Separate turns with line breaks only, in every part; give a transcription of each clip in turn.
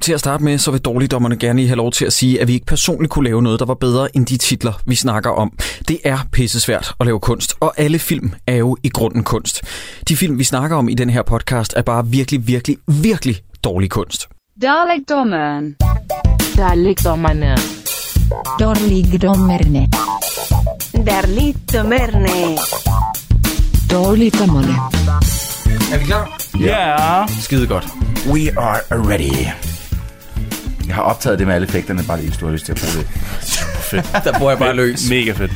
Til at starte med, så vil dårligdommerne gerne lige have lov til at sige, at vi ikke personligt kunne lave noget, der var bedre end de titler, vi snakker om. Det er pissesvært at lave kunst, og alle film er jo i grunden kunst. De film, vi snakker om i den her podcast, er bare virkelig, virkelig, virkelig dårlig kunst.
Dalekdommeren.
Dalekdommerne.
Dårligdommerne.
Darligdommerne.
Dårligdommerne.
Er vi klar?
Ja.
Skide godt.
We are ready. Jeg har optaget det med alle effekterne, bare lige hvis du har lyst til at bruge det.
Der bruger jeg bare løs.
Mega fedt.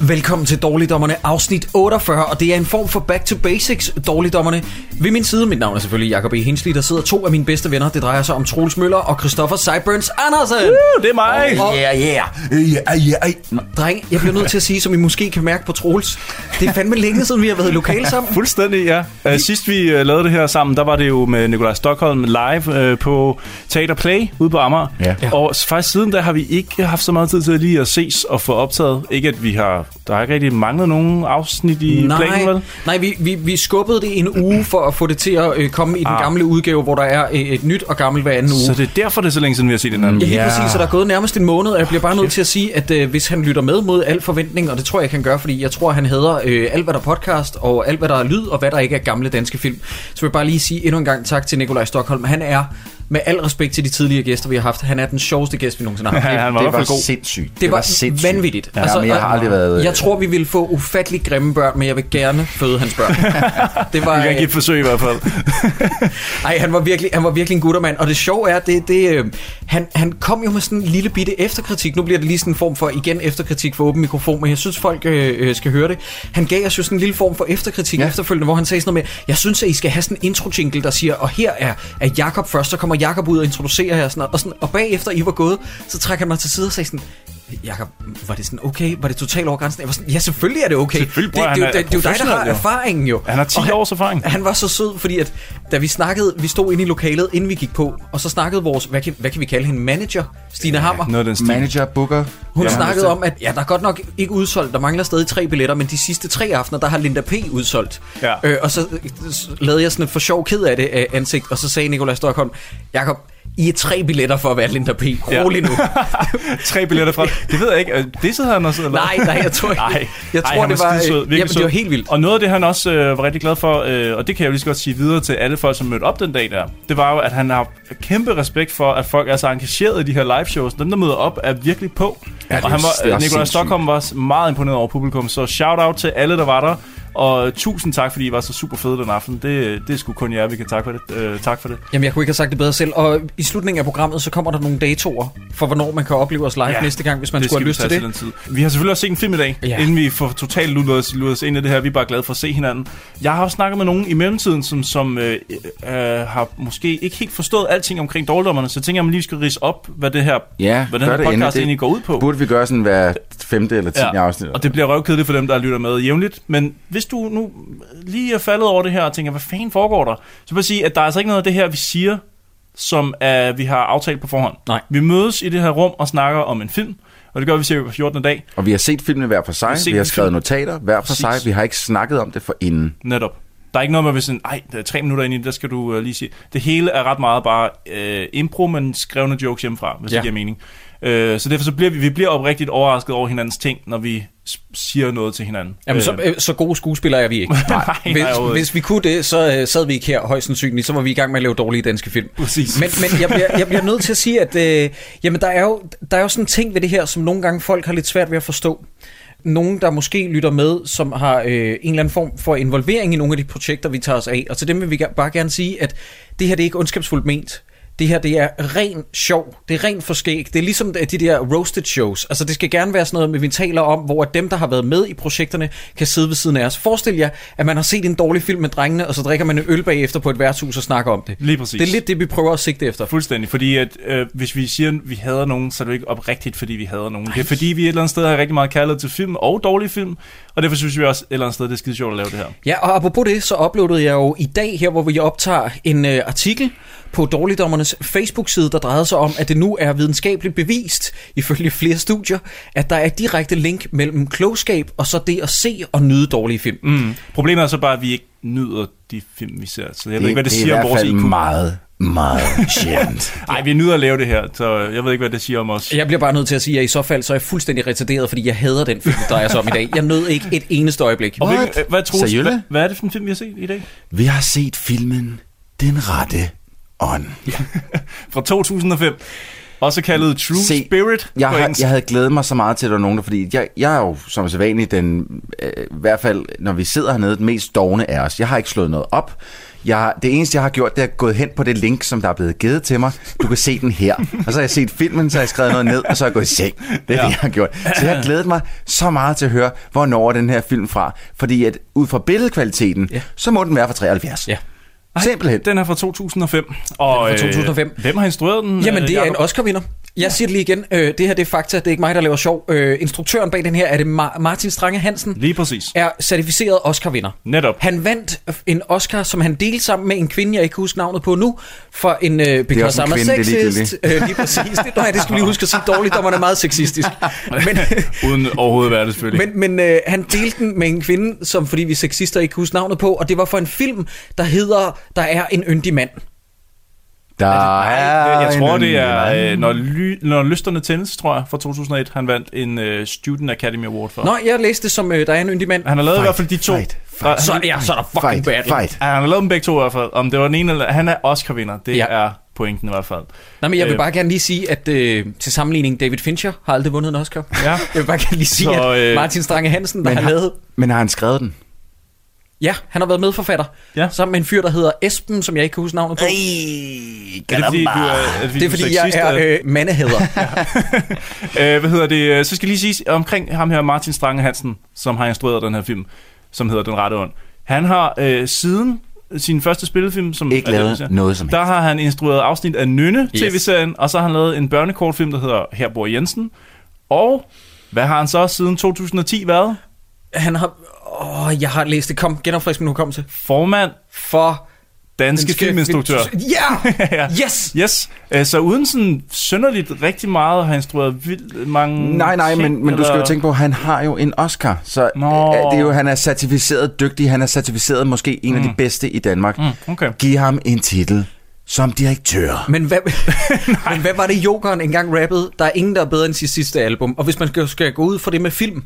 Velkommen til Dårligdommerne, afsnit 48, og det er en form for Back to Basics, Dårligdommerne. Ved min side, mit navn er selvfølgelig Jakob E. Hensley, der sidder to af mine bedste venner. Det drejer sig om Troels Møller og Christoffer Seiburns Andersen.
Uh, det er mig.
Og-
Yeah, yeah. Øh, Yeah, yeah.
Dreng, jeg bliver nødt til at sige, som I måske kan mærke på Troels, det er fandme længe siden, vi har været i lokale sammen.
Fuldstændig, ja. Uh, sidst vi uh, lavede det her sammen, der var det jo med Nikolaj Stockholm live uh, på Teater Play ude på Amager.
Ja. Ja.
Og s- faktisk siden da har vi ikke haft så meget tid til lige at ses og få optaget. Ikke at vi har... Der har ikke rigtig manglet nogen afsnit i planen,
Nej,
vel?
nej vi, vi, vi skubbede det en uge for at få det til at øh, komme i den
Ah.
gamle udgave, hvor der er øh, et nyt og gammelt hver anden uge.
Så det er derfor, det er så længe siden, vi har set hinanden.
Ja, lige
Ja.
præcis, så der er gået nærmest en måned, og jeg bliver bare nødt til at sige, at øh, hvis han lytter med mod al forventning, og det tror jeg, han gør, fordi jeg tror, han hader øh, alt, hvad der er podcast, og alt, hvad der er lyd, og hvad der ikke er gamle danske film. Så vil jeg bare lige sige endnu en gang tak til Nikolaj Stockholm. Han er, med al respekt til de tidligere gæster, vi har haft, han er den sjoveste gæst, vi nogensinde har haft.
Ja, han var i
Det
hvert
var
fald god.
sindssygt.
Det, det var, var vanvittigt.
Ja, altså, men jeg har
og-
aldrig været...
Jeg tror, vi ville få ufattelig grimme børn, men jeg vil gerne føde hans børn. det var,
Vi kan
øh,
give et forsøg i hvert fald.
Ej, han var virkelig, han var virkelig en guttermand. Og det sjove er, det, det, øh, han, han kom jo med sådan en lille bitte efterkritik. Nu bliver det lige sådan en form for, igen, efterkritik for åben mikrofon, men jeg synes, folk øh, øh, skal høre det. Han gav os jo sådan en lille form for efterkritik ja.
Ja.
efterfølgende, hvor han sagde sådan noget med, jeg synes, at I skal have sådan en intro jingle, der siger, og her er, er Jakob først, så kommer Jakob ud og introducerer jer, sådan, noget. og, sådan, og bagefter I var gået, så trækker han mig til side og sagde sådan, Jakob, var det sådan okay? Var det totalt over grænsen? Jeg var sådan, ja, selvfølgelig er det okay.
Selvfølgelig,
det,
bror,
det, det,
han er
det, det, er jo dig, der har
professionel, jo."
erfaringen jo.
Han har 10
Og han-
års erfaring.
han var så sød, fordi at da vi snakkede, vi stod inde i lokalet, inden vi gik på, og så snakkede vores, hvad kan, hvad kan vi kalde hende, manager, Stine Hammer.
Noget af den stil.
øh, Manager, booker.
Hun
Ja,
snakkede om, at ja, der er godt nok ikke udsolgt, der mangler stadig tre billetter, men de sidste tre aftener, der har Linda P. udsolgt.
Ja.
Øh, og så øh, s- lavede jeg sådan et for sjov ked af det øh, ansigt, og så sagde Nikolaj Stockholm, Jakob, I er tre billetter for at være Linda P. Rolig nu.
Tre billetter fra... Det ved jeg ikke. Øh, Det sidder han og sidder og laver.
Nej, nej, jeg tror ikke.
Nej,
Jeg tror,
han
det var, øh,
skidesød, virkelig
jamen, det
sød.
var helt vildt.
Og noget af det, han også øh, var rigtig glad for, øh, og det kan jeg jo lige så godt sige videre til alle folk, som mødte op den dag der, det var jo, at han har kæmpe respekt for, at folk er så engageret i de her live shows. Dem, der møder op, er virkelig på.
Ja,
Ja,
det
og
er
han
jo- det er
var,
også
Nikolaj
sindssygt.
Stockholm var også meget imponeret over publikum, så shout-out til alle, der var der. Og tusind tak, fordi I var så super fede den aften. Det, det er sgu kun jer, vi kan takke for det. Øh, tak for det.
Jamen, jeg kunne ikke have sagt det bedre selv. Og i slutningen af programmet, så kommer der nogle datoer for, hvornår man kan opleve os live ja, næste gang, hvis man
det
skulle
skal
have
vi
lyst til
tage
det.
den tid. Vi har selvfølgelig også set en film i dag,
Ja.
ja. inden vi får totalt lullet os, lullet os ind i det her. Vi er bare glade for at se hinanden. Jeg har også snakket med nogen i mellemtiden, som, som øh, øh, har måske ikke helt forstået alting omkring dårligdommerne, så jeg tænker, at man lige skal rise op, hvad, det her,
Ja,
hvad den her
gør det
podcast
endelig. Det
egentlig går ud på.
Burde vi gøre sådan hver femte eller tiende afsnit?
Og det bliver røvkedeligt for dem, der lytter med jævnligt. Men hvis du nu lige er faldet over det her og tænker, hvad fanden foregår der? Så vil jeg sige, at der er altså ikke noget af det her, vi siger, som uh, vi har aftalt på forhånd.
Nej.
Vi mødes i det her rum og snakker om en film, og det gør vi cirka på 14. dag
Og vi har set filmene hver for sig,
set
vi, har
en
skrevet
film.
notater hver for
Præcis.
sig, vi har ikke snakket om det for inden.
netop. Der er ikke noget med, hvis en, ej, der er tre minutter ind i det, der skal du uh, lige sige. Det hele er ret meget bare uh, impro, men skrevne jokes hjemmefra, hvis
Ja.
det giver mening. Uh, så derfor så bliver vi, vi bliver oprigtigt overrasket over hinandens ting, når vi s- siger noget til hinanden.
Jamen, så,
Øh,
øh, så gode skuespillere er vi ikke.
nej, nej,
Hvis,
overhovedet
hvis vi kunne det, så øh, sad vi ikke her højst sandsynligt. Så var vi i gang med at lave dårlige danske film.
Præcis.
Men, men jeg, bliver, jeg bliver nødt til at sige, at øh, jamen, der, er jo, der er jo sådan en ting ved det her, som nogle gange folk har lidt svært ved at forstå. Nogen, der måske lytter med, som har øh, en eller anden form for involvering i nogle af de projekter, vi tager os af. Og til dem vil vi ga- bare gerne sige, at det her det er ikke ondskabsfuldt ment. Det her, det er ren sjov. Det er rent forskæg. Det er ligesom de de der roasted shows. Altså, det skal gerne være sådan noget, med, vi taler om, hvor at dem, der har været med i projekterne, kan sidde ved siden af os. Forestil jer, at man har set en dårlig film med drengene, og så drikker man en øl bagefter på et værtshus og snakker om det.
Lige præcis.
Det er lidt det, vi prøver at sigte efter.
Fuldstændig, fordi at, øh, hvis vi siger, at vi hader nogen, så er det jo ikke oprigtigt, fordi vi hader nogen. Det er fordi, vi et eller andet sted har rigtig meget kærlighed til film og dårlige film, og derfor synes vi også et eller andet sted, det er skide sjovt at lave det her.
Ja, og apropos det, så uploadede jeg jo i dag her, hvor vi optager en øh, artikel på Dårligdommernes Facebook-side, der drejede sig om, at det nu er videnskabeligt bevist, ifølge flere studier, at der er et direkte link mellem klogskab og så det at se og nyde dårlige film. Mm.
Problemet er så bare, at vi ikke nyder de film, vi ser. Så jeg ved ikke, hvad det,
det er i
siger om
hvert
vores
fald
IQ.
meget meget sjældent.
Ej, vi nyder at lave det her, så jeg ved ikke, hvad det siger om os.
Jeg bliver bare nødt til at sige, at i så fald så er jeg fuldstændig retarderet, fordi jeg hader den film, det drejer sig om i dag. Jeg nød ikke et eneste øjeblik.
Og
What?
hvilken- hvad, Troels,
Seriølle?
hvad, hvad er det for en film, vi har set i dag?
Vi har set filmen Den Rette Ånd.
Fra 2005. Også kaldet True
Se,
Spirit
Jeg,
på
har,
engelsk.
jeg havde glædet mig så meget til, at der var nogen der, fordi jeg, jeg er jo som så vanligt den, øh, i hvert fald når vi sidder hernede, den mest dogne af os. Jeg har ikke slået noget op. Jeg, har- det eneste, jeg har gjort, det er at gået hen på det link, som der er blevet givet til mig. Du kan se den her. Og så har jeg set filmen, så har jeg skrevet noget ned, og så har jeg gået i seng. Det er ja. det, jeg har gjort. Så jeg har glædet mig så meget til at høre, hvornår er den her film fra. Fordi at ud fra billedkvaliteten, ja. så må den være fra 73.
Ja.
Ej,
Simpelthen.
Den er fra 2005. Og,
Den er fra 2005.
Øh, hvem har instrueret den?
Jamen,
øh,
det er
Jacob?
en Oscar-vinder. Jeg siger det lige igen. Øh, det her, det er fakta. Det er ikke mig, der laver sjov. Øh, instruktøren bag den her, er det Ma- Martin Strange Hansen,
Lige præcis.
er certificeret Oscar-vinder.
Netop.
Han vandt en Oscar, som han delte sammen med en kvinde, jeg ikke kan huske navnet på nu, for en øh, Because
også en
I'm a
kvinde, det er
sexist.
ligegyldigt.
Øh, lige præcis. Det, nej, det skulle vi lige huske at sige dårligt, der var det meget sexistisk. Men,
Uden overhovedet at være det, selvfølgelig.
men, men øh, han delte den med en kvinde, som fordi vi er sexister ikke kan huske navnet på, og det var for en film, der hedder Der er en yndig mand.
Der er
jeg tror,
en-
det er, øh, når, ly, når lysterne tændes, tror jeg, fra 2001. Han vandt en øh, Student Academy Award for.
Nå, jeg læste det som øh, Der er en yndig mand.
Han har lavet
Fight,
i hvert fald de to.
fight,
Og
Så,
Han,
ja, så er der fucking
Fight,
battle.
fight.
han har lavet dem begge to i hvert fald. Om det var den ene eller... Han er Oscar-vinder. Det
Ja.
ja. er pointen i hvert fald.
Nej, men jeg vil
Øh.
bare gerne lige sige, at øh, til sammenligning, David Fincher har aldrig vundet en Oscar.
Ja.
Jeg vil bare gerne lige sige,
Så,
så, øh, at
øh,
Martin Strange Hansen, der
Men
har
har-
lavet...
Men har han skrevet den?
Ja, han har været medforfatter.
Ja.
Sammen med en fyr, der hedder Esben, som jeg ikke kan huske navnet på.
Ej,
Er det, fordi, du, er, er det, fordi,
Det er
du
fordi, jeg
sexist,
er
eller-
øh, mandehader.
Øh, hvad hedder det? øh, Så skal lige sige omkring ham her, Martin Strange Hansen, som har instrueret den her film, som hedder Den Rette Ånd. Han har øh, siden sin første spillefilm, som
Ikke
er den,
lavet
vi ser,
noget som
Der har han instrueret afsnit af Nynne
Yes.
tv-serien, og så har han lavet en børnekortfilm, der hedder Her bor Jensen. Og hvad har han så siden 2010 været?
Han har... Åh, jeg har læst det. Kom, genopfrisk min hukommelse.
Formand,
For...
danske filminstruktør.
Ja!
ja.
Yes!
Yes, Øh, så uden sådan synderligt rigtig meget har han instrueret vildt mange
Nej, nej,
ting,
men, men du skal jo tænke på, at han har jo en Oscar, så
Nå.
øh, det er jo, han er certificeret dygtig, han er certificeret måske en mm. af de bedste i Danmark.
Mm, okay.
Giv ham en titel som direktør.
Men hvad, men hvad var det, Jokeren engang rappede? Der er ingen, der er bedre end sit sidste album. Og hvis man skal, skal gå ud for det med film,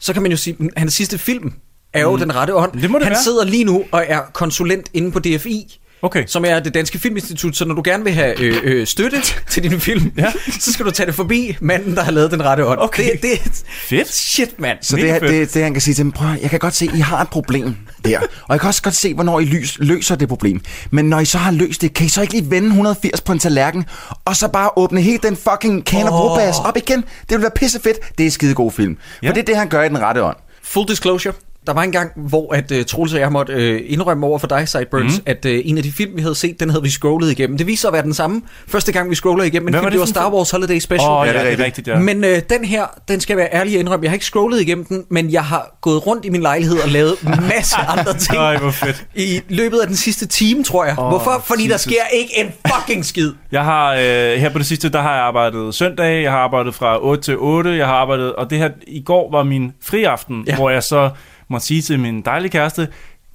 så kan man jo sige, at hans sidste film er jo mm. den rette hånd.
Det må det
han
være.
sidder lige nu og er konsulent inde på DFI.
Okay.
Som er det danske filminstitut, så når du gerne vil have øh, øh, støtte til din film, ja.
Ja.
så skal du tage det forbi manden, der har lavet den rette hånd.
Okay.
Det, det,
Fedt.
shit, mand.
Så
Mega
det, er-
fedt.
det, er- det, han kan sige til dem, prøv at høre, jeg kan godt se, I har et problem der, og jeg kan også godt se, hvornår I lys, løser det problem. Men når I så har løst det, kan I så ikke lige vende 180 på en tallerken, og så bare åbne helt den fucking kan oh. op igen? Det vil være pissefedt. Det er en skidegod film. Ja.
Ja.
For det er det, han gør i den rette ånd.
Full disclosure. Der var en gang, hvor at, uh, Troels og jeg måtte uh, indrømme over for dig, Sideburns,
Mhm.
mm. at uh, en af de film, vi havde set, den havde vi scrollet igennem. Det viser sig at være den samme. Første gang, vi scroller igennem en
Hvad
film,
var
det,
det
det var
for en
Star
film?
Wars Holiday Special.
Åh, oh, ja,
det er
det er
rigtigt.
rigtigt, ja.
Ja. Men øh, den her, den skal jeg være ærlig at indrømme, jeg har ikke scrollet igennem den, men jeg har gået rundt i min lejlighed og lavet masser andre ting.
Ej, hvor fedt.
I løbet af den sidste time, tror jeg. Oh, Hvorfor? Fordi Jesus. der
Jesus.
sker ikke en fucking skid.
Jeg har øh, her på det sidste, der har jeg arbejdet søndag, jeg har arbejdet fra 8 til 8, jeg har arbejdet, og det her i går var min friaften,
Ja.
ja. hvor jeg så må sige til min dejlige kæreste,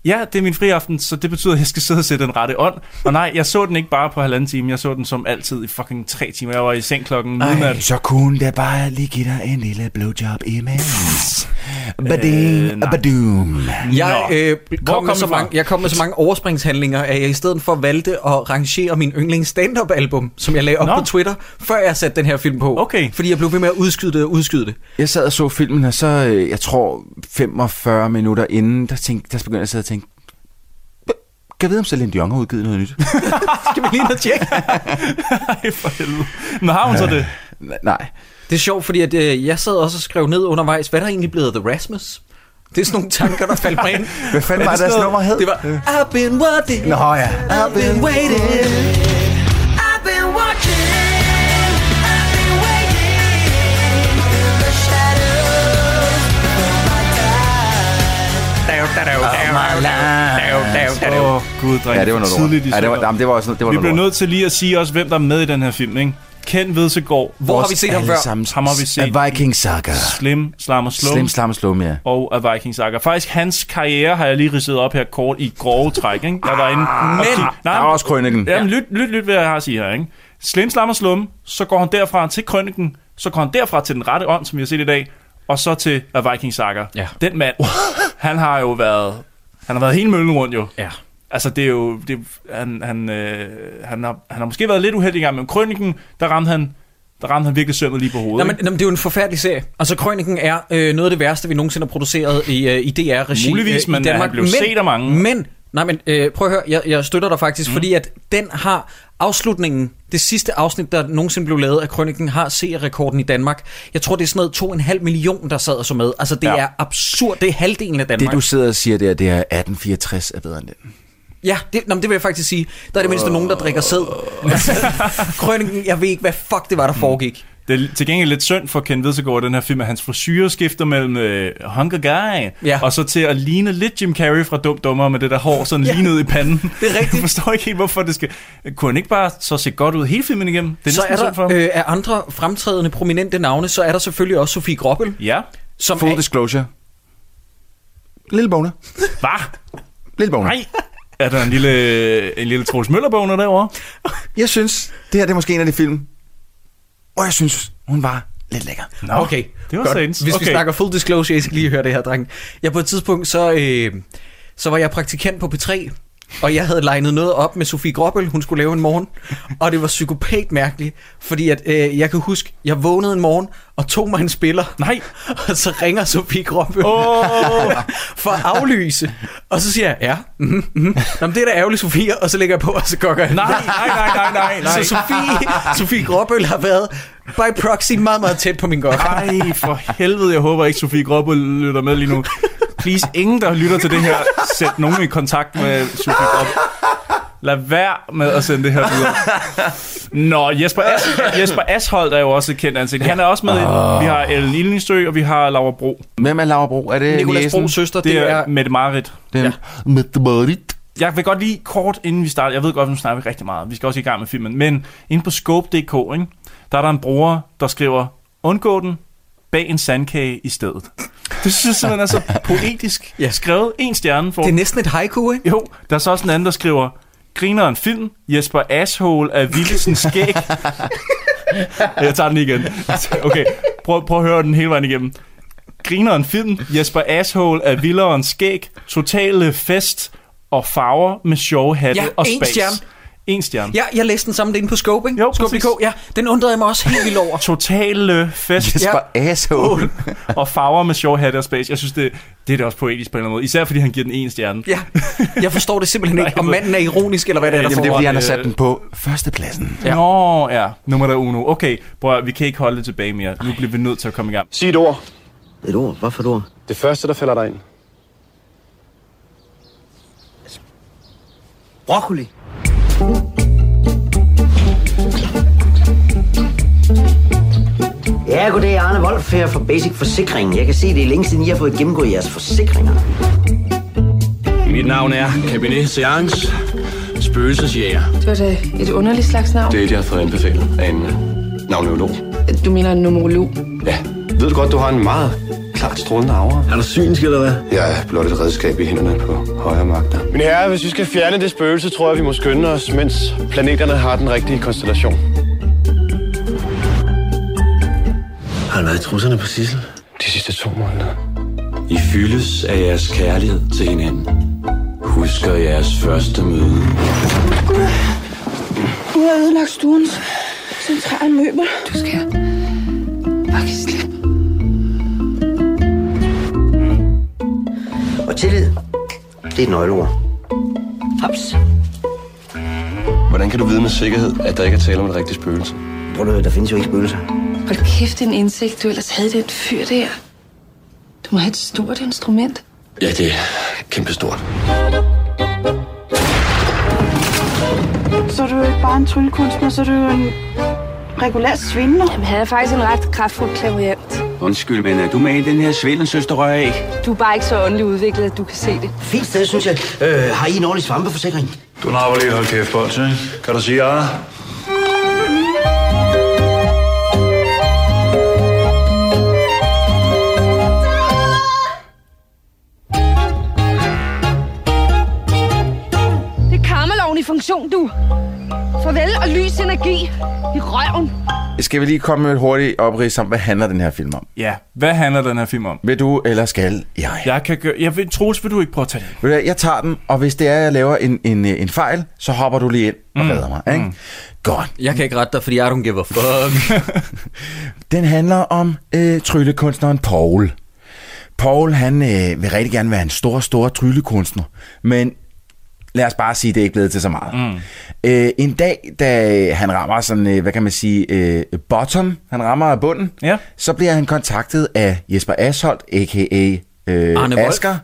ja, det er min friaften, så det betyder, at jeg skal sidde og sætte den rette ånd. Og nej, jeg så den ikke bare på halvanden time, jeg så den som altid i fucking tre timer. Jeg var i seng klokken
Ej,
midnat.
så kunne det bare lige give dig en lille blowjob imens. Bading,
nej.
badoom.
Jeg,
Nå.
øh,
Hvor
kom
kom
med
vi
så
fra?
mange, jeg kom med så mange overspringshandlinger, at jeg i stedet for valgte at rangere min yndlings stand-up album, som jeg lagde op
Nå.
på Twitter, før jeg satte den her film på.
Okay.
Fordi jeg blev ved med at udskyde det og udskyde det.
Jeg sad og så filmen, og så, øh, jeg tror, 45 minutter inden, der, tænkte, der begyndte jeg at sidde og tænke, "Hva- kan jeg vide, om Celine Dion har udgivet noget nyt?
Skal vi lige ned og tjekke?
Ej, for helvede. Men har hun så det?
N- Nej.
Det er sjovt, fordi at, øh, jeg sad også og skrev ned undervejs, hvad der egentlig blev af The Rasmus. Det er sådan nogle tanker, der faldt mig ind.
Hvad fanden var
det sådan
deres
noget-
nummer hed? Øh.
Det var, I've been waiting,
Nå ja.
I've been waiting.
I've been watching, I've been waiting in the shadows for my time.
Åh, oh, gud, dreng.
Ja, det var noget
tidligt
lort.
i
Ja, det var,
søndag.
jamen, det var også noget, det var
Vi
noget
bliver
lort.
nødt til lige at sige også, hvem der er med i den her film, ikke? Ken Vedsegaard.
Hvor har vi set ham før?
Sammen,
Ham har vi set
A Viking Saga.
Slim, Slam og Slum.
Slim Slam Slum, ja.
og af Vikings Akker. Faktisk hans karriere har jeg lige ridset op her kort i grove træk. Ikke? Jeg var inde og
men-
kig-
Ah, Der
Nej,
er også krønningen.
Jamen, lyt, lyt, lyt, hvad jeg har at sige her. Ikke? Slim, slam og slum, så går han derfra til krønningen, så går han derfra til den rette ånd, som vi har set i dag, og så til af Vikings Akker.
Ja.
Den mand, han har jo været, han har været hele møllen rundt jo.
Ja.
Altså, det er jo... Det, er- han, han, øh, han, har, han har måske været lidt uheldig i gang med krønningen. Der ramte han, der ramte han virkelig sømmet lige på hovedet.
Nå, men,
ikke?
nå, men det er jo en forfærdelig serie. Altså, Krøniken er øh, noget af det værste, vi nogensinde har produceret i, øh, i DR-regi
Muligvis,
øh, i
men
Danmark.
han blev set af mange.
Men, nej, men øh, prøv at høre, jeg, jeg støtter dig faktisk, mm. fordi at den har afslutningen, det sidste afsnit, der nogensinde blev lavet af Krøniken, har seerrekorden i Danmark. Jeg tror, det er sådan noget 2,5 million, der sad og så med. Altså, det
Ja.
ja. er absurd. Det er halvdelen af
Det,
Danmark.
du sidder og siger der, det er 1864 er bedre end den.
Ja, det, nå, men det vil jeg faktisk sige. Der er det
Øh.
mindste nogen, der drikker sæd. Altså, Krøniken, jeg ved ikke, hvad fuck det var, der foregik.
Det er til gengæld lidt synd for Ken Vedsegaard, den her film, at hans frisyrer skifter mellem øh, Hunger Guy,
Ja.
og så til at ligne lidt Jim Carrey fra Dum Dummer med det der hår sådan ja. lige ned i panden.
Det er rigtigt.
Jeg forstår ikke helt, hvorfor det skal... Kunne han ikke bare så se godt ud hele filmen igennem? Det er
så
næsten
er
synd for
der
ham.
øh, af andre fremtrædende, prominente navne, så er der selvfølgelig også Sofie Groppel,
Ja.
som
Full
er,
disclosure. Lille boner.
Hvad?
Lille boner.
Nej. Er der en lille, en lille Troels Møllerbogner derovre?
Jeg synes, det her det er måske en af de film, hvor jeg synes, hun var lidt lækker.
Nå,
Okay.
Det var
Godt.
sands.
Hvis
okay.
vi snakker full disclosure, I skal lige høre det her, dreng. Jeg på et tidspunkt, så, øh, så var jeg praktikant på P3, og jeg havde legnet noget op med Sofie Groppel, hun skulle lave en morgen. Og det var psykopat mærkeligt, fordi at, øh, jeg kan huske, jeg vågnede en morgen og tog mig en spiller.
Nej.
Og så ringer Sofie Groppel
Åh.
for at aflyse. Og så siger jeg, ja, mm, mm. Nå, men det er da ærgerligt, Sofie. Og så lægger jeg på, og så gokker jeg.
Nej, nej, nej, nej, nej, nej.
Så Sofie, Sofie Gråbøl har været by proxy meget, meget tæt på min godt.
Ej, for helvede, jeg håber ikke, Sofie Gråbøl lytter med lige nu. Please, ingen, der lytter til det her, sæt nogen i kontakt med Sofie Gråbøl. Lad være med at sende det her videre. Nå, Jesper, As Jesper Asholdt er jo også et kendt ansigt. Han er også med. i- Vi har Ellen Ildingsø, og vi har Laura Bro.
Hvem er Laura Bro? Er det
Nikolas
niecen?
Bros søster,
Det er Mette Marit.
Det er Mette Marit.
Jeg vil godt lige kort, inden vi starter, jeg ved godt, nu snakker vi rigtig meget, vi skal også i gang med filmen, men inde på scope.dk, ikke, der er der en bruger, der skriver, undgå den, bag en sandkage i stedet. Det synes jeg simpelthen er så poetisk
Ja.
skrevet. En stjerne for.
det er næsten et haiku, ikke?
Jo, der er så også en anden, der skriver, griner en film, Jesper Asshole af Willesens skæg. jeg tager den lige igen. Okay, prøv, prøv at høre den hele vejen igennem. Griner en film, Jesper Asshole af Villerens skæg, totale fest og farver med sjove hatte
Ja,
og
én
spas.
stjerne.
En stjerne.
Ja, jeg læste den sammen inde på Scope, ikke?
Jo,
Scope.dk,
præcis.
ja. Den undrede jeg mig også helt vildt over.
Totale fest
Jesper Asshole.
og farver med sjove hatte og spas. Jeg synes, det, det er da også poetisk på en eller anden måde. Især fordi han giver den en stjerne.
Ja, jeg forstår det simpelthen ikke, om manden er ironisk, eller hvad det er, der
Jamen, det er
foregår.
fordi, han har
øh,
sat den på førstepladsen.
Ja. Nå, ja. Nummer der uno. Okay, bror, vi kan ikke holde det tilbage mere. Nu bliver vi nødt til at komme i gang.
Sig et ord.
Et ord? Hvad for et ord?
Det første, der falder dig ind.
Broccoli. Ja, goddag, jeg er Arne Wolf her fra Basic Forsikring. Jeg kan se, det er længe siden, I har fået gennemgået jeres forsikringer.
Mit navn er Cabinet Seance, spøgelsesjæger.
Det var da et underligt slags navn.
Det er det, jeg har fået anbefalet af en øh, navneolog.
Du mener en numerolog.
Ja.
Ved du godt, du har en meget klart strålende aura?
Er du synsk, eller hvad?
Jeg er blot et redskab i hænderne på højre magter.
Min herre, hvis vi skal fjerne det spøgelse, tror jeg, vi må skynde os, mens planeterne har den rigtige konstellation.
Har du været i trusserne på Sissel?
De sidste to måneder.
I fyldes af jeres kærlighed til hinanden. Husker jeres første møde.
Du har ødelagt stuens centrale møbel. Du skal bare give slip.
Og tillid, det er et nøgleord. Haps.
Hvordan kan du vide med sikkerhed, at der ikke er tale om et rigtigt spøgelse?
Prøv at høre, der findes jo ikke spøgelser.
Hold kæft, en indsigt, du ellers havde i den fyr der. Du må have et stort instrument.
Ja, det er kæmpestort.
Så er du jo ikke bare en tryllekunstner, så er du jo en regulær svindler.
Jamen, havde faktisk en ret kraftfuld klaviant.
Undskyld, men er du med i den her svindelsøster røg af?
Du er bare ikke så åndelig udviklet, at du kan se det.
Fint sted, synes jeg. Øh, har I en ordentlig svampeforsikring?
Du napper lige hold kæft, Bolse. Kan du sige ja?
nu. Farvel og lys energi i røven.
Skal vi lige komme med et hurtigt oprids om, hvad handler den her film om?
Ja, hvad handler den her film om?
Vil du eller skal jeg?
Jeg kan gøre... Jeg vil, Troels, vil du ikke prøve at tage den?
Ved du hvad, jeg tager den, og hvis det er, at jeg laver en, en, øh, en fejl, så hopper du lige ind og
Mm.
redder mig. Ikke?
Mm.
Godt.
Jeg kan ikke rette dig, fordi jeg don't give a fuck.
Den handler om øh, tryllekunstneren Paul. Paul, han øh, vil rigtig gerne være en stor, stor tryllekunstner, men lad os bare sige, det er ikke blevet til så meget. Mm. Øh, en dag, da han rammer sådan, øh, hvad kan man sige, øh, bottom, han rammer bunden,
ja.
så bliver han kontaktet af Jesper Asholdt, a.k.a. Øh,
Arne Wolf.
Asger.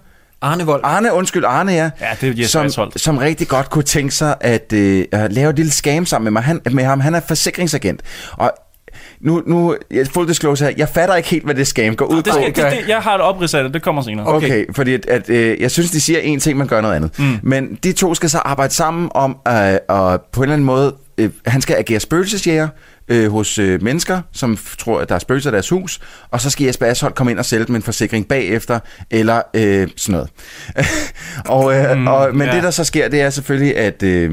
Arne Vold.
Arne, undskyld, Arne, ja.
Ja, det er Jesper
som,
Asholdt.
som rigtig godt kunne tænke sig at, øh, at lave et lille scam sammen med, mig. Han, med ham. Han er forsikringsagent. Og nu, nu jeg- full disclosure her, jeg fatter ikke helt, hvad det scam går ud
Det
på.
skal, det, det, jeg har et oprids af det, det kommer senere.
Okay, okay fordi at, at, øh, jeg synes, de siger en ting, man gør noget andet. Mm. Men de to skal så arbejde sammen om, øh, og på en eller anden måde, øh, han skal agere spøgelsesjæger øh, hos øh, mennesker, som f- tror, at der er spøgelser i deres hus, og så skal Jesper Ashold komme ind og sælge dem en forsikring bagefter, eller øh, sådan noget. og, øh, mm, og, men
ja.
ja. det, der så sker, det er selvfølgelig, at øh,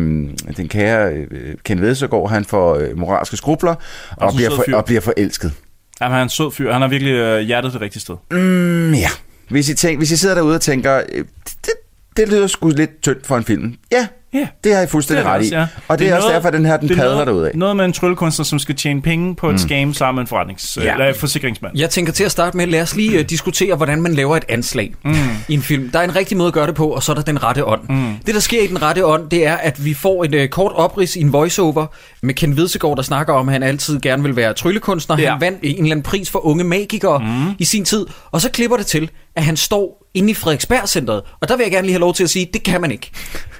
den kære øh, Ken Vedsegaard, han får øh, moralske skrubler, og, og,
sådan
bliver
sød
for,
fyr.
og bliver forelsket.
Jamen, han er en sød fyr. Han har virkelig øh, hjertet det rigtige sted.
Mm, ja. Hvis I, tænk, hvis I sidder derude og tænker, øh, det, det lyder sgu lidt tyndt for en film. Ja,
Ja.
det har I fuldstændig ret i.
også, ja.
Og det, er, også derfor, at den her, den
det er
padler
noget-
derude af.
Noget med en tryllekunstner, som skal tjene penge på et mm. scam sammen med en forretnings,
Ja.
ja. eller en forsikringsmand.
Jeg tænker til at starte med, lad os lige uh, diskutere, hvordan man laver et anslag mm. i en film. Der er en rigtig måde at gøre det på, og så er der den rette ånd. Mm. Det, der sker i den rette ånd, det er, at vi får en uh, kort oprids i en voiceover med Ken Vedsegaard, der snakker om, at han altid gerne vil være tryllekunstner. Ja.
Ja.
Han vandt en eller anden pris for unge magikere mm. i sin tid, og så klipper det til, at han står inde i Frederiksberg-centret. Og der vil jeg gerne lige have lov til at sige, det kan man ikke.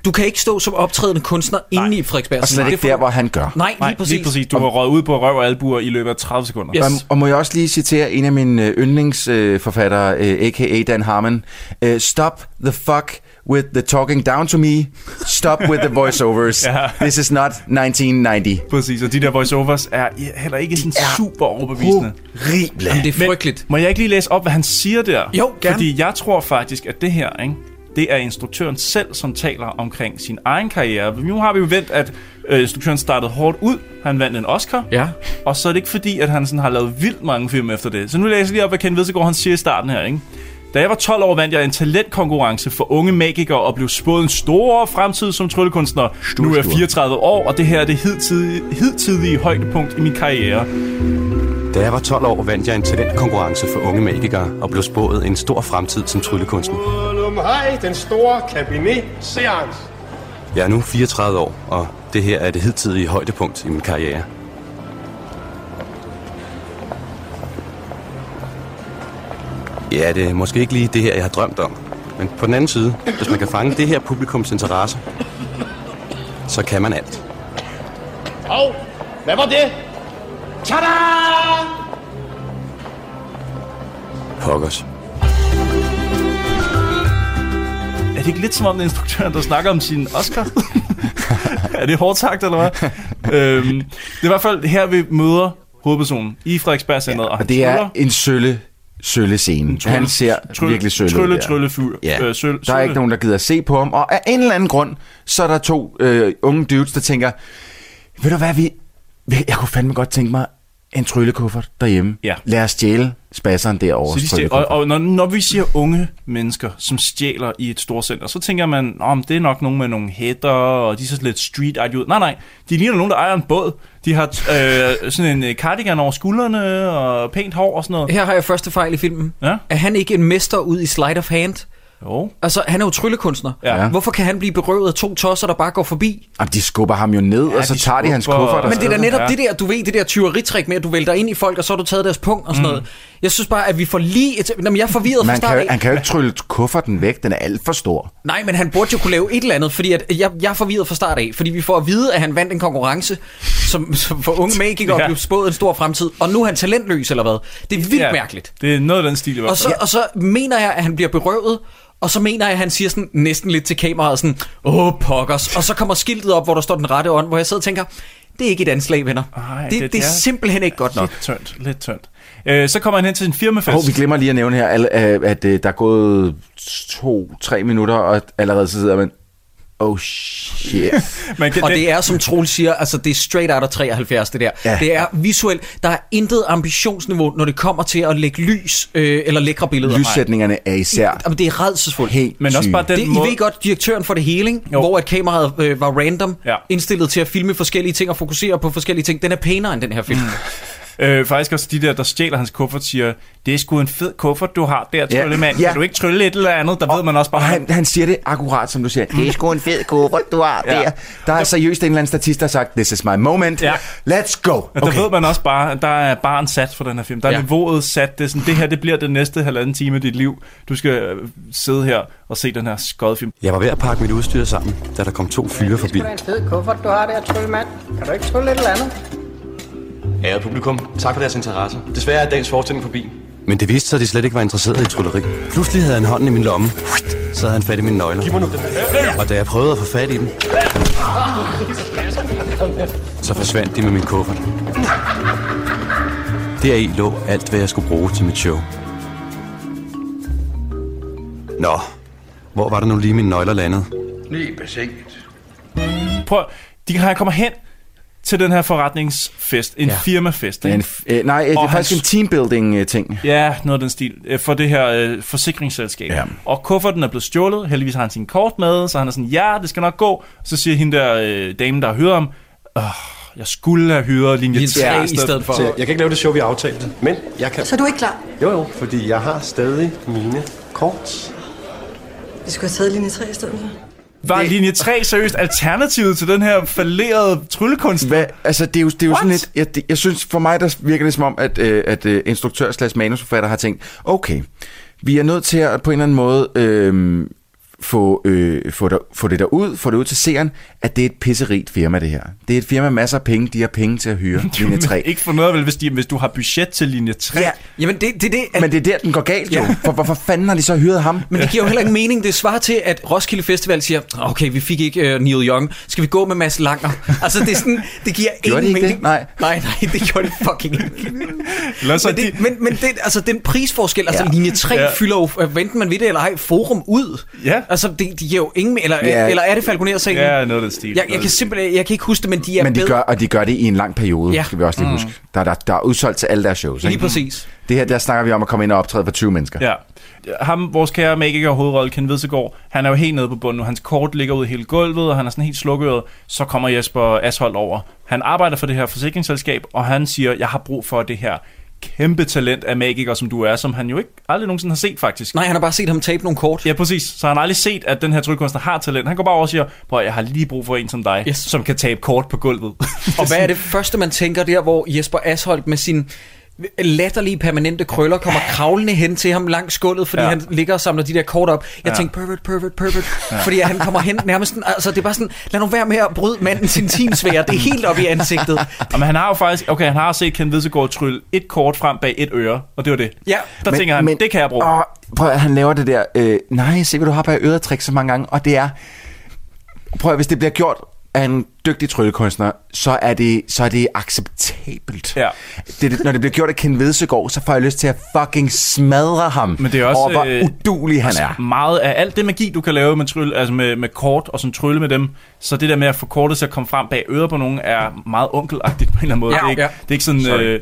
Du kan ikke stå som optrædende kunstner inde i Frederiksberg.
Og slet ikke der, hvor han gør.
Nej,
Nej,
lige præcis.
lige præcis. Du har røget ud på røv og albuer i løbet af 30 sekunder.
Yes.
Og, og må jeg også lige citere en af mine øh, yndlingsforfattere, øh, a.k.a. Dan Harmon. Øh, Stop the fuck with the talking down to me. Stop with the voiceovers.
Ja.
This is not 1990.
Præcis, og de der voiceovers er i- heller ikke sådan
er
super overbevisende.
Horrible.
Jamen, det er
Men-
frygteligt.
Må jeg ikke lige læse op, hvad han siger der?
Jo, gerne.
Fordi jeg tror faktisk, at det her, ikke? det er instruktøren selv, som taler omkring sin egen karriere. Nu har vi jo vendt, at øh, instruktøren startede hårdt ud. Han vandt en Oscar.
Ja.
Og så er det ikke fordi, at han sådan har lavet vildt mange film efter det. Så nu læser jeg lige op, hvad Ken Vedsegaard han siger i starten her, ikke? Da jeg var 12 år, vandt jeg en talentkonkurrence for unge magikere og blev spået en stor fremtid som tryllekunstner. nu er jeg
stor.
34 år, og det her er det hidtidige, hidtidige højdepunkt i min karriere.
Da jeg var 12 år, vandt jeg en talentkonkurrence for unge magikere og blev spået en stor fremtid som tryllekunstner.
Hej, den store kabinet-seance.
Jeg er nu 34 år, og det her er det hidtidige højdepunkt i min karriere. Ja, det er måske ikke lige det her, jeg har drømt om. Men på den anden side, hvis man kan fange det her publikums interesse, så kan man alt.
Hov, hvad var det? Tada!
Pokkers.
Er det ikke lidt som om den instruktør, der snakker om sin Oscar? er det hårdt sagt, eller hvad? øhm, det er i hvert fald her, vi møder hovedpersonen i Frederiksberg Center. Ja,
Og det er en sølle, sølle scene. Han ser virkelig sølle ud
Trylle,
der.
trylle, fyr.
Ja.
Øh, søl,
der er ikke nogen, der gider at se på ham. Og af en eller anden grund, så er der to øh, unge dudes, der tænker, ved du hvad, vi, jeg kunne fandme godt tænke mig en tryllekuffert derhjemme.
Ja.
Lad os stjæle spasseren derovre.
Så de stjæler, og, og når, når vi siger unge mennesker, som stjæler i et storcenter, så tænker man, om det er nok nogen med nogle hætter, og de ser lidt street ud. Nej, nej, de ligner nogen, der ejer en båd. De har øh, sådan en øh, cardigan over skuldrene, og pænt hår og sådan noget.
Her har jeg første fejl i filmen.
Ja.
Er han ikke en mester ud i sleight of hand?
Jo.
Altså, han er jo tryllekunstner.
Ja.
Hvorfor kan han blive berøvet af to tosser, der bare går forbi?
Jamen, de skubber ham jo ned, ja, og så
de
tager de hans
skubber-
kuffert. og
Men Altså, det er da
så-
netop
Ja.
det der, du ved, det der tyveritrik med, at du vælter ind i folk, og så har du taget deres punkt og sådan mm. noget. Jeg synes bare, at vi får lige et... Nå, men jeg er forvirret fra
Man kan,
start
jo-
af.
han kan jo ikke trylle kufferten væk, den er alt for stor.
Nej, men han burde jo kunne lave et eller andet, fordi at jeg, jeg er forvirret fra start af. Fordi vi får at vide, at han vandt en konkurrence, som, som for unge magikere
Ja.
ja. blev spået en stor fremtid, og nu er han talentløs eller hvad. Det er vildt ja.
Ja,
mærkeligt.
Det er noget af den stil i hvert fald.
Og så, og så mener jeg, at han bliver berøvet, og så mener jeg, at han siger sådan næsten lidt til kameraet, sådan, åh, pokkers. Og så kommer skiltet op, hvor der står den rette ånd, hvor jeg sidder og tænker, det er ikke et anslag, venner.
Ej,
det, det,
det
det er
der-
simpelthen ikke godt nok.
Lidt tyndt, lidt tyndt. Øh, så kommer han hen til sin firmafest.
Og vi glemmer lige at nævne her, al- øh, at øh, der er gået to-tre minutter, og allerede så sidder man... Oh shit.
Men det, og det er, som Troel siger, altså det er straight out of 73, det der. Ja. Det er visuelt. Der er intet ambitionsniveau, når det kommer til at lægge lys øh, eller lækre billeder.
Lyssætningerne er især...
I, jamen, det er redselsfuldt.
Helt
Men også bare den det,
måde-
I ved godt, direktøren for det hele, ikke? hvor at kameraet øh, var random, ja. indstillet til at filme forskellige ting og fokusere på forskellige ting, den er pænere end den her film.
Øh, faktisk også de der, der stjæler hans kuffert, siger, det er sgu en fed kuffert, du har der,
Ja.
Tryllemand.
Ja.
Ja. Kan du ikke trylle et eller andet? Der ved man også bare,
Han, han siger det akkurat, som du
Mm.
siger. Det er sgu en fed kuffert, du har
Ja.
der. Der er seriøst en eller anden statist, der har sagt, this is my moment.
Ja.
Let's go.
Men der ved man også bare, at der er barn sat for den her film. Der er
Ja.
ja. niveauet sat. Det, er sådan, det her det bliver den næste halvanden time af dit liv. Du skal øh, sidde her og se den her skodfilm.
Jeg var ved at pakke mit udstyr sammen, da der kom to fyre forbi.
Det er en fed kuffert, du har der, Tryllemand. Kan du ikke trylle et eller andet?
Ærede publikum, tak for deres interesse. Desværre er dagens forestilling forbi. Men det viste sig, at de slet ikke var interesserede i trylleri. Pludselig havde han hånden i min lomme. Så havde han fat i mine nøgler. Giv mig nu den Og da jeg prøvede at få fat i dem, så forsvandt de med min kuffert. Deri lå alt, hvad jeg skulle bruge til mit show. Nå, hvor var det nu lige mine nøgler landede?
Lige besinket.
Prøv, de, han kommer hen til den her forretningsfest. En
Ja.
ja. firmafest.
En, f- øh, nej, det er
Og
faktisk
han-
en øh, teambuilding-ting.
Ja, noget af den stil. øh, For det her øh, forsikringsselskab. Ja. Og kufferten er blevet stjålet. Heldigvis har han sin kort med, så han er sådan, ja, det skal nok gå. Så siger hende der øh, dame, der hører ham, Åh, jeg skulle have hyret linje 3
Ja,
i stedet for.
Så Jeg kan ikke lave det show, vi aftalte, men jeg kan...
Så er du ikke klar?
Jo, jo, fordi jeg har stadig mine kort.
Vi skulle have taget linje 3 i stedet for.
Var linje 3 seriøst alternativet til den her fallerede tryllekunst?
Hvad? Altså, det er jo, det er jo sådan lidt... Jeg, det- jeg synes, for mig der virker det som om, at, øh, at øh, instruktør slash manusforfatter har tænkt, okay, vi er nødt til at på en eller anden måde øh, få, øh, få, der, få det der ud, få det ud til seeren, at det er et pisserigt firma, det her. Det er et firma med masser af penge, de har penge til at hyre linje 3.
Ikke for noget, vel, hvis, de, hvis du har budget til linje 3.
Ja.
Jamen, det, det, det, at...
Men det er der, den går galt jo. For hvorfor fanden har de så hyret ham?
Men det giver jo heller ikke mening. Det svarer til, at Roskilde Festival siger, okay, vi fik ikke uh, Neil Young. Skal vi gå med Mads Langer? Altså, det, er sådan, det giver
Gjorde
ingen
de ikke
mening.
det? Nej.
nej, nej, det gjorde det fucking ikke.
Lad
men, det, men, men det, altså, den prisforskel, altså
Ja.
linje 3
Ja.
ja. fylder jo, øh, venten man ved det eller ej, forum ud.
Ja.
Altså, det, de giver jo ingen, me- eller, øh,
Ja.
eller er det Falconer-sagen?
Ja, noget af den stil.
Jeg, jeg kan simpelthen, jeg kan ikke huske det, men de er
Men de
bedre.
gør, og de gør det i en lang periode, ja.
Ja.
skal vi også lige
Mm.
huske. Der, der, der er udsolgt til alle deres shows.
Lige præcis.
Det her, der snakker vi om at komme ind og optræde for 20 mennesker.
Ja. Ham, vores kære magiker og hovedrolle, Ken Vedsegaard, han er jo helt nede på bunden nu. Hans kort ligger ud i hele gulvet, og han er sådan helt slukøret. Så kommer Jesper Ashold over. Han arbejder for det her forsikringsselskab, og han siger, jeg har brug for det her kæmpe talent af magiker, som du er, som han jo ikke aldrig nogensinde har set faktisk.
Nej, han har bare set ham tabe nogle kort.
Ja, præcis. Så han har aldrig set, at den her tryllekunstner har talent. Han går bare over og siger, prøv at, jeg har lige brug for en som dig, yes. som kan tabe kort på gulvet.
Og hvad er det første, man tænker der, hvor Jesper Asholdt med sin latterlige permanente krøller kommer kravlende hen til ham langs gulvet, fordi ja.
Ja.
han ligger og samler de der kort op. Jeg
Ja.
ja. tænkte, pervert, pervert, pervert.
Ja.
Ja. Fordi at han kommer hen nærmest, sådan- altså det er bare sådan, lad nu være med at bryde mandens intimsfære. Det er helt op i ansigtet.
Jamen, han har jo faktisk, okay, han har set Ken Vedsegaard trylle et kort frem bag et øre, og det var det.
Ja.
Der men, tænker han, men, det kan jeg bruge.
Åh, prøv at han laver det der, øh, nej, se hvad du har bag øret trick så mange gange, og det er, prøv at hvis det bliver gjort af en dygtig tryllekunstner, så er det, så er det acceptabelt.
Ja.
Det, det- når det bliver gjort af Ken Vedsegaard, så får jeg lyst til at fucking smadre ham
Men det er også,
over, hvor
øh,
udulig han er.
Meget af alt det magi, du kan lave med, trylle, altså med, med kort og sådan trylle med dem, så det der med at få kortet til at komme frem bag øret på nogen, er meget onkelagtigt på en eller anden måde.
Ja,
det, er ikke,
ja.
det er ikke sådan...
Sorry.
Øh,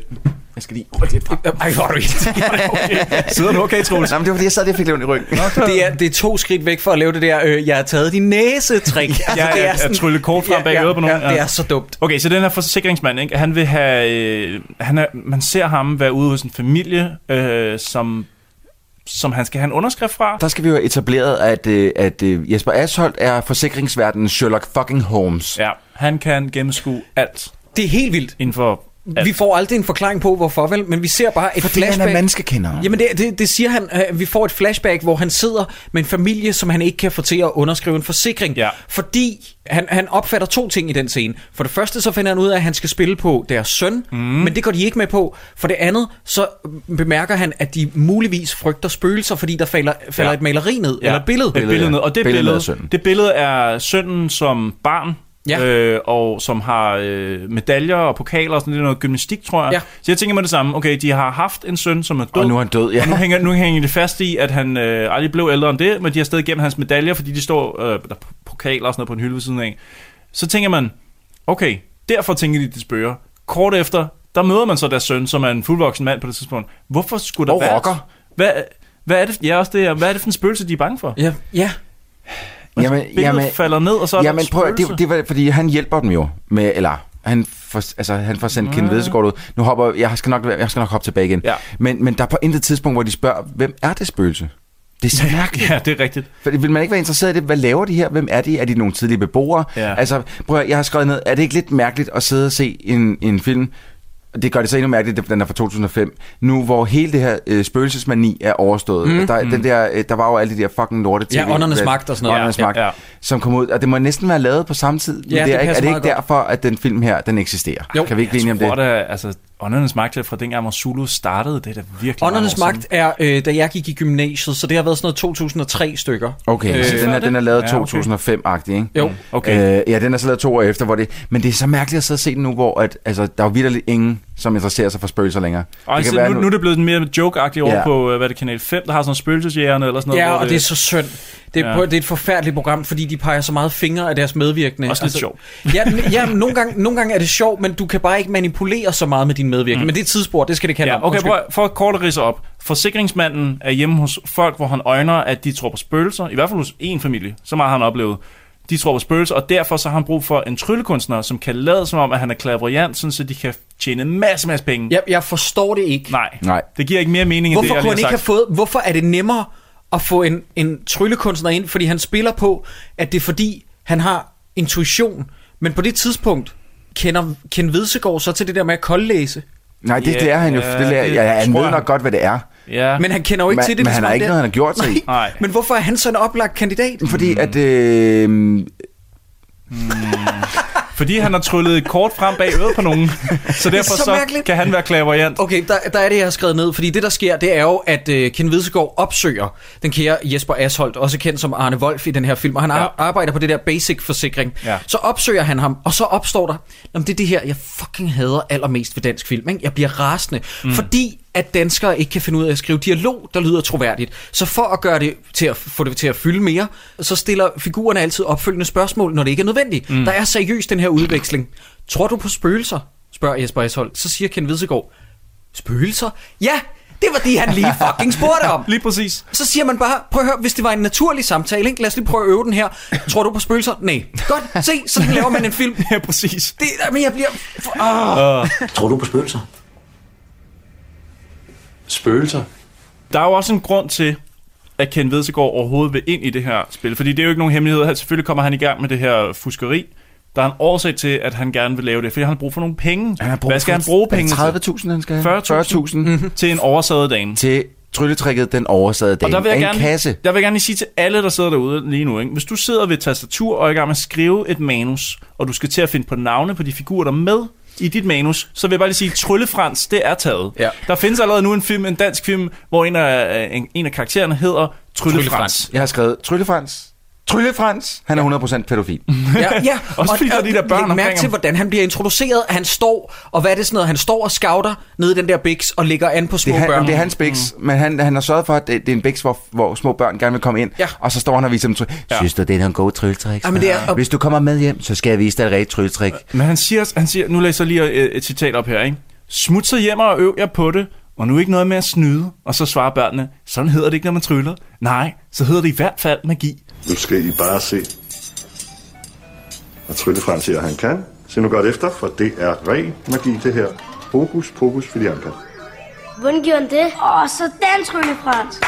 jeg skal lige...
Ej, hvor er du
okay. Sidder du okay, Troels?
Jamen, det var fordi, jeg sad der og fik levende i ryggen.
Det er, det er to skridt væk for at lave det der, øh, jeg har taget din næse-trick. Altså,
Ja,
det
ja, at trylle kort frem bag øret på nogen.
Ja, det er så dumt.
Okay, så den her forsikringsmand, ikke? han vil have... Øh, han er, man ser ham være ude hos en familie, øh, som, som han skal have en underskrift fra.
Der skal vi jo have etableret, at, øh, at øh, Jesper Asholdt er forsikringsverdenens Sherlock fucking Holmes.
Ja, han kan gennemskue alt.
Det er helt vildt.
Inden for alt.
Vi får aldrig en forklaring på, hvorfor vel, men vi ser bare et
Fordi han er
flashback.
menneskekender.
Jamen det, det, det siger han, øh, vi får et flashback, hvor han sidder med en familie, som han ikke kan få til at underskrive en forsikring. Ja. Fordi han, han opfatter to ting i den scene. For det første så finder han ud af, at han skal spille på deres søn, mm. men det går de ikke med på. For det andet så bemærker han, at de muligvis frygter spøgelser, fordi der falder, falder ja. et maleri ned, ja. eller et billede.
Et billede ned. Og det billede,
Billede af
billede,
sønnen.
det billede er sønnen som barn.
Ja.
Øh, og som har øh, medaljer og pokaler og sådan lidt noget gymnastik, tror jeg. Ja. Så jeg tænker mig det samme. Okay, de har haft en søn, som er død.
Og nu er han død, ja.
Og nu hænger, nu hænger det fast i, at han øh, aldrig blev ældre end det, men de har stadig gemt hans medaljer, fordi de står øh, der er pokaler og sådan noget på en hylde ved siden af. Så tænker man, okay, derfor tænker de, de spørger. Kort efter, der møder man så deres søn, som er en fuldvoksen mand på det tidspunkt. Hvorfor skulle der
Og
være...
rocker.
Hvad, hvad er det, ja, også det, og hvad er det for en spøgelse, de er bange for?
Ja, ja.
Jamen,
billedet falder ned, og så er der
jamen,
et
prøv, at- det,
spøgelse.
det var, fordi han hjælper dem jo med, eller han får, altså, han får sendt Kent
Ja.
Vedsegaard ud. Nu hopper, jeg skal nok, jeg skal nok hoppe tilbage igen. Ja. Men, men der er på intet tidspunkt, hvor de spørger, hvem er det spøgelse? Det er så mærkeligt.
Ja, det er rigtigt.
Fordi vil man ikke være interesseret i det? Hvad laver de her? Hvem er de? Er de nogle tidlige beboere?
Ja.
Altså, prøv at, høre, jeg har skrevet ned, er det ikke lidt mærkeligt at sidde og se en, en film, det gør det så endnu mærkeligt, at den er fra 2005, nu hvor hele det her øh, spøgelsesmani er overstået.
Mm.
Mm. Der, den der, øh, der var jo alle de der fucking lorte
Ja, Åndernes Magt og sådan noget.
Åndernes
Ja,
Magt,
ja, ja.
som kom ud. Og det må næsten være lavet på samme tid. men
Ja,
det
det
er, ikke, er
passer
det
meget
ikke
godt.
derfor, at den film her, den eksisterer? Jo. Kan vi ikke blive enige om
tror
det?
da, altså, åndernes magt er fra dengang, hvor Zulu startede, det er da virkelig
Åndernes
mange år
Magt er, øh, da jeg gik i gymnasiet, så det har været sådan noget 2003 stykker.
Okay, øh, så den er, den er lavet
Ja,
ja,
okay.
2005-agtig, ikke?
Jo.
Okay.
Øh, ja, den er så lavet to år efter, hvor det... Men det er så mærkeligt at sidde og se den nu, hvor at, altså, der er jo virkelig ingen, som interesserer sig for spøgelser længere.
Og det nu, nu, er det blevet mere joke-agtigt over
Ja.
på, øh, hvad er det, Kanal 5, der har sådan nogle spøgelsesjægerne eller sådan noget.
Ja,
hvor
og det er så synd. Det er,
Ja.
ja. på, det er et forfærdeligt program, fordi de peger så meget fingre af deres medvirkende. Altså,
Også lidt sjovt.
Ja, n- ja nogle, gange, nogle gange er det sjovt, men du kan bare ikke manipulere så meget med din medvirkende.
Mm.
Mm. Men det er et tidsspor, det skal det kalde
Ja,
om.
okay,
Undskyld.
prøv, at- for at kort at ridse op. Forsikringsmanden er hjemme hos folk, hvor han øjner, at de tror på spøgelser. I hvert fald hos én familie. Så meget har han oplevet. De tror på spøgelser, og derfor så har han brug for en tryllekunstner, som kan lade som om, at han er klaverjant, sådan, så de kan tjene en masse, masse penge.
Jeg, jeg forstår det ikke.
Nej.
Nej.
Det giver ikke mere mening end
Hvorfor
det, jeg
kunne
lige
han ikke
har
have
sagt.
fået, hvorfor er det nemmere at få en, en tryllekunstner ind, fordi han spiller på, at det er fordi, han har intuition. Men på det tidspunkt kender Ken Vedsegaard så til det der med at koldlæse.
Nej, det
Ja,
lærer han jo.
ja,
Det lærer,
det
ja, han
tror
ved
jeg.
nok godt, hvad det er.
Ja.
Men han kender jo ikke
Men-
til det.
men
hvis
han har
er
ikke
der.
noget, han har gjort sig i. Mm.
Nej. Men hvorfor er han så en oplagt kandidat?
Fordi at... Øh,
Fordi han har tryllet et kort frem bag øret på nogen. Så derfor
så
så, så
mærkeligt.
kan han være klaverjant.
Okay, der, der er det, jeg har skrevet ned, fordi det, der sker, det er jo, at øh, Ken Vedsegaard opsøger den kære Jesper Asholdt, også kendt som Arne Wolf i den her film, og han ja. arbejder på det der basic-forsikring.
Ja.
Så opsøger han ham, og så opstår der, jamen det er det her, jeg fucking hader allermest ved dansk film, ikke? jeg bliver rasende,
Mm.
mm. fordi at danskere ikke kan finde ud af at skrive dialog, der lyder troværdigt. Så for at gøre det til at få det til at fylde mere, så stiller figurerne altid opfølgende spørgsmål, når det ikke er nødvendigt.
Mm.
Mm. Der er seriøst den her udveksling. Tror du på spøgelser? spørger Jesper Esholdt. Så siger Ken Vedsegaard, Spøgelser? Ja, det var det, han lige fucking spurgte om.
lige præcis.
Så siger man bare, prøv at høre, hvis det var en naturlig samtale, ikke? lad os lige prøve at øve den her. Tror du på spøgelser? Nej. Godt, se, så laver man en film.
ja, præcis.
Det, men jeg bliver... Oh.
Tror du på spøgelser?
Spøgelser?
Der er jo også en grund til, at Ken Vedsegaard overhovedet vil ind i det her spil. Fordi det er jo ikke nogen hemmelighed. Han- Selvfølgelig kommer han i gang med det her fuskeri. Der er en årsag til, at han gerne vil lave det, fordi han har brug for nogle penge.
Han har brug
Hvad skal
for-
han bruge
er
pengene
det
til?
30.000, han skal have?
40.000
40.000.
til en oversaget dame.
Til trylletricket, den oversagede
Og
dame.
der vil jeg,
en
gerne,
kasse.
der vil jeg gerne lige sige til alle, der sidder derude lige nu, ikke? hvis du sidder ved et tastatur og er i gang med at skrive et manus, og du skal til at finde på navne på de figurer, der er med i dit manus, så vil jeg bare lige sige, Tryllefrans, det er taget. Ja. Der findes allerede nu en film, en dansk film, hvor en af, øh, en, en af karaktererne hedder Tryllefrans.
Jeg har skrevet Tryllefrans. Tryllefrans. Han er 100% pædofil.
Ja, ja.
Også fordi der er de der børn
læg
omkring
mærke til,
ham.
hvordan han bliver introduceret. Han står, og hvad er det sådan noget? Han står og scouter nede i den der biks og ligger an på små
Det er,
børn.
han, det er hans bæks, mm. men han, han har sørget for, at det, det er en bæks, hvor, hvor små børn gerne vil komme ind, ja. og så står han og viser dem tryk. Ja. Synes du, det er nogle gode trylletrik?
Ja, men det er-
Hvis du kommer med hjem, så skal jeg vise dig et rigtigt trylletrik.
Men han siger, han siger nu læser jeg lige øh, et, et citat op her, ikke? Smut så hjem og øv jer på det, og nu ikke noget med at snyde. Og så svarer børnene, sådan hedder det ikke, når man tryller. Nej, så hedder det i hvert fald magi.
Nu skal I bare se. Og Tryllefrans siger, at han kan. Se nu godt efter, for det er ren magi, det her. Hokus pokus filianka.
Hvordan gjorde han det? Åh, sådan, Tryllefrans.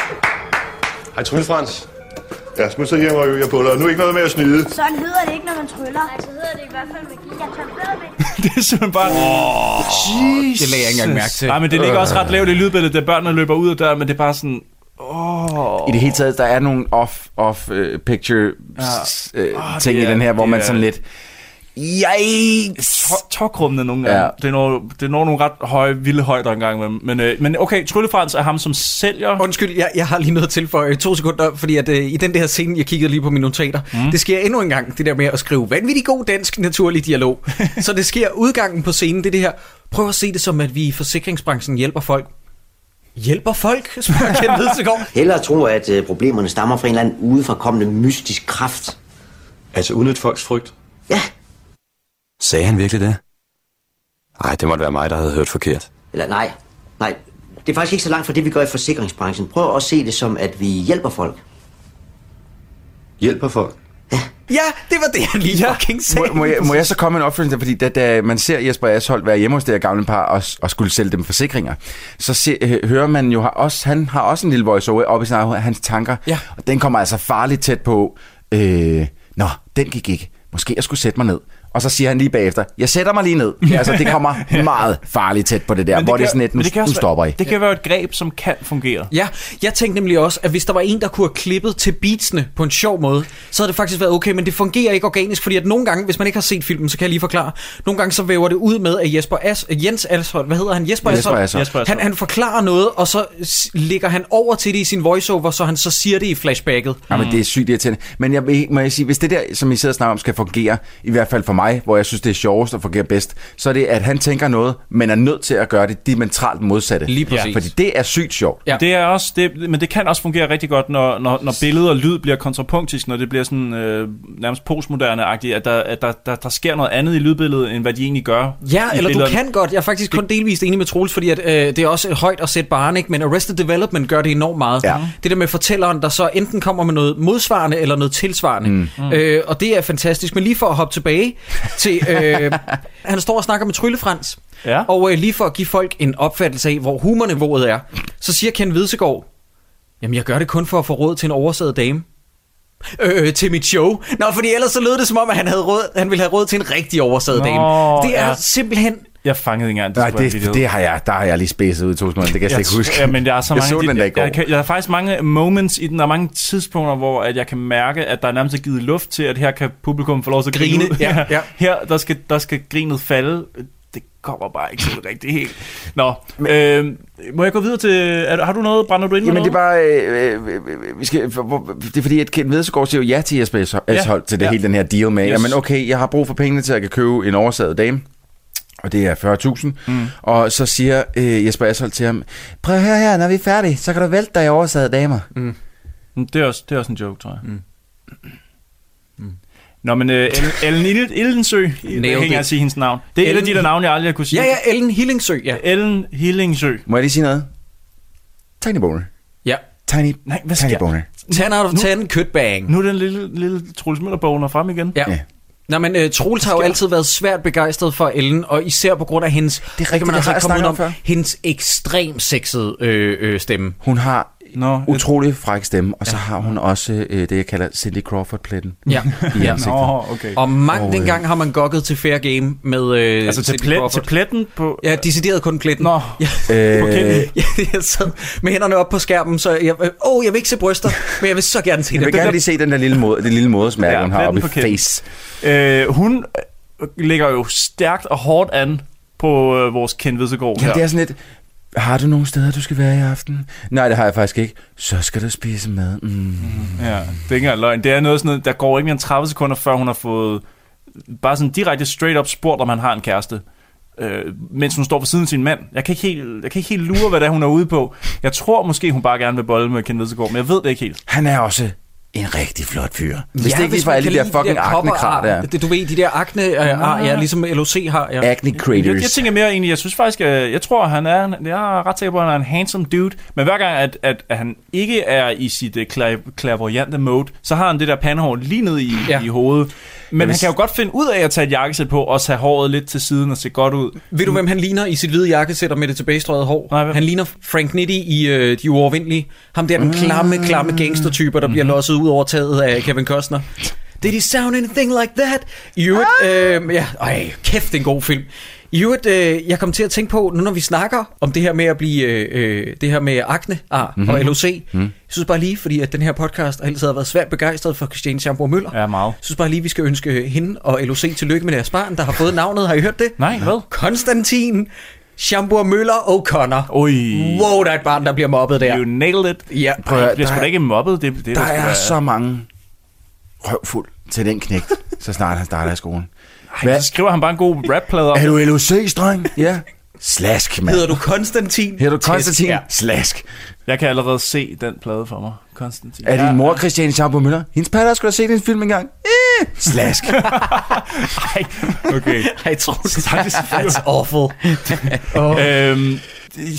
Hej, Tryllefrans. Ja, smut så hjem og øv jer på dig. Og Nu er ikke noget med at snyde.
Sådan hedder det ikke, når man tryller. Nej, så hedder det i hvert fald magi. Jeg kan bedre med
det er simpelthen bare... Oh,
det lagde jeg ikke engang mærke til.
Nej, men det ligger også ret lavt i lydbilledet, da børnene løber ud af døren, men det er bare sådan... Åh...
I det hele taget, der er nogle off-picture off, uh, picture
Ja.
s- øh,
Åh,
ting
det
i
er-
den her, hvor
det
man
er-
sådan lidt... Yikes!
Tåkrummet nogle gange.
Ja.
Ja. Det, når, det når nogle ret høje, vilde højder engang. imellem. Men, øh, men okay, Tryllefrans er ham, som sælger...
Undskyld, jeg, jeg har lige noget til for øh, to sekunder, fordi at, øh, i den der scene, jeg kiggede lige på mine notater, mm. det sker endnu en gang, det der med at skrive vanvittig god dansk naturlig dialog. så det sker udgangen på scenen, det er det her, prøv at se det som, at vi i forsikringsbranchen hjælper folk. Hjælper folk? spørger Kent Hedegaard.
Hellere tro, at øh, problemerne stammer fra en eller anden udefrakommende mystisk kraft.
Altså udnytte folks frygt?
Ja.
Sagde han virkelig det? Nej, det måtte være mig, der havde hørt forkert.
Eller nej, nej. Det er faktisk ikke så langt fra det, vi gør i forsikringsbranchen. Prøv at se det som, at vi hjælper folk.
Hjælper folk?
Ja, det var det, jeg lige ja. fucking sagde.
Må, må, jeg, må jeg så komme med en opfølgning der? Fordi da, da man ser Jesper Ashold være hjemme hos det her gamle par og, og skulle sælge dem forsikringer, så se, øh, hører man jo har også, han har også en lille voice over op i sin egen- hans tanker. Ja. Og den kommer altså farligt tæt på, øh, nå, den gik ikke. Måske jeg skulle sætte mig ned. Og så siger han lige bagefter, jeg sætter mig lige ned. Ja, altså, det kommer meget farligt tæt på det der, det hvor det er sådan et, nu,
men det kan
nu
også være-
stopper I.
Det kan være et greb, som kan fungere.
Ja, jeg tænkte nemlig også, at hvis der var en, der kunne have klippet til beatsene på en sjov måde, så havde det faktisk været okay, men det fungerer ikke organisk, fordi at nogle gange, hvis man ikke har set filmen, så kan jeg lige forklare, nogle gange så væver det ud med, at Jesper As, Jens Alshold, hvad hedder han? Jesper,
Jesper
Alshold,
Alshold. Jesper Alshold.
Han, han forklarer noget, og så s- lægger han over til det i sin voiceover, så han så siger det i flashbacket.
Ja,
Mm.
men det er sygt irriterende. Men jeg, vil- må jeg sige, hvis det der, som I sidder og snakker om, skal fungere, i hvert fald for mig, hvor jeg synes, det er sjovest og fungerer bedst, så er det, at han tænker noget, men er nødt til at gøre det diametralt modsatte. Lige
præcis.
Fordi det er sygt sjovt.
Ja. Det er også, det, men det kan også fungere rigtig godt, når, når, når billede og lyd bliver kontrapunktisk, når det bliver sådan øh, nærmest postmoderne-agtigt, at, der, at der, der, der sker noget andet i lydbilledet, end hvad de egentlig gør.
Ja,
i
eller du
billederne.
kan godt. Jeg er faktisk kun delvist enig med Troels, fordi at, øh, det er også højt at sætte barn, ikke? men Arrested Development gør det enormt meget. Ja. Det der med fortælleren, der så enten kommer med noget modsvarende eller noget tilsvarende.
Mm.
Mm. Øh, og det er fantastisk. Men lige for at hoppe tilbage til... Øh, han står og snakker med Tryllefrans.
Ja.
Og øh, lige for at give folk en opfattelse af, hvor humorniveauet er, så siger Ken Vidsegaard, jamen jeg gør det kun for at få råd til en oversaget dame. Øh, til mit show. Nå, fordi ellers så lød det som om, at han, havde råd, han ville have råd til en rigtig oversaget
Nå,
dame. Det er
ja.
simpelthen
Jeg fangede ikke engang.
Nej,
skulle jeg
det,
lige
det har jeg, der har jeg lige spidset ud i to sekunder. Det kan Altså, jeg slet ikke
t-
huske.
Ja, men der er så
jeg
mange,
så den der i
jeg,
går.
jeg, kan, jeg har faktisk mange moments i den, der er mange tidspunkter, hvor at jeg kan mærke, at der er nærmest er givet luft til, at her kan publikum få lov til at grine.
Grine,
ud.
ja, ja.
Her, der skal, der skal grinet falde. Det kommer bare ikke sådan rigtig helt. Nå, øh, må jeg gå videre til... Er, du- har du noget? Brænder du ind med
Jamen det er
noget?
bare, øh, øh, øh, vi skal, for, hvor, det er fordi, at Kent Vedsgaard siger jo ja til Jesper
Ja.
Eshold hold til det
Ja.
hele den her deal med,
Yes.
yes. jamen okay, jeg har brug for pengene til, at jeg kan købe en oversaget dame, og det er 40.000, mm. og så siger øh, Jesper Ashold til ham, prøv at høre her, når vi er færdige, så kan du vælte dig i oversaget damer.
Mm. Det, er også, det er også en joke, tror jeg. Mm. Nå, men øh, Ellen, Ellen Ildensø, jeg kan
Nailed
ikke engang
it.
sige hendes navn. Det er et af
Ellen-
de der navne, jeg aldrig har kunne sige.
Ja, ja, Ellen Hillingsø, ja.
Ellen Hillingsø.
Må jeg lige sige noget? Tiny boner.
Ja.
Tiny,
Nej, hvad
tiny
sker?
boner.
10 out of 10, kødbang.
Nu er den lille, lille Troels Møller frem igen.
Ja. Nå, men uh, Troels har jo altid været svært begejstret for Ellen, og især på grund af hendes, det,
rigtigt,
kan man
det
altså ikke
har jeg
komme
snakket
udenom,
om før.
hendes ekstrem sexede øh, øh, stemme.
Hun har
Nå,
utrolig fræk stemme, og så har hun også øh, det, jeg kalder Cindy Crawford-pletten.
Ja.
I
Ja.
ansigtet.
Nå, okay.
Og mange
Og, øh,
dengang har man gokket til fair game med... Øh,
Altså til
Cindy
plet-
Crawford.
til pletten på-
Ja, decideret kun pletten.
Nå.
Ja.
Øh,
Ja, jeg sad med hænderne op på skærmen, så jeg, øh, åh, jeg vil ikke se bryster, men jeg vil så gerne se
jeg vil
det.
gerne lige se den der lille, måde, det lille modersmærke, ja, hun har
pletten
oppe i
på kinden.
face.
Øh, hun ligger jo stærkt og hårdt an på øh, vores Ken Vedsegaard
Ja,
her.
det er sådan lidt, har du nogle steder, du skal være i aften? Nej, det har jeg faktisk ikke. Så skal du spise mad. Mm.
Ja, det er ikke engang løgn. Det er noget sådan noget, der går ikke mere end 30 sekunder, før hun har fået øh, bare sådan direkte straight up spurgt, om han har en kæreste. Øh, mens hun står for siden af sin mand. Jeg kan, ikke helt, jeg kan ikke helt lure, hvad det er, hun er ude på. Jeg tror måske, hun bare gerne vil bolle med Ken Vedsegaard, men jeg ved det ikke helt.
Han er også en rigtig flot fyr. Hvis det ikke lige var alle de der fucking aknekrar der.
Det, du ved, de der akne øh, ar,
Ah.
ja, ligesom LOC har. Ja.
Acne
Jeg, jeg
Craters.
tænker mere egentlig, jeg synes faktisk, øh, jeg tror, han er, en- jeg er ret sikker på, at han er en handsome dude, men hver gang, at, at, at han ikke er i sit uh, clairvoyante mode, så har han det der pandehår lige ned i, ja. i hovedet. Men
Jamen,
han kan jo godt finde ud af at tage et jakkesæt på, og tage håret lidt til siden og se godt ud.
Ved du, hvem han ligner i sit hvide jakkesæt og med det tilbagestrøget hår? Nej, han ligner Frank Nitti i øh, De Uovervindelige. Ham der, den klamme, klamme gangstertyper, der bliver losset ud over taget af Kevin Costner. Did he sound anything like that? I øvrigt, øh, ja, ej, kæft, det er en god film. I øvrigt, øh, jeg kom til at tænke på, nu når vi snakker om det her med at blive, øh, øh, det her med akne ar mm-hmm. og
Mhm.
LOC, mm.
Mhm.
jeg synes bare lige, fordi at den her podcast har altid har været svært begejstret for Christiane Schamburg Møller.
Ja, meget.
Jeg synes bare lige, vi skal ønske hende og LOC tillykke med deres barn, der har fået navnet. Har I hørt det?
Nej, hvad?
Konstantin Schamburg Møller O'Connor.
Oi.
Wow, der er et barn, der bliver mobbet der.
You nailed it.
Ja,
Prøv at
Ej,
høre,
jeg bliver
der
sgu da
er-
ikke mobbet. Det, det
der
sgu
er
da-
så mange røvfuld til den knægt, så snart han starter i skolen.
Ej, så skriver han bare en god rapplade om
Er du LOC-dreng? Ja. Slask, mand.
Hedder du
Konstantin?
Hedder du Konstantin? Slask.
Jeg kan allerede se den plade for mig. Konstantin.
Er din mor Christiane Schaumburg Møller? Hendes patter skulle have set en film engang. Eh, slask.
Okay.
Ej, tror
Stakkels fyr.
That's awful.
Oh. Øhm,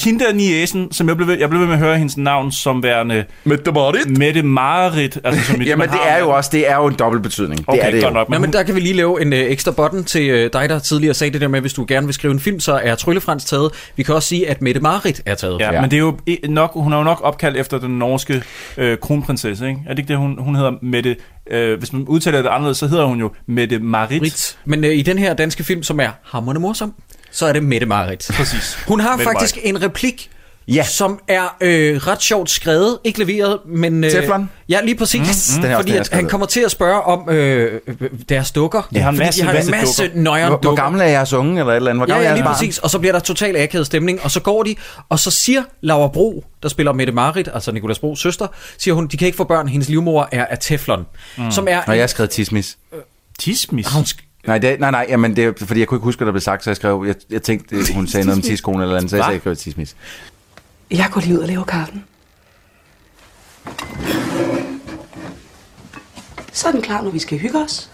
hende der niesen, som jeg blev, ved, jeg blev ved med at høre hendes navn som værende... Mette Marit. Mette Marit. Altså, som et-
Jamen,
man
det
har-
er jo også, det er jo en dobbelt betydning.
Okay,
det er det
godt
jo.
nok,
Nå, men der kan vi lige lave en øh, ekstra button til øh, dig, der tidligere sagde det der med, at hvis du gerne vil skrive en film, så er Tryllefrans taget. Vi kan også sige, at Mette Marit er taget.
Ja, ja, men det er jo i- nok, hun er jo nok opkaldt efter den norske øh, kronprinsesse, ikke? Er det ikke det, hun, hun hedder Mette... Øh, hvis man udtaler det anderledes, så hedder hun jo Mette Marit.
Rit. Men øh, i den her danske film, som er hammerende morsom, så er det Mette Marit.
Præcis.
Hun har
Mette
faktisk en replik, ja. som er øh, ret sjovt skrevet. Ikke leveret, men... Øh,
Teflon?
Ja, lige præcis.
Mm, mm. Den er også
Fordi
den, jeg
at
skrevet.
han kommer til at spørge om øh, øh, deres dukker.
Ja,
Fordi de har en masse nøjere
hvor, hvor
dukker.
gammel er jeres unge, eller et eller andet?
Ja,
Hvor gammel
ja,
er
lige
jeres barn?
præcis. Og så bliver der total akavet stemning, og så går de, og så siger Laura Bro, der spiller Mette Marit, altså Nicolas Bros søster, siger hun, de kan ikke få børn, hendes livmor er af teflon, mm. som er...
Nå, jeg har skrevet tismis.
Tismis?
Nej, det, nej, nej, jamen det, er, fordi jeg kunne ikke huske, hvad der blev sagt, så jeg skrev, jeg, jeg tænkte, øh, hun sagde noget om tiskone eller andet, så jeg
Hva?
sagde, jeg skrev tismis.
Jeg går lige ud og laver kaffen. Så er den klar, når vi skal hygge os.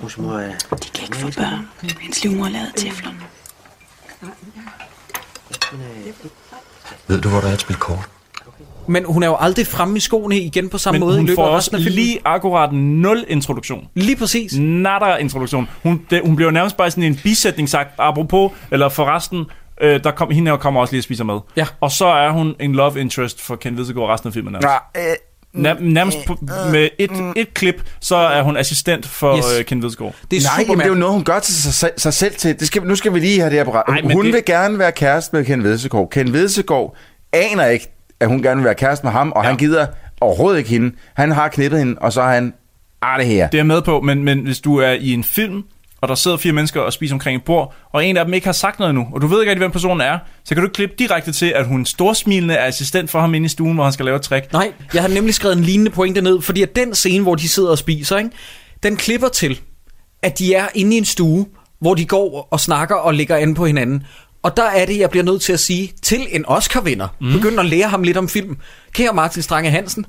Husmor er...
De kan ikke få børn. Hendes livmor er lavet af teflon.
Ved du, hvor der er et spil kort?
Men hun er jo aldrig fremme i skoene igen på samme
Men
måde i
hun
løbet
får
af
også
resten af filmen.
lige akkurat nul introduktion.
Lige præcis.
Natter introduktion. Hun, det, hun bliver jo nærmest bare sådan en bisætning sagt, apropos, eller forresten, øh, der kom, hende her kommer også lige og spiser med.
Ja.
Og så er hun en love interest for Ken Lidegaard resten af filmen. Altså.
øh,
Nær, nærmest på, med et, et klip, så er hun assistent for
Yes.
yes. øh, Ken Lidegaard.
Nej, jamen, det er jo noget, hun gør til sig, selv- sig selv til. Det skal, nu skal vi lige have det her på
Ej,
ret.
men
Hun
det-
det... vil gerne være kæreste med Ken Vedsegaard. Ken Vedsegaard aner ikke, at hun gerne vil være kæreste med ham, og ja. han gider overhovedet ikke hende. Han har knippet hende, og så har han, ah det her.
Det er jeg med på, men, men hvis du er i en film, og der sidder fire mennesker og spiser omkring et bord, og en af dem ikke har sagt noget endnu, og du ved ikke rigtig, hvem personen er, så kan du klippe direkte til, at hun storsmilende er assistent for ham inde i stuen, hvor han skal lave et trick.
Nej, jeg har nemlig skrevet en lignende pointe ned, fordi at den scene, hvor de sidder og spiser, ikke, den klipper til, at de er inde i en stue, hvor de går og snakker og ligger an på hinanden. Og der er det, jeg bliver nødt til at sige til en Oscar-vinder, mm. begynd at lære ham lidt om film. Kære Martin Strange Hansen,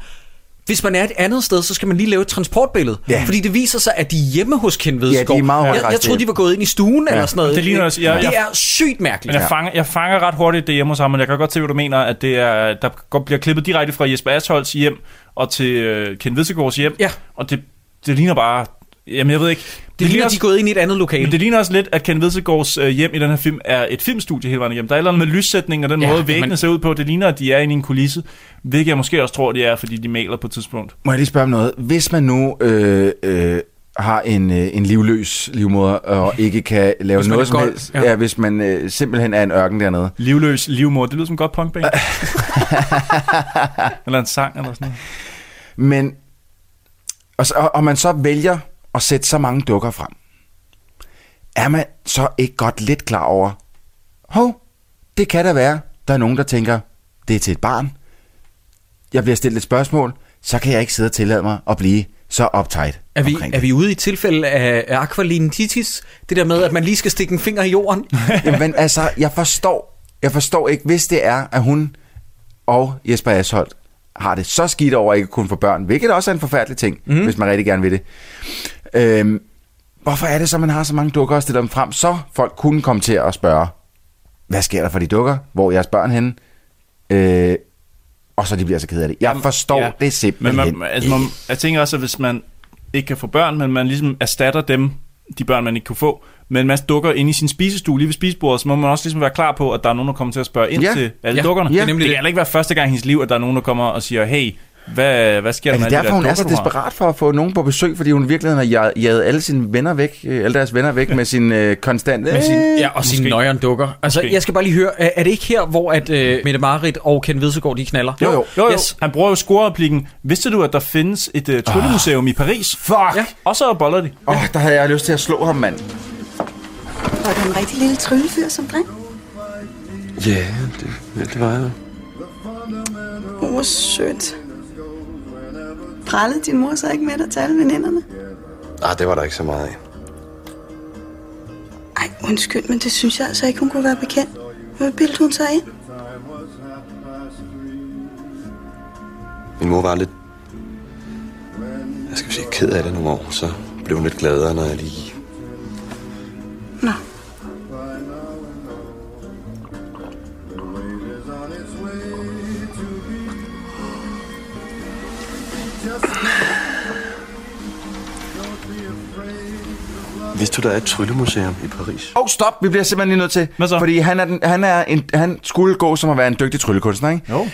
hvis man er et andet sted, så skal man lige lave et transportbillede.
Ja.
Fordi det viser sig, at de er hjemme hos Ken Vedskov.
de er meget
jeg, jeg
højrejste.
troede, de var gået ind i stuen ja.
Ja.
eller sådan noget.
Det ligner også- jeg-
det
jeg-
er sygt mærkeligt.
Men jeg, fanger, jeg fanger ret hurtigt det hjemme hos ham, men jeg kan godt se, hvad du mener, at det er, der går- bliver klippet direkte fra Jesper Asholds hjem og til øh, Ken Vedsegaards hjem, ja. og det, det ligner bare... Jamen, jeg ved ikke. Det,
ligner, de er gået ind i et andet lokale.
Men det ligner også lidt, at Ken Vedsegaards øh, hjem i den her film er et filmstudie hele vejen igennem. Der er et eller andet med lyssætning og den
Ja,
ja, måde, væggene
men-
men... ser ud på. Det ligner, at de er inde i en kulisse, hvilket jeg måske også tror, de er, fordi de maler på et tidspunkt.
Må jeg lige spørge om noget? Hvis man nu øh, øh, har en, øh, en livløs livmoder og ikke kan lave
Hvis man er
noget som
gold,
helst,
ja.
ja. Ja, hvis man øh, simpelthen er en ørken dernede.
Livløs livmor, det lyder som en godt punkband. eller en sang eller sådan noget.
Men, og, så, og, og man så vælger at sætte så mange dukker frem, er man så ikke godt lidt klar over, hov, det kan da være, der er nogen, der tænker, det er til et barn, jeg bliver stillet et spørgsmål, så kan jeg ikke sidde og tillade mig at blive så optaget.
Er vi, er vi ude i et tilfælde af af aqualinitis? Det der med, at man lige skal stikke en finger i jorden?
Jamen altså, jeg forstår, jeg forstår ikke, hvis det er, at hun og Jesper Asholdt har det så skidt over at ikke kunne få børn, hvilket også er en forfærdelig ting, mm. hvis man rigtig gerne vil det. Øhm, hvorfor er det så, man har så mange dukker og stiller dem frem, så folk kunne komme til at spørge, hvad sker der for de dukker? Hvor er jeres børn henne? Øh, og så de bliver så ked af det. Jeg forstår ja. det
Men
simpelthen.
man, altså, man, jeg tænker også, at hvis man ikke kan få børn, men man ligesom erstatter dem, de børn, man ikke kunne få, men man dukker ind i sin spisestue lige ved spisebordet, så må man også ligesom være klar på, at der er nogen, der kommer til at spørge ind
Ja.
til alle
Ja.
dukkerne.
Ja. Det er
Det,
nemlig
det
det.
kan heller ikke være første gang i hendes liv, at der er nogen, der kommer og siger, hey, Hvad, hvad sker
Er
der med
det
alle de
derfor,
der
hun er så
dukker, du har?
desperat for at få nogen på besøg, fordi hun i virkeligheden har ja- jaget alle sine venner væk, øh, alle deres venner væk med sin øh, konstant...
Med sin, ja, og sine nøjeren dukker. Altså,
Måske.
jeg skal bare lige høre, er, er det ikke her, hvor at øh, Mette Marit og Ken Vedsegaard, de knaller?
Jo, jo. jo, jo.
Yes.
Han bruger jo scorereplikken. Vidste du, at der findes et uh, tryllemuseum i Paris? Fuck! Ja. Og så boller de.
Åh, oh, der havde jeg lyst til at slå ham, mand.
Var du en rigtig lille tryllefyr som dreng?
Ja, det, ja, det var jeg.
Åh, oh, sødt. Prallede din mor så ikke med dig til alle veninderne?
Nej, det var der ikke så meget af.
Ej, undskyld, men det synes jeg altså ikke, hun kunne være bekendt. Hvad bildte hun sig ind?
Min mor var lidt... Jeg skal vi sige, ked af det nogle år, så blev hun lidt gladere, når jeg lige...
Nå.
Vidste du, der er et tryllemuseum i Paris?
Åh, oh, stop! Vi bliver simpelthen lige nødt til. Hvad så? Fordi han, er den, han, er en, han skulle gå som at være en dygtig tryllekunstner, ikke? Jo.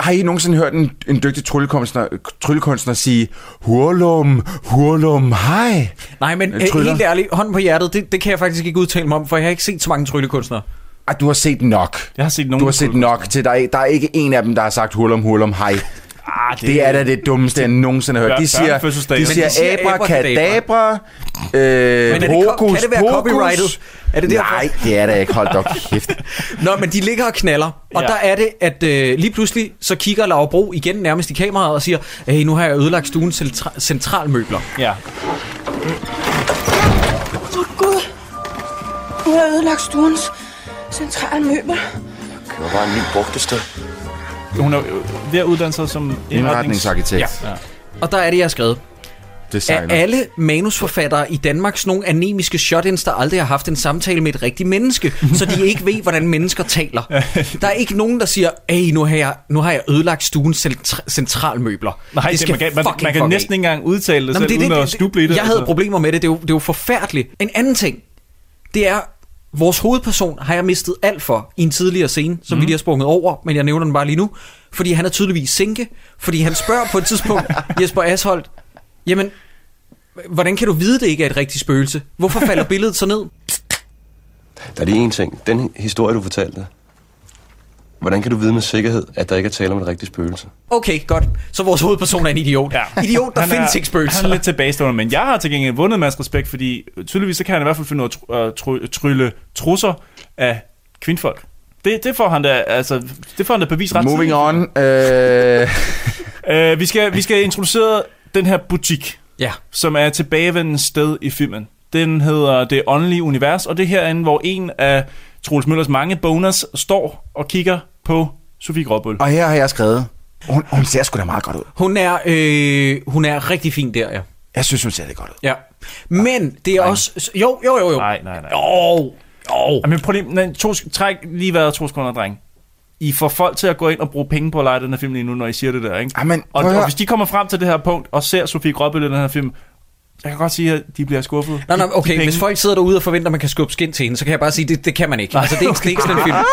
Har I nogensinde hørt en, en dygtig tryllekunstner, tryllekunstner sige, Hurlum, hurlum, hej?
Nej, men øh,
Tryller.
helt ærligt, hånden på hjertet, det, det kan jeg faktisk ikke udtale mig om, for jeg har ikke set så mange tryllekunstnere.
Ej, Ah, du har set nok.
Jeg har set
Du har set nok til, der er, der er ikke en af dem, der har sagt hurlum, hurlum, hej.
Ah,
det, det er da det dummeste, jeg nogensinde har hørt. De
Bør-
siger,
børnefødselsdage.
de
Men de
siger
siger
abrakadabra,
Men er
øh,
det ko-
hokus,
kan det være
pokus.
copyrightet? Er det derfor?
Nej, det er det ikke. Hold da op, kæft.
Nå, men de ligger og knaller, og
Ja.
ja. der er det, at øh, lige pludselig, så kigger Laura Bro igen nærmest i kameraet og siger, hey, nu har jeg ødelagt stuens centra- centralmøbler.
Ja.
Åh, oh, Gud. Hun har ødelagt stuens centrale møbler.
Det var bare en ny brugtested.
Hun er jo ved at uddanne sig som indretnings-
Indretningsarkitekt.
Ja. ja.
Og der er det, jeg har skrevet.
Designer.
Er alle manusforfattere i Danmarks nogle anemiske shotins, der aldrig har haft en samtale med et rigtigt menneske, så de ikke ved, hvordan mennesker taler? Der er ikke nogen, der siger, hey, nu har jeg, nu har jeg ødelagt stuens centra- centralmøbler.
Nej, det man kan- man-
fucking
man kan
fuck
næsten
af.
ikke engang udtale det
Nå, men
selv, uden at stuble i det,
Jeg havde
altså.
problemer med det, det er, jo, det er jo forfærdeligt. En anden ting, det er, vores hovedperson har jeg mistet alt for i en tidligere scene, som mm.
Mhm.
vi lige har sprunget over, men jeg nævner den bare lige nu, fordi han er tydeligvis sinke, fordi han spørger på et tidspunkt Jesper Asholdt, jamen, hvordan kan du vide, det ikke er et rigtigt spøgelse? Hvorfor falder billedet så ned?
Der er lige en ting. Den historie, du fortalte, hvordan kan du vide med sikkerhed, at der ikke er tale om et rigtigt spøgelse?
Okay, godt. Så vores hovedperson er en idiot. Ja. Idiot, der
Han er-
findes ikke
Han er
spøgelser.
lidt tilbagestående, men jeg har til gengæld vundet en masse respekt, fordi tydeligvis så kan han i hvert fald finde ud af at tr- try- trylle trusser af kvindfolk. Det, det får han da, altså, det får han da bevis ret
Moving
tidligt.
on. Øh...
Øh, vi, skal, vi skal introducere den her butik,
ja.
som er et tilbagevendende sted i filmen. Den hedder Det Åndelige Univers, og det er herinde, hvor en af Troels Møllers mange bonus står og kigger på Sofie Gråbøl.
Og her har jeg skrevet, hun, hun ser sgu da meget godt ud.
Hun er, øh, hun er rigtig fin der, ja.
Jeg synes, hun ser det godt ud.
Ja. Men det er også... Jo, jo, jo, jo.
Nej, nej, nej.
Jo, jo.
Jamen, prøv lige, nej, to, sek- træk lige vejret to sekunder, dreng. I får folk til at gå ind og bruge penge på at lege den her film lige nu, når I siger det der, ikke?
Jamen,
og,
prøv at
og,
høre.
hvis de kommer frem til det her punkt og ser Sofie Gråbøl i den her film, jeg kan godt sige, at de bliver skuffet.
Nå, nå,
De- de
okay,
penge-
hvis folk sidder derude og forventer, at man kan skubbe skin til hende, så kan jeg bare sige, det, det kan man ikke. Altså, det er ikke, det er ikke sådan en film. Det,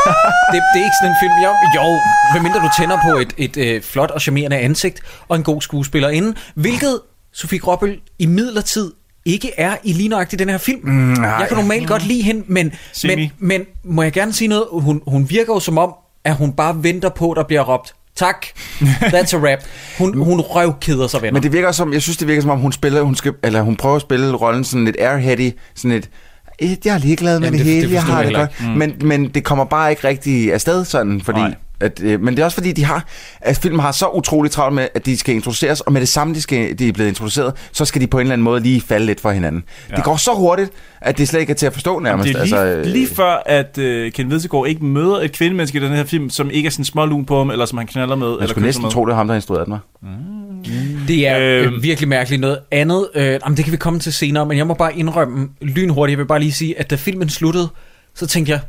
det er ikke sådan en film. Jo, jo medmindre du tænder på et, et øh, flot og charmerende ansigt og en god skuespillerinde, hvilket Sofie Gråbøl i midlertid ikke er i lige nøjagtigt den her film. Mm, jeg kan normalt godt lide hende, men, men,
Semi.
men må jeg gerne sige noget? Hun, hun virker jo som om, at hun bare venter på, at der bliver råbt. Tak. That's a rap. Hun, hun røvkeder sig, venner.
Men det virker som, jeg synes, det virker som om, hun spiller, hun skal, eller hun prøver at spille rollen sådan lidt airheady, sådan lidt, "Eh, jeg er ligeglad med
Jamen,
det,
det-
hele,
det
jeg
forstod
har
jeg
det godt.
heller
Mm. Men, men det kommer bare ikke rigtig afsted sådan, fordi... At, øh, men det er også fordi, de har, at filmen har så utrolig travlt med, at de skal introduceres, og med det samme, de, skal, de er blevet introduceret, så skal de på en eller anden måde lige falde lidt for hinanden. Ja. Det går så hurtigt, at det slet ikke er til at forstå nærmest.
Det er lige,
altså, øh,
lige før, at øh, Ken Vedsegaard ikke møder et kvindemenneske i den her film, som ikke er sådan smålun på ham, eller som han knaller med.
jeg
eller
skulle
kysser
næsten
med.
tro, det var ham, der instruerede den, var.
Det er
Øhm.
øh, virkelig mærkeligt noget andet. Øh, jamen, det kan vi komme til senere, men jeg må bare indrømme lynhurtigt. Jeg vil bare lige sige, at da filmen sluttede, så tænkte jeg,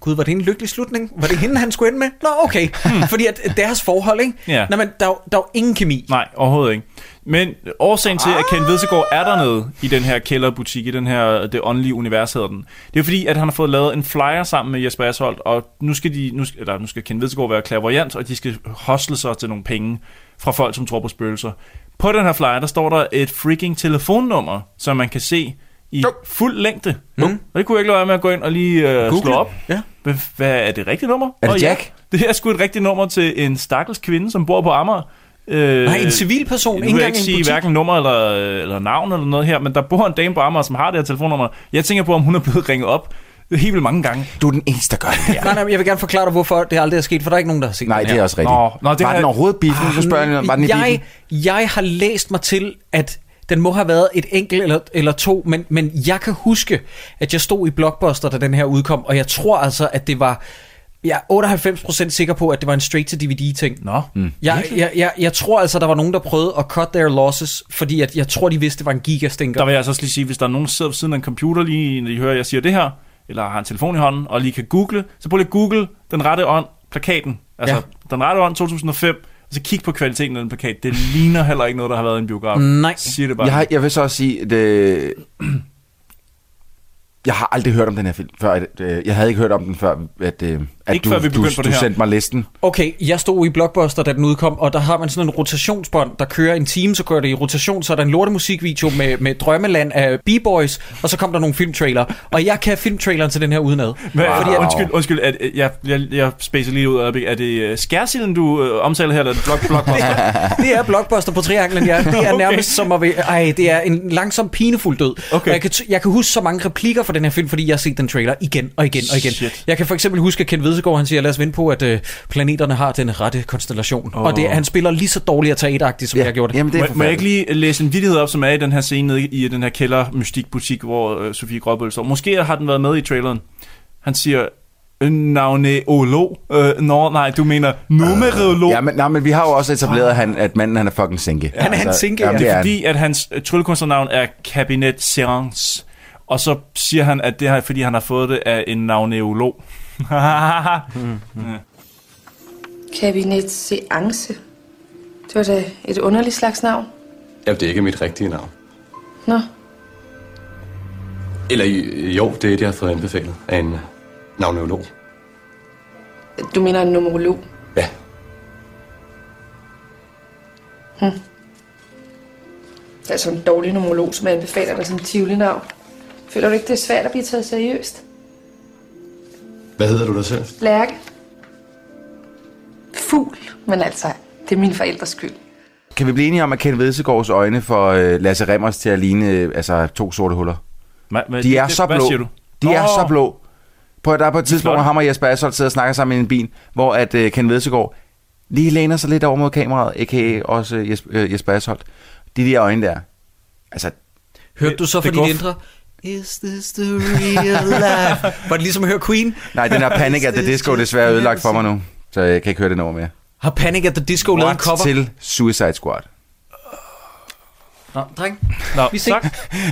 gud, var det en lykkelig slutning? Var det hende, han skulle ende med? Nå, okay. Fordi at deres forhold, ikke?
Hmm. Ja.
Nå, men der, er jo- der er jo ingen kemi.
Nej, overhovedet ikke. Men årsagen til, at Ken Vedsegaard er dernede i den her kælderbutik, i den her Det Åndelige Univers hedder den, det er fordi, at han har fået lavet en flyer sammen med Jesper Asholdt, og nu skal, de, nu skal, eller, nu skal Ken Vedsegaard være klavoyant, og de skal hostle sig til nogle penge fra folk, som tror på spøgelser. På den her flyer, der står der et freaking telefonnummer, som man kan se i fuld længde. Mm. Og det kunne jeg ikke lade være med at gå ind og lige øh,
Google.
slå op. Ja. Hvad, hvad er det rigtige nummer?
Er det
Og ja,
Jack?
det er sgu et rigtigt nummer til en stakkels kvinde, som bor på Amager. Øh,
Nej, en civilperson,
Nu
ikke
kan jeg
engang
ikke
en
sige
butik.
hverken nummer eller, eller navn eller noget her, men der bor en dame på Amager, som har det her telefonnummer. Jeg tænker på, om hun er blevet ringet op helt vildt mange gange.
Du er den eneste, der gør det.
Nej, nej, men jeg vil gerne forklare dig, hvorfor det aldrig er sket, for der er ikke nogen, der har set
Nej,
den
det er
her.
også rigtigt. Nå, nå, det Var har- den overhovedet biffen? Så spørger jeg, var den i
Ah, jeg, jeg har læst mig til, at den må have været et enkelt eller, eller to, men, men jeg kan huske, at jeg stod i Blockbuster, da den her udkom, og jeg tror altså, at det var... Jeg er 98% sikker på, at det var en straight-to-DVD-ting.
Nå. Mm.
Jeg, jeg, jeg, jeg tror altså, der var nogen, der prøvede at cut their losses, fordi at jeg tror, de vidste, det var en gigastinker.
Der vil jeg altså også lige sige, hvis der er nogen, der sidder ved siden af en computer lige, når de hører, at jeg siger det her, eller har en telefon i hånden, og lige kan google, så prøv lige at google den rette ånd, plakaten. Altså,
Ja.
ja. den rette ånd 2005, og så kig på kvaliteten af den plakat. Det ligner heller ikke noget, der har været i en biograf.
Nej.
Siger det bare.
Jeg, har, jeg vil så også sige, at øh, jeg har aldrig hørt om den her film før. At, øh, jeg havde ikke hørt om den før, at, øh, at
Ikke
du,
før vi
du,
begyndte på det
du
her.
sendte mig listen.
Okay, jeg stod i Blockbuster, da den udkom, og der har man sådan en rotationsbånd, der kører en time, så kører det i rotation, så er der en lortemusikvideo med, med Drømmeland af B-Boys, og så kom der nogle filmtrailer, og jeg kan filmtraileren til den her udenad.
Hvad, wow. fordi,
at,
undskyld, undskyld at, øh, jeg, jeg, jeg spacer lige ud af Er det uh, skærsilden, du øh, omtaler her, eller er det blok, blok, blok?
Det er Blockbuster på trianglen, ja. Det er
Okay.
nærmest som at... være- Ej, det er en langsom, pinefuld død. Okay. Og jeg, kan, t- jeg kan huske så mange replikker fra den her film, fordi jeg har set den trailer igen og igen og igen.
Shit.
Jeg kan for eksempel huske, at Ken Vedsegaard, han siger, lad os vente på, at øh, planeterne har den rette konstellation. Oh.
Åh.
Og det, han spiller lige så dårligt og teateragtigt, som ja. jeg gjorde det.
Jamen,
må, må jeg ikke lige læse en vidighed op, som er i den her scene nede i den her kælder mystikbutik, hvor øh, Sofie Gråbøl står. Måske har den været med i traileren. Han siger, navneolog. Øh, nå, nej, du mener numerolog.
Ja, men, nej, men vi har jo også etableret, han, at manden han er fucking sinke.
Ja, altså,
jamen,
det er
han.
fordi, at hans øh, tryllekunstnernavn er Cabinet Seance. Og så siger han, at det er fordi, han har fået det af en navneolog. Ja.
Kabinet Seance. Det var da et underligt slags navn.
Ja, det er ikke mit rigtige navn.
Nå,
Eller øh, jo, det er det, jeg har fået anbefalet af en øh, navneolog.
du mener en numerolog.
Ja.
Hm. Det er altså en dårlig numerolog, som anbefaler dig som tivoli-navn. Føler du ikke, det er svært at blive taget seriøst?
Hvad hedder du dig selv?
Lærke? Fugl, men altså, det er mine forældres skyld.
Kan vi blive enige om, at Ken Vedsegaards øjne for øh, Lasse Remmers til at ligne øh, altså, to sorte huller?
Hva, hva,
de er
det-
så
hvad
blå.
siger du?
De er
Nå.
så blå. På, der er på et tidspunkt, hvor
flotte.
ham og Jesper Asholdt sidder og snakker sammen i en bil, hvor at, øh, Ken Vedsegaard lige læner sig lidt over mod kameraet, a.k.a. også øh, Jesper, øh, Jesper Asholdt. De der øjne der. Altså,
Hørte du så
Det
fra
går-
din indre? Is this the real life? Var det ligesom at høre Queen?
nej, den her Panic at the Disco er desværre ødelagt for mig nu, så jeg kan ikke høre det nummer mere.
Har Panic at the Disco lavet en
What
cover?
til Suicide Squad.
Nå, dreng.
Nå,
vi ses.
tak.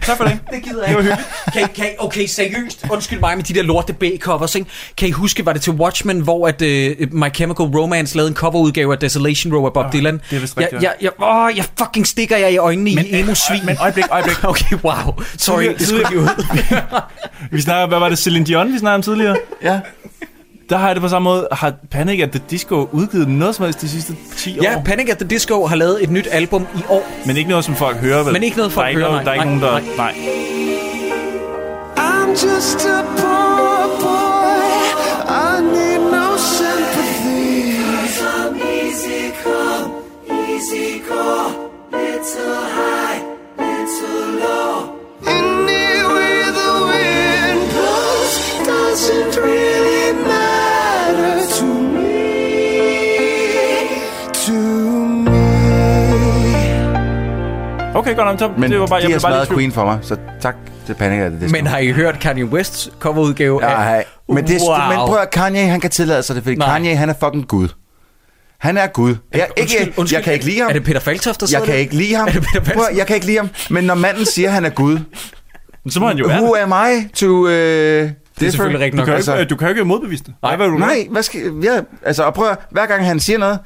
tak for det.
Det gider jeg ikke. Kan, I- kan, I- okay, seriøst. Undskyld mig med de der lorte B-covers, ikke? Kan I huske, var det til Watchmen, hvor at, uh, My Chemical Romance lavede en coverudgave af Desolation Row af Bob Dylan?
det er vist
jeg,
rigtigt, ja.
jeg, jeg, åh, jeg fucking stikker jer i øjnene men, i emo-svin.
Men øjeblik, øjeblik.
okay, wow. Sorry, det skulle ikke ud.
vi snakker, hvad var det, Celine Dion, vi snakkede om tidligere?
ja.
Der har jeg det på samme måde. Har Panic at the Disco udgivet noget som helst de sidste 10 år?
Ja, Panic at the Disco har lavet et nyt album i år.
Men ikke noget, som folk hører, vel?
Men ikke noget, folk
der er
hører,
ikke noget, Der er
nej,
ikke
nej,
nogen, der... Nej.
I'm just a poor boy. I need no sympathy. Easy come, easy go, little high, little low. Anyway, the wind blows doesn't really matter to me. To me.
Okay, godt nok. Så
Men
det var bare,
de har
jeg blev bare
smadret
lidt
Queen for mig, så tak til Panic at the Disco.
Men har I hørt Kanye Wests coverudgave af...
Nej, men, det, wow.
Wow.
men prøv at Kanye, han kan tillade sig det, fordi Nej. Kanye, han er fucking Gud. Han er Gud. Jeg, ikke,
Undskyld, undskyld.
jeg kan ikke lide ham.
Er det Peter Falktoft, der
jeg
sidder
kan
der?
ikke lide ham.
Er det Peter
Prøv, at- jeg kan ikke lide ham. Men når manden siger, han er Gud,
så må han jo være
Who am I to... Uh, det
selvfølgelig rigtigt
Du kan, altså. ikke, du kan jo ikke modbevise det. Nej, hvad vil du
Nej, hvad skal, ja, altså, og prøv at, hver gang han siger noget,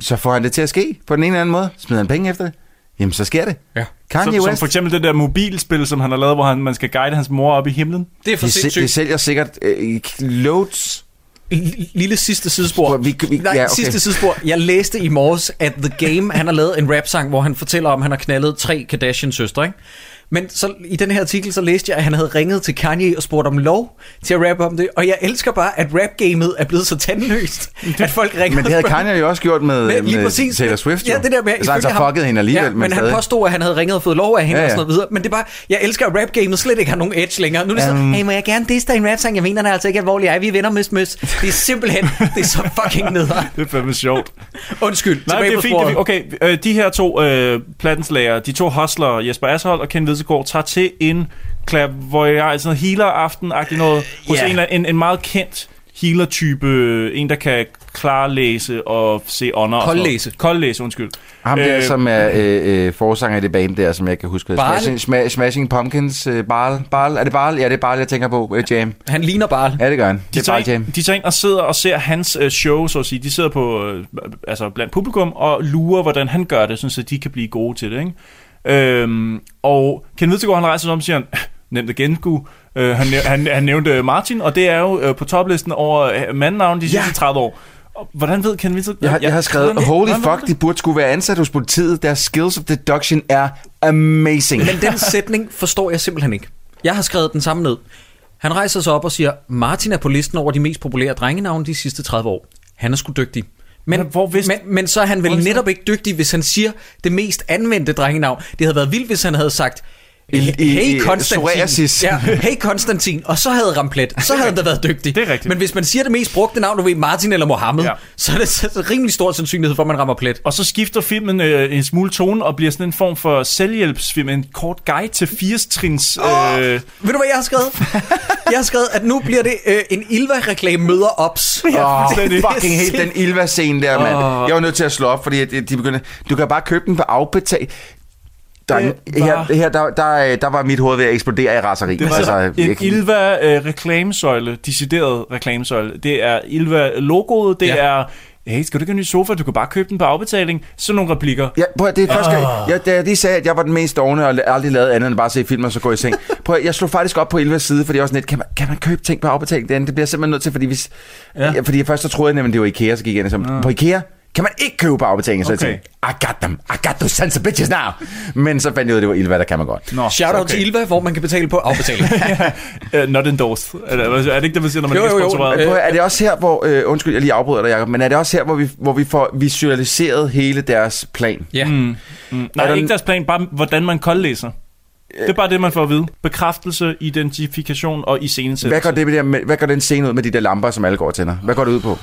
så får han det til at ske på den ene eller anden måde. Smider han penge efter det. Jamen, så sker det.
Ja.
Kanye
som, som
West.
for eksempel det der mobilspil, som han har lavet, hvor han, man skal guide hans mor op i himlen.
Det er for
det, sæl-
sindssygt.
det sælger sikkert øh, loads.
Lille sidste sidespor.
Vi, vi,
Nej, ja, okay. sidste sidespor. Jeg læste i morges, at The Game, han har lavet en rap-sang, hvor han fortæller om, at han har knaldet tre Kardashian-søstre, ikke? Men så, i den her artikel, så læste jeg, at han havde ringet til Kanye og spurgt om lov til at rappe om det. Og jeg elsker bare, at rap-gamet er blevet så tandløst, at folk ringer.
Men det havde
og spørger-
Kanye jo også gjort med,
Men lige
med
præcis.
Øhm, øh, Taylor Swift.
Ja,
jo.
det der med...
Så han så
ifølge ham-
fuckede hende alligevel.
Ja, men, han
stadig.
påstod, at han havde ringet og fået lov af hende
Ja,
ja, ja.
ja.
og sådan noget videre. Men det er bare... Jeg elsker, at rap-gamet slet ikke har nogen edge længere. Nu er det sådan,
Um.
hey, må jeg gerne disse dig i en rap-sang? Jeg mener, den er altså ikke alvorlig. Ej, vi er venner, møs, møs. Det er simpelthen... det er så fucking nederen.
Det er fandme sjovt.
Undskyld.
Nej,
tilbage
det er
på
fint. Det er
sporet.
fint. Okay, øh, de her to øh, plattenslager, de to hustler, Jesper Ashold og Ken Vedsegaard, tager til en clairvoyant, sådan noget healer-aften-agtig noget, hos
Øh, ja.
en, eller- en, en meget kendt healer-type, øh, en der kan klarlæse og se ånder. og sådan noget.
Koldlæse.
Koldlæse, undskyld.
Ham der,
Øh,
som er øh, øh, forsanger i det band der, som jeg kan huske.
Barl?
Smashing, sma- smashing Pumpkins, øh, Barl. Barl. Er det Barl? Ja, det er Barl, jeg tænker på. Øh, jam.
Han ligner Barl.
Ja, det gør han.
De
det er
tager,
Barl Jam.
ind, de tager ind og sidder og ser hans øh, show, så at sige. De sidder på, øh, altså blandt publikum og lurer, hvordan han gør det, sådan, så de kan blive gode til det. Ikke? Øhm, og Ken Hvidtegård, han rejser sig om og siger, han, nemt at genskue. Øh, han, næv- han, han nævnte Martin, og det er jo øh, på toplisten over øh, mandnavn de sidste ja. 30 år. Og Hvordan ved Ken Hvidtegård?
Jeg, har, jeg har skrevet,
Hvordan-
holy
hvordan ved
fuck, de burde skulle være ansat hos politiet. Deres skills of deduction er amazing.
Men den sætning forstår jeg simpelthen ikke. Jeg har skrevet den samme ned. Han rejser sig op og siger, Martin er på listen over de mest populære drengenavne de sidste 30 år. Han er sgu dygtig. Men, hvor men, men så er han vel netop ikke dygtig, hvis han siger det mest anvendte drengenavn. Det havde været vildt, hvis han havde sagt,
I- i-
hey
i-
Konstantin.
psoriasis.
Ja, hey Konstantin. Og så havde Ramplet. Så havde det været dygtig. Det er rigtigt. Men hvis man siger det mest brugte navn, du ved Martin eller Mohammed, ja. så er det så rimelig stor sandsynlighed for, at man rammer plet.
Og så skifter filmen øh, en smule tone og bliver sådan en form for selvhjælpsfilm, en kort guide til 80-trins... Øh,
Ved du, hvad jeg har skrevet? Jeg har skrevet, at nu bliver det øh, en Ilva-reklame møder ops.
Åh, oh,
Det er
fucking helt den
sindssygt.
Ilva-scene der, mand.
Åh.
Jeg var nødt til at slå op, fordi at de begyndte... Du kan bare købe den på afbetal... Der, var... her, her, der, der, øh, der var mit hoved ved at eksplodere i raseri.
Det var altså, en
jeg kan-
Ilva øh, reklamesøjle, decideret reklamesøjle. Det er Ilva logoet, det ja. er hey, skal du ikke have en ny sofa, du kan bare købe den på afbetaling. Sådan nogle replikker.
Ja, prøv at, det er første gang,
Ah.
jeg, da jeg lige sagde, at jeg var den mest dogne og aldrig lavede andet end bare at se film og så gå i seng. Prøv at, jeg slog faktisk op på Ilvas side, fordi jeg var sådan lidt, kan man, kan man købe ting på afbetaling derinde? Det bliver jeg simpelthen nødt til, fordi, hvis, ja. Ja, fordi jeg først så troede jeg nemlig, det var Ikea, så gik jeg ind og sagde, på Ikea kan man ikke købe på afbetaling, så okay.
Ah. Okay.
jeg tænkte, I got them, I got those sons of bitches now. Men så fandt jeg ud af, det var Ilva, der kan man godt.
Nå,
Shout out okay. til Ilva, hvor man kan betale på afbetaling.
uh, not endorsed. Er det, er det ikke det, man siger, når man
jo,
ikke
jo,
er
jo.
sponsoreret?
Men prøv at høre, er det også her, hvor... Øh, undskyld, jeg lige afbryder dig, Jacob, men er det også her, hvor vi, hvor vi får visualiseret hele deres plan?
Ja.
Mm. Mm. Nej,
Øh, Er der- Øh,
ikke deres plan, bare hvordan man koldlæser. Det er bare det, man får at vide. Bekræftelse, identifikation og iscenesættelse.
Hvad går, det med det, her med- hvad går den scene ud med de der lamper, som alle går og tænder? Hvad går det ud på?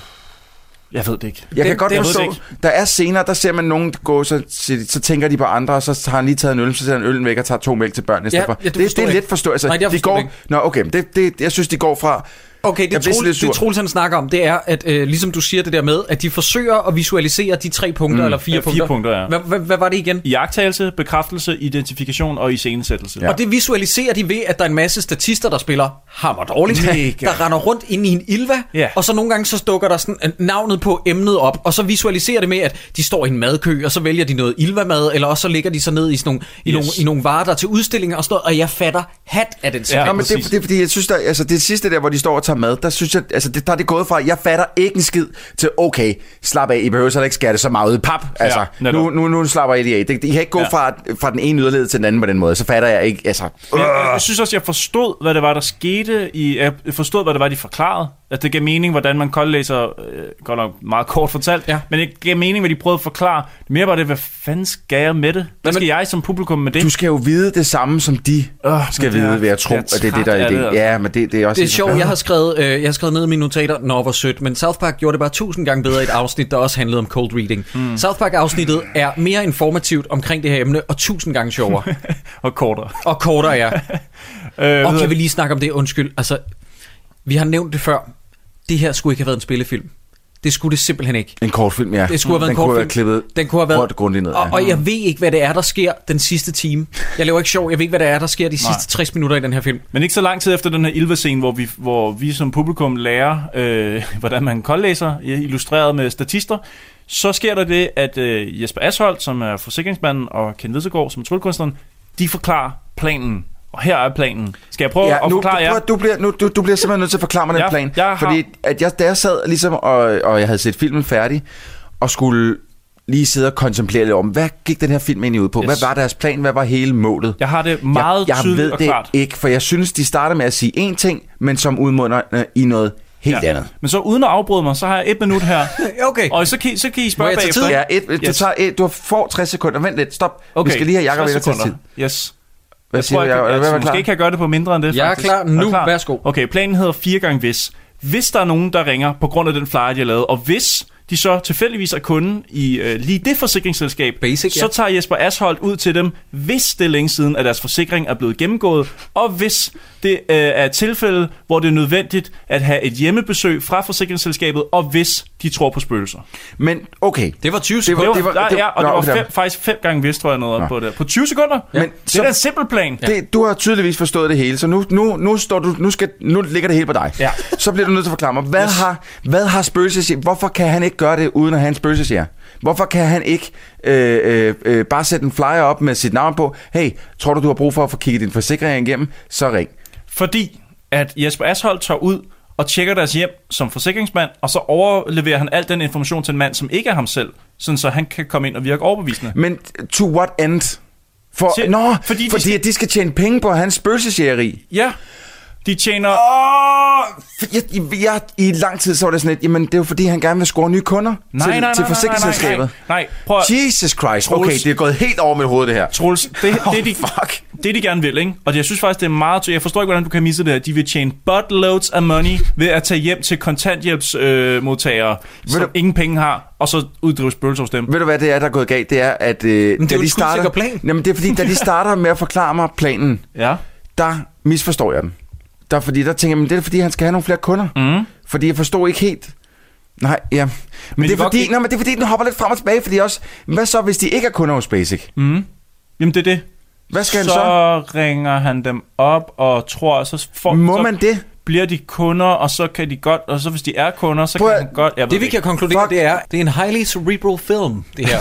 Jeg ved det ikke.
Jeg kan
Det-
godt
jeg ved det
forstå,
ikke.
der er scener, der ser man nogen gå, så, så, så tænker de på andre, og så har han lige taget en øl, så sætter han øllen væk og tager to mælk til børnene. i
Ja,
stedet for.
ja, det
det,
forstår
det er
jeg
let
ikke.
forstå. Altså,
Nej, jeg
de
forstår
går,
det ikke.
Nå, okay, men det, det, jeg synes, de går fra...
Okay, det
jeg bliver
er
sådan
Troels,
lidt sur.
det Troels, han snakker om, det er, at øh, ligesom du siger det der med, at de forsøger at visualisere de tre punkter, mm. eller fire,
Ja, fire punkter, ja.
Hvad, hvad, hvad var det igen?
Iagtagelse, bekræftelse, identifikation og iscenesættelse.
Ja. Og det visualiserer de ved, at der er en masse statister, der spiller hammer dårligt,
Mega.
der render rundt inde i en ilva,
Ja.
og så nogle gange så dukker der sådan øh, navnet på emnet op, og så visualiserer det med, at de står i en madkø, og så vælger de noget ilva-mad, eller også så ligger de sig ned i, sådan nogle, yes. i,
Yes.
nogle, i nogle varer, der er til udstillinger og sådan noget, og jeg fatter hat af den
Ja,
serie.
Nå, men det, det er fordi, jeg synes, der, altså, det sidste der, hvor de står og tager mad, der synes jeg, altså, det, der er det gået fra, jeg fatter ikke en skid til, okay, slap af, I behøver så ikke skære det så meget ud i pap. Altså, ja,
netop.
nu, nu, nu slapper I lige af. Det, I kan ikke gå ja.
Ja.
fra, fra den ene yderled til den anden på den måde, så fatter jeg ikke, altså...
Men Jeg, jeg, jeg synes også, jeg forstod, hvad det var, der skete. I, jeg forstod, hvad det var, de forklarede. At det gav mening, hvordan man koldlæser, øh, godt nok meget kort fortalt, ja. men det gav mening, hvad de prøvede at forklare. Det mere var det, hvad fanden skal jeg med det? Hvad skal jeg som publikum med det?
Du skal jo vide det samme, som de skal
men det er-
vide ved at tro,
jeg er
at det er det,
træt
der er
af det,
ideen.
altså.
Ja, men det, det er også...
Det er sjovt, jeg har skrevet, øh, jeg har skrevet ned i mine notater, når var sødt, men South Park gjorde det bare tusind gange bedre i et afsnit, der også handlede om cold reading. Mm. South Park-afsnittet er mere informativt omkring det her emne, og tusind gange sjovere.
og kortere.
Og kortere, ja.
øh,
og kan vi lige snakke om det? Undskyld. Altså, vi har nævnt det før. Det her skulle ikke have været en spillefilm. Det skulle det simpelthen ikke.
En kortfilm, ja.
Det skulle have været
den
en kortfilm.
Kunne have været klippet
den kunne have været
hårdt grundigt ned.
Og,
ja.
og jeg ved ikke, hvad det er, der sker den sidste time. Jeg laver ikke sjov. Jeg ved ikke, hvad det er, der sker de
Nej.
sidste 60 minutter i den her film.
Men ikke så lang tid efter den her Ilva-scene, hvor vi, hvor vi som publikum lærer, øh, hvordan man koldlæser, illustreret med statister, Så sker der det, at øh, Jesper Asholdt, som er forsikringsmanden, og Ken Lidsegaard, som er tryllekunstneren, de forklarer planen. Og her er planen. Skal jeg prøve ja, at
nu,
forklare
du,
jer?
prøver- du, bliver, nu, du, du bliver simpelthen nødt til at forklare mig den
Jeg-
plan.
jeg har-
Fordi at jeg, da jeg sad ligesom, og, og jeg havde set filmen færdig, og skulle lige sidde og kontemplere lidt om, hvad gik den her film egentlig ud på? Yes. Hvad
Yes.
var deres plan? Hvad var hele målet?
Jeg har det meget
jeg, jeg
tydeligt
ved
og
det
klart.
ikke, for jeg synes, de starter med at sige én ting, men som udmunder øh, i noget helt ja. andet.
Men så uden at afbryde mig, så har jeg et minut her. okay. Og så kan, I- så kan I spørge bagefter.
Ja, et, et, du, tager et, du får 60 sekunder. Vent lidt, stop. Okay. Vi skal lige have Jacob
60
ind og tage tid.
sekunder. Yes.
Hvad
jeg
siger
tror,
du,
jeg,
Jacob? Er
kan,
du
jeg,
ved at
jeg,
være
måske
klar?
ikke kan gøre det på mindre end det,
Jeg er
faktisk.
klar nu.
Værsgo. Okay, planen hedder fire gange hvis. Hvis der er nogen, der ringer på grund af den flyer, de har lavet, og hvis de så tilfældigvis er kunden i øh, lige det forsikringsselskab, Basic, så
ja.
tager Jesper Asholdt ud til dem, hvis det er længe siden, at deres forsikring er blevet gennemgået, og hvis det øh, er et tilfælde, hvor det er nødvendigt at have et hjemmebesøg fra forsikringsselskabet, og hvis de tror på spøgelser.
Men okay.
Det var 20
Det var, det var, ja, og det
Nå,
var
okay.
fem, faktisk fem gange hvis, tror jeg, noget op på det. På 20 sekunder? Ja. Men, det er da en simpel plan.
Det, du har tydeligvis forstået det hele, så nu, nu, nu, står du, nu, skal, nu ligger det hele på dig. Ja. Så bliver du nødt til at forklare mig, hvad yes. har, hvad har spøgelses... Hvorfor kan han ikke gøre det, uden at have en spøgelsesjære? Hvorfor kan han ikke øh, øh, øh, bare sætte en flyer op med sit navn på? Hey, tror du, du har brug for at få kigget din forsikring igennem? Så ring.
Fordi at Jesper Asholdt tager ud og tjekker deres hjem som forsikringsmand, og så overleverer han al den information til en mand, som ikke er ham selv, sådan så han kan komme ind og virke overbevisende.
Men to what end? For,
Se,
nå,
fordi de
fordi, de,
skal-
fordi skal... de skal tjene penge på hans spøgelsesjægeri.
Ja, de tjener...
Oh, jeg, jeg, jeg, I lang tid så var det sådan lidt, jamen det er jo fordi, han gerne vil score nye kunder
Nej, nej,
til,
nej,
til
nej, nej,
forsikringsselskabet.
nej, nej, prøv at-
Jesus Christ,
Troels-
okay, det er gået helt over mit hoved det her.
Troels, det, det, de, det de gerne vil, ikke? Og jeg synes faktisk, det er meget... Jeg forstår ikke, hvordan du kan misse det her. De vil tjene buttloads af money ved at tage hjem til kontanthjælpsmodtagere, øh, modtagere, som
du-
ingen penge har, og så uddrive spøgelser hos dem.
Ved du hvad det er, der er gået galt? Det er, at...
Men
Øh,
det er
da
jo en
de starter,
skudsikker plan.
Jamen, det er fordi, da de starter med at forklare mig planen,
ja.
der misforstår jeg den. Der, er fordi der tænker jeg, men det er fordi, han skal have nogle flere kunder.
Mm.
Fordi jeg forstår ikke helt. Nej, ja. Men, men, det,
de
er
var-
fordi, nej, men det er fordi, den hopper lidt frem og tilbage, fordi også, hvad så, hvis de ikke er kunder hos Basic?
Mm. Jamen, det er det.
Hvad skal han
så?
så?
Så ringer han dem op og tror, så får,
Må
så
man det?
bliver de kunder, og så kan de godt, og så hvis de er kunder, så kan han godt... Jeg ved
Det vi
ikke.
kan konkludere, det er, det er en highly cerebral film, det her.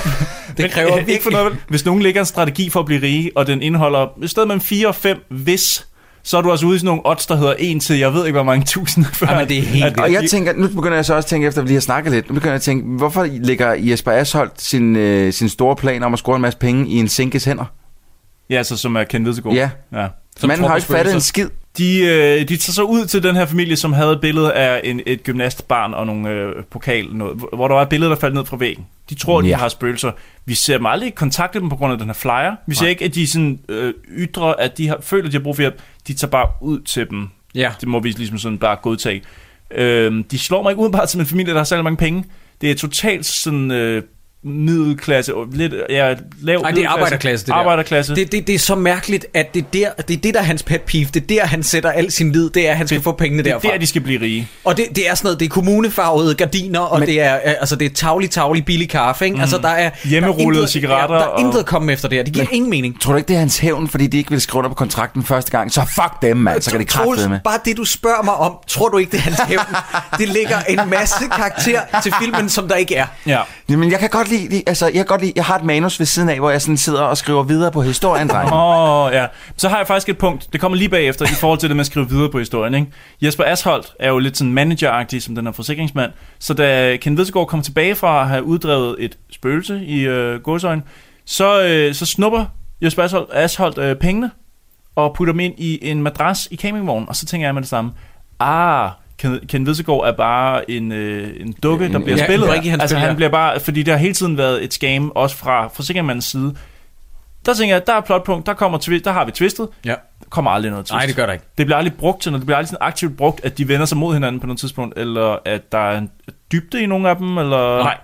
Det kræver
Men, øh, ikke for
virkelig...
noget, vel? Hvis nogen lægger en strategi for at blive rige, og den indeholder et sted mellem 4 og 5, hvis, så er du altså ude i sådan nogle odds, der hedder 1 til, jeg ved ikke, hvor mange tusind. før
men det er helt
at-
Og jeg tænker, nu begynder jeg så også at tænke, efter vi lige har snakket lidt, nu begynder jeg at tænke, hvorfor lægger Jesper Asholdt sin, øh, sin store plan om at score en masse penge i en sinkes hænder?
Ja, altså som er Ken Vedtegård.
Ja.
ja.
Som Manden tror har på ikke spøgelser. fattet en skid.
De, øh, de tager så ud til den her familie, som havde et billede af en, et gymnastbarn og nogle øh, pokal, noget, hvor- hvor der var et billede, der faldt ned fra væggen. De tror, ja.
Ja.
de har spøgelser. Vi ser dem aldrig kontakte dem på grund af den her flyer. Vi ser ikke, at de sådan, øh, ytrer, at de har, føler, at de har brug for hjælp. De tager bare ud til dem.
Ja.
Det må vi ligesom sådan bare godtage. Øh, de slår mig ikke udenbart som en familie, der har særlig mange penge. Det er totalt sådan... Øh, middelklasse, og lidt, ja, lav
Ej, det er
middelklasse.
arbejderklasse, det der.
Arbejderklasse.
Det, det, det er så mærkeligt, at det, er der, det er det, der er hans pet peeve. Det er der, han sætter al sin lid. Det er, at han skal få pengene
det er
derfra.
der, de skal blive rige.
Og det, det er sådan noget, det er kommunefarvede gardiner, og Men, det er øh, altså det er tavlig, tavlig billig kaffe, ikke? Mm, altså der er...
Hjemmerullede
der er intet-
cigaretter
Ja, der er
og-
intet at komme efter det her. Det giver ingen mening.
Tror du ikke, det er hans hævn, fordi de ikke ville skrive under på kontrakten første gang? Så fuck dem, mand. Så kan det kraftede med.
bare det du spørger mig om, tror du ikke, det er hans hævn? det ligger en masse karakter til filmen, som der ikke er.
Ja.
Jamen, jeg kan godt lide, lide- altså, jeg kan godt lide, jeg har et manus ved siden af, hvor jeg sådan sidder og skriver videre på historien, dreng.
Åh, oh, ja. Så har jeg faktisk et punkt. Det kommer lige bagefter i forhold til det med at skrive videre på historien. Ikke? Jesper Asholdt er jo lidt sådan manageragtig, som den her forsikringsmand. Så da Ken Vedsegaard kom tilbage fra at have uddrevet et spøgelse i øh, godsøjen, så, øh, så snupper Jesper Asholdt, Asholdt øh, pengene og putter dem ind i en madras i campingvognen. Og så tænker jeg med det samme. Ah, Ken- Ken Vedsegaard er bare en, øh, en dukke, der
En-
bliver
ja, en
spillet.
brik i hans
altså,
spil,
han
ja.
bliver bare, fordi det har hele tiden været et scam, også fra forsikringsmandens side. Der tænker jeg, der er plotpunkt, der, kommer twi- der har vi twistet.
Ja.
Der kommer aldrig noget twist.
Nej, det gør der ikke.
Det bliver aldrig brugt til noget. Det bliver aldrig sådan aktivt brugt, at de vender sig mod hinanden på noget tidspunkt, eller at der er en dybde i nogle af dem, eller... Nej.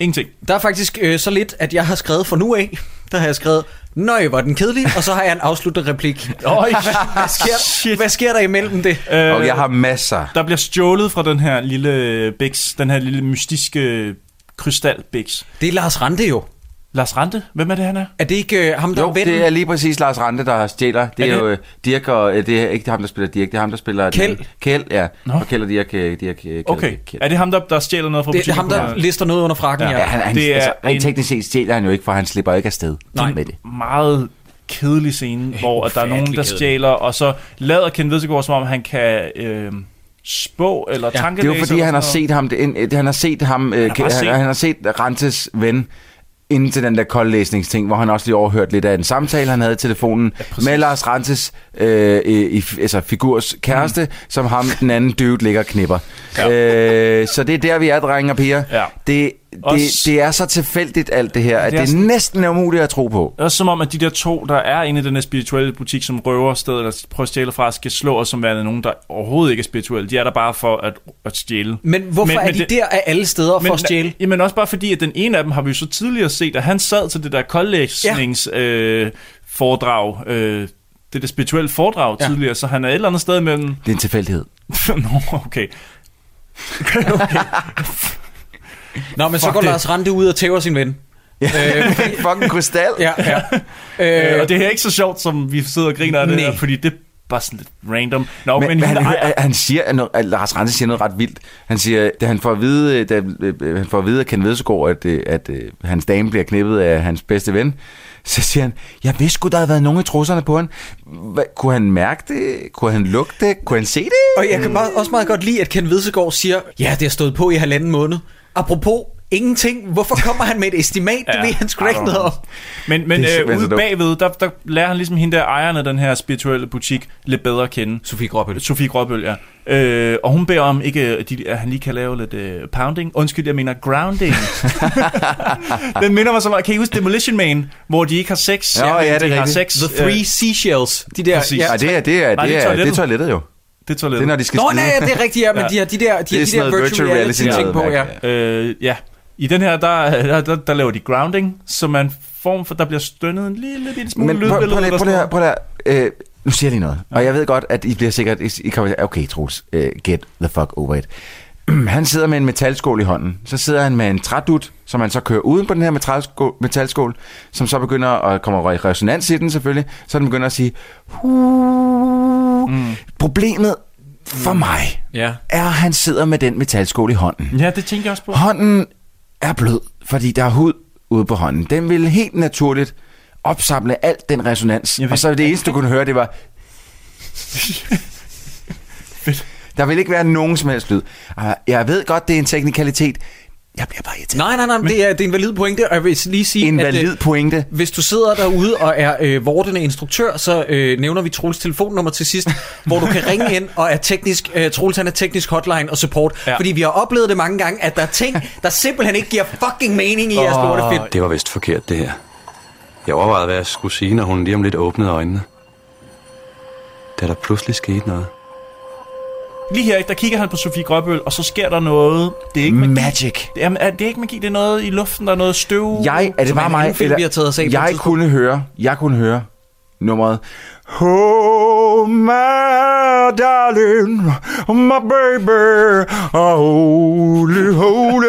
Ingenting.
Der er faktisk øh, så lidt, at jeg har skrevet for nu af, der har jeg skrevet, nøj, var den kedelig, og så har jeg en afsluttende replik.
Øj,
hvad, hvad, sker, hvad sker der imellem det?
Øh,
Og jeg har masser.
Der bliver stjålet fra den her øh, lille biks, den her lille mystiske øh, krystalbiks.
Det er Lars Rante jo.
Lars Rante? Hvem er det, han er?
Er det ikke øh, ham,
jo, det er lige præcis Lars Rante, der stjæler. Det er,
Er
er
det-
jo øh, Dirk og... øh, Det er ikke ham, der spiller Dirk, det er ham, der spiller...
Kjeld.
Kjeld, ja. Og Kjeld og Dirk, øh, Dirk, øh, Kjeld.
Okay. Er det ham, der, der stjæler noget fra
Det er
butikken?
ham, der lister noget under frakken,
Ja, han, han,
det er
altså, rent
en
teknisk set stjæler han jo ikke, for han slipper ikke afsted
Nej.
med det.
meget kedelig scene, hvor at der er nogen, der
ufattelig kedelig.
stjæler, og så lader Ken Vedsegaard, som om han kan øh, spå eller ja,
Det er jo fordi, han har set ham, det, ind- det- han har set ham, øh,
har bare
han,
set-
han, han har set Rantes ven inden til den der koldlæsningsting, hvor han også lige overhørte lidt af en samtale, han havde i telefonen ja, med Lars Rantes øh, i, i- altså figurs kæreste, mm. som ham, den anden dude, ligger og knipper. Ja. Øh, så det er der, vi er, drenge og piger. Ja. Det, det,
Også-
det er så tilfældigt, alt det her, at
Det er
det, er
sådan-
næsten er umuligt at tro på.
Også som om, at de der to, der er inde i den her spirituelle butik, som røver stedet eller prøver at stjæle fra, skal slå os som værende nogen, der overhovedet ikke er spirituelle. De er der bare for at, at stjæle.
Men hvorfor er de der af alle steder for
men,
at stjæle?
Jamen også bare fordi, at den ene af dem har vi jo så tidligere set, at han sad til det der koldlæsnings ja. øh, foredrag, øh, det der spirituelle foredrag ja. tidligere, så han er et eller andet sted mellem...
Det er en tilfældighed.
Nå, okay.
Nå, men så
Fuck
går
det.
Lars Rante ud og tæver sin ven.
Øh, fucking krystal.
Ja, ja.
Øh, og det er ikke så sjovt, som vi sidder og griner af det
Nej.
der, fordi det er bare sådan lidt random. Nå,
men, men,
hende,
men han,
der
hører,
ejer-
at han siger, at, noget, at Lars Rante siger noget ret vildt. Han siger, da han får at vide, øh, da, øh, han får at vide af Ken Vedsgaard, at, øh, at, at hans dame bliver knippet af hans bedste ven, så siger han, jeg vidste sgu, der havde været nogen i trusserne på ham. Hva, kunne han mærke det? Kunne han lugte det? Kunne han se det?
Og jeg kan bare, også meget godt lide, at Ken Vedsegaard siger, ja, det har stået på i halvanden måned. Apropos ingenting, hvorfor kommer han med et estimat? Det ved han sgu da ikke noget om.
Men, men
Det er
øh,
simpelthen
ude
så dumt.
bagved, der, der lærer han ligesom hende der ejeren af den her spirituelle butik lidt bedre at kende.
Sofie Gråbøl.
Sofie Gråbøl, ja. Øh, og hun beder om, ikke, at, de, at han lige kan lave lidt øh, pounding. Undskyld, jeg mener grounding. den minder mig så meget. Kan I huske Demolition Man, hvor de ikke har sex?
Nå, ja, det er
de har
rigtigt.
sex. øh,
The three
seashells. De
Der, ja. Nej, det er, det er,
Nej,
det er, det er
toilettet.
toilettet jo.
Det er toilettet.
Det er, når de skal
Nå,
skide.
nej, ja, det er rigtigt, ja, men de har de der, de,
Det er
har de
sådan
der
noget
virtual reality, ting på, ja.
ja. Øh, ja. I den her, der, der, der, der laver de grounding, som er en form for, der bliver stønnet en lille, lille smule
Men prøv, prøv,
lydbillede.
prøv, lige-
eller
prøv,
sådan
lige-
noget.
prøv, lige- øh, nu siger jeg lige noget. Og jeg ved godt, at I bliver sikkert... I, I kommer, til- okay, Troels, øh, get the fuck over it. Han sidder med en metalskål i hånden. Så sidder han med en trædut, som han så kører uden på den her metalskål, metalskål som så begynder at komme i resonans i den selvfølgelig. Så den begynder at sige... Mm. Problemet for mig
Ja.
er, at han sidder med den metalskål i hånden.
Ja, det tænker jeg også på.
Hånden er blød, fordi der er hud ude på hånden. Den ville helt naturligt opsamle alt den resonans. Og så det eneste, du kunne høre, det var... der vil ikke være nogen som helst lyd. Og Jeg ved godt, det er en teknikalitet. Jeg bliver bare irriteret.
Nej, nej, nej, men det er, det er en valid pointe, og jeg vil lige sige,
En
at, øh,
valid pointe.
Hvis du sidder derude og er øh, vordende instruktør, så øh, nævner vi Troels telefonnummer til sidst, hvor du kan ringe ind og er teknisk, øh, Troels han er teknisk hotline og support. Ja. Fordi vi har oplevet det mange gange, at der er ting, der simpelthen ikke giver fucking mening i jeres oh. lortefilm.
Det var vist forkert, det her. Jeg overvejede, hvad jeg skulle sige, når hun lige om lidt åbnede øjnene. Da der pludselig skete noget.
Lige her, ikke, der kigger han på Sofie Gråbøl, og så sker der noget. Det er ikke magi.
Magic.
Det er, er det er ikke magi, det er noget i luften, der er noget støv.
Jeg, er det bare mig?
eller, vi har taget os af på et
jeg
tidspunkt.
kunne høre, jeg kunne høre nummeret. Oh, my darling, my baby, oh, holy, holy,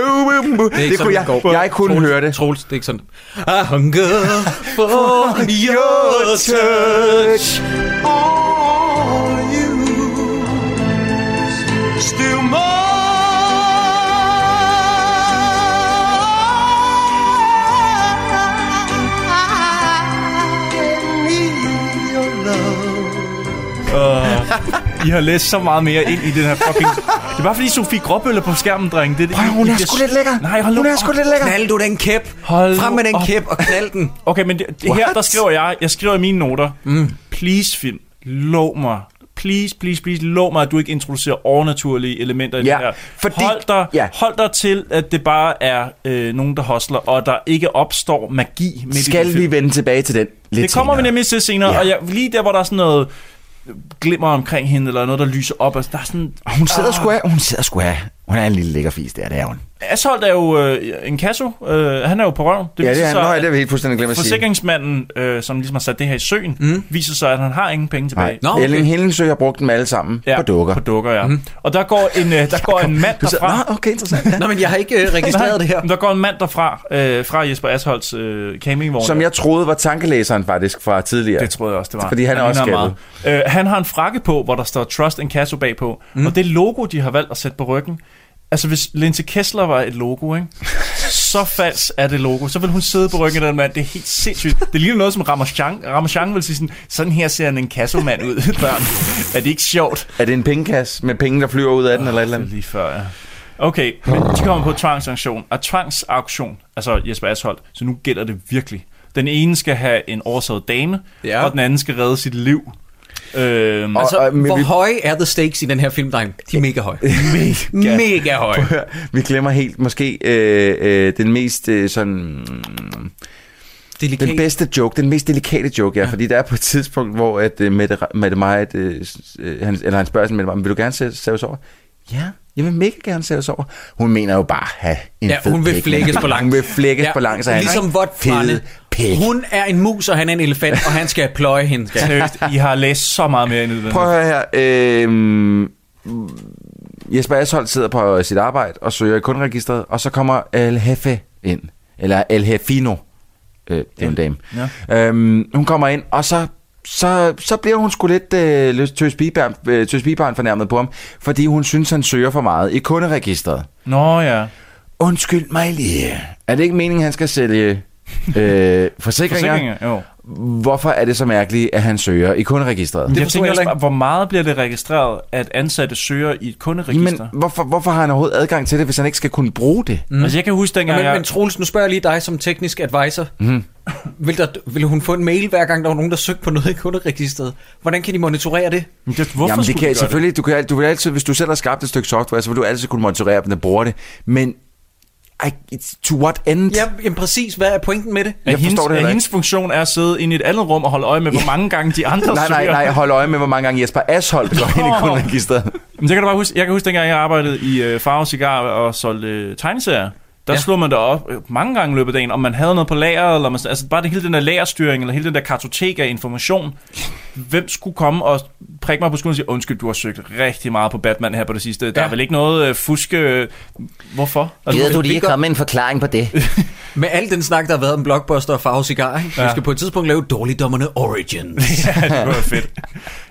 det,
ikke sådan,
det kunne
den
jeg,
går.
jeg kunne
Troels-
høre det.
Troels, det er ikke sådan. I hunger for your touch.
All you still mine your love.
Uh, I har læst så meget mere ind i den her fucking... Det er bare fordi Sofie Gråbøl er på skærmen, dreng. Det, Prøv,
hun er sgu lidt lækker.
Nej, hold
Hun
nu
er
op.
sgu lidt lækker. Knald du den kæp.
Hold
Frem med den
op.
kæp og knald den.
Okay, men det, det her,
What?
der skriver jeg... Jeg skriver i mine noter. Mm. Please, film. Lov mig. Please, please, please, lov mig, at du ikke introducerer overnaturlige elementer i
Ja,
det her.
fordi-
hold, dig, ja. hold dig til, at det bare er øh, nogen, der hostler, og der ikke opstår magi midt i din
Skal
film.
vi vende tilbage til den lidt
det kommer
senere?
vi nemlig til senere,
Ja.
ja. og jeg, lige der, hvor der er sådan noget glimmer omkring hende, eller noget, der lyser op, altså, der er sådan...
Hun sidder, sgu af, hun sidder sgu af Hun er en lille lækker fis, der, det er hun.
Asholdt er jo øh, en kasso. Øh, han er jo på røven.
Ja, det
viser
er han. Nå, ja, det har vi helt fuldstændig glemt at sige.
Forsikringsmanden, øh, som ligesom har sat det her i søen, mm. viser sig, at han har ingen penge tilbage.
Nej, Nå, okay. Elling Hellensø har brugt dem alle sammen ja. på dukker. På
dukker, ja. Mm. Og der går en, øh, der går en mand
Du sidder-
derfra...
Nå, okay, interessant. Ja.
Nå, men jeg har ikke øh, registreret det her.
Der går en mand derfra, øh, fra Jesper Asholds øh, campingvogn.
Som jeg troede var tankelæseren faktisk fra tidligere. Det
troede jeg også, det var.
Fordi han er også
ligner
skabet.
meget. Øh, han har en frakke på, hvor der står Trust and Casso bagpå. Mm. Og det logo, de har valgt at sætte på ryggen, Altså hvis Linse Kessler var et logo, ikke? så falsk er det logo. Så vil hun sidde på ryggen af den mand. Det er helt sindssygt. Det ligner noget som Ramachan. Ramachan vil sige sådan, sådan her ser en kassomand ud, børn. Er det ikke sjovt?
Er det en pengekasse med penge, der flyver ud af den, eller et eller andet?
Lige før, ja. Okay, men de kommer på tvangsauktion. Og tvangsauktion, altså Jesper Asholdt, så nu gælder det virkelig. Den ene skal have en oversaget dame, ja. og den anden skal redde sit liv. Øhm,
Altså, og, hvor vi... høje er the stakes i den her film, dreng? De er mega høje. mega. mega høje.
Prøv at høre, vi glemmer helt måske øh, øh, den mest øh, sådan... mm,
Delikat.
Den bedste joke, den mest delikate joke, ja, ja. fordi der er på et tidspunkt, hvor at, uh, Mette, Ra- Mette Majt, uh, han, eller han spørger sådan, Mette Majt, vil du gerne sæ- sæves over? Ja, jeg vil mega gerne sæves over. Hun mener jo bare at have en
Ja,
fed
hun vil
pik,
flækkes
men-
på langs.
Hun vil flækkes på langs, så han
Ligesom
har
vådt
ikke fede pik.
Hun er en mus, og han er en elefant, og han skal pløje hende.
Seriøst, I har læst så meget mere end
Prøv at høre her. Øh, Jesper Asholdt sidder på sit arbejde og søger i kunderegisteret, og så kommer El Jefe ind. Eller El Jefino. Øh, det er jo en dame. Ja. Øhm, hun kommer ind, og så, så, så bliver hun sgu lidt øh, løs- tøs pigebarn- øh, tøs pigebarn fornærmet på ham, fordi hun synes, han søger for meget i kunderegisteret.
Nå ja.
Undskyld mig lige. Er det ikke meningen, han skal sælge øh, forsikringer?
Forsikringer, jo.
Hvorfor er det så mærkeligt, at han søger i kunderegisteret?
jeg tænker også, bare, hvor meget bliver det registreret, at ansatte søger i et kunderegister?
Men hvorfor, hvorfor har han overhovedet adgang til det, hvis han ikke skal kunne bruge det?
Mm. Altså, jeg kan huske
Men,
dengang,
men
jeg...
Troels, nu spørger jeg lige dig som teknisk advisor.
Mm.
Vil, der, vil hun få en mail, hver gang der var nogen, der søgte på noget i kunderegisteret? Hvordan kan de monitorere det?
det
Jamen, det kan, selvfølgelig, Du, kan, al- du vil altid, hvis du selv har skabt et stykke software, så vil du altid kunne monitorere, hvem der bruger det. Men I, it's to what end?
Ja, jamen præcis. Hvad er pointen med det?
at
jeg
hendes,
forstår det heller
at
ikke.
hendes funktion er at sidde inde i et andet rum og holde øje med, hvor mange gange de andre
nej, nej,
søger.
nej, hold øje med, hvor mange gange Jesper Asholdt går ind i kunderegisteret.
Men jeg kan da bare huske, jeg kan huske dengang, jeg arbejdede i øh, Farve Cigar og solgte øh, tegneserier. Der ja. slog man det op øh, mange gange i løbet af dagen, om man havde noget på lageret, eller man, altså bare det, hele den der lagerstyring, eller hele den der kartotek af information. Hvem skulle komme og prikke mig på skulderen og sige, undskyld, du har søgt rigtig meget på Batman her på det sidste. Der
Ja.
er vel ikke noget øh, fuske... Øh, hvorfor? gør-
med en forklaring på det? med al den snak, der har været om blockbuster og farve cigar, ikke?
Ja.
vi skal på et tidspunkt lave Dårligdommerne Origins.
ja, det var fedt.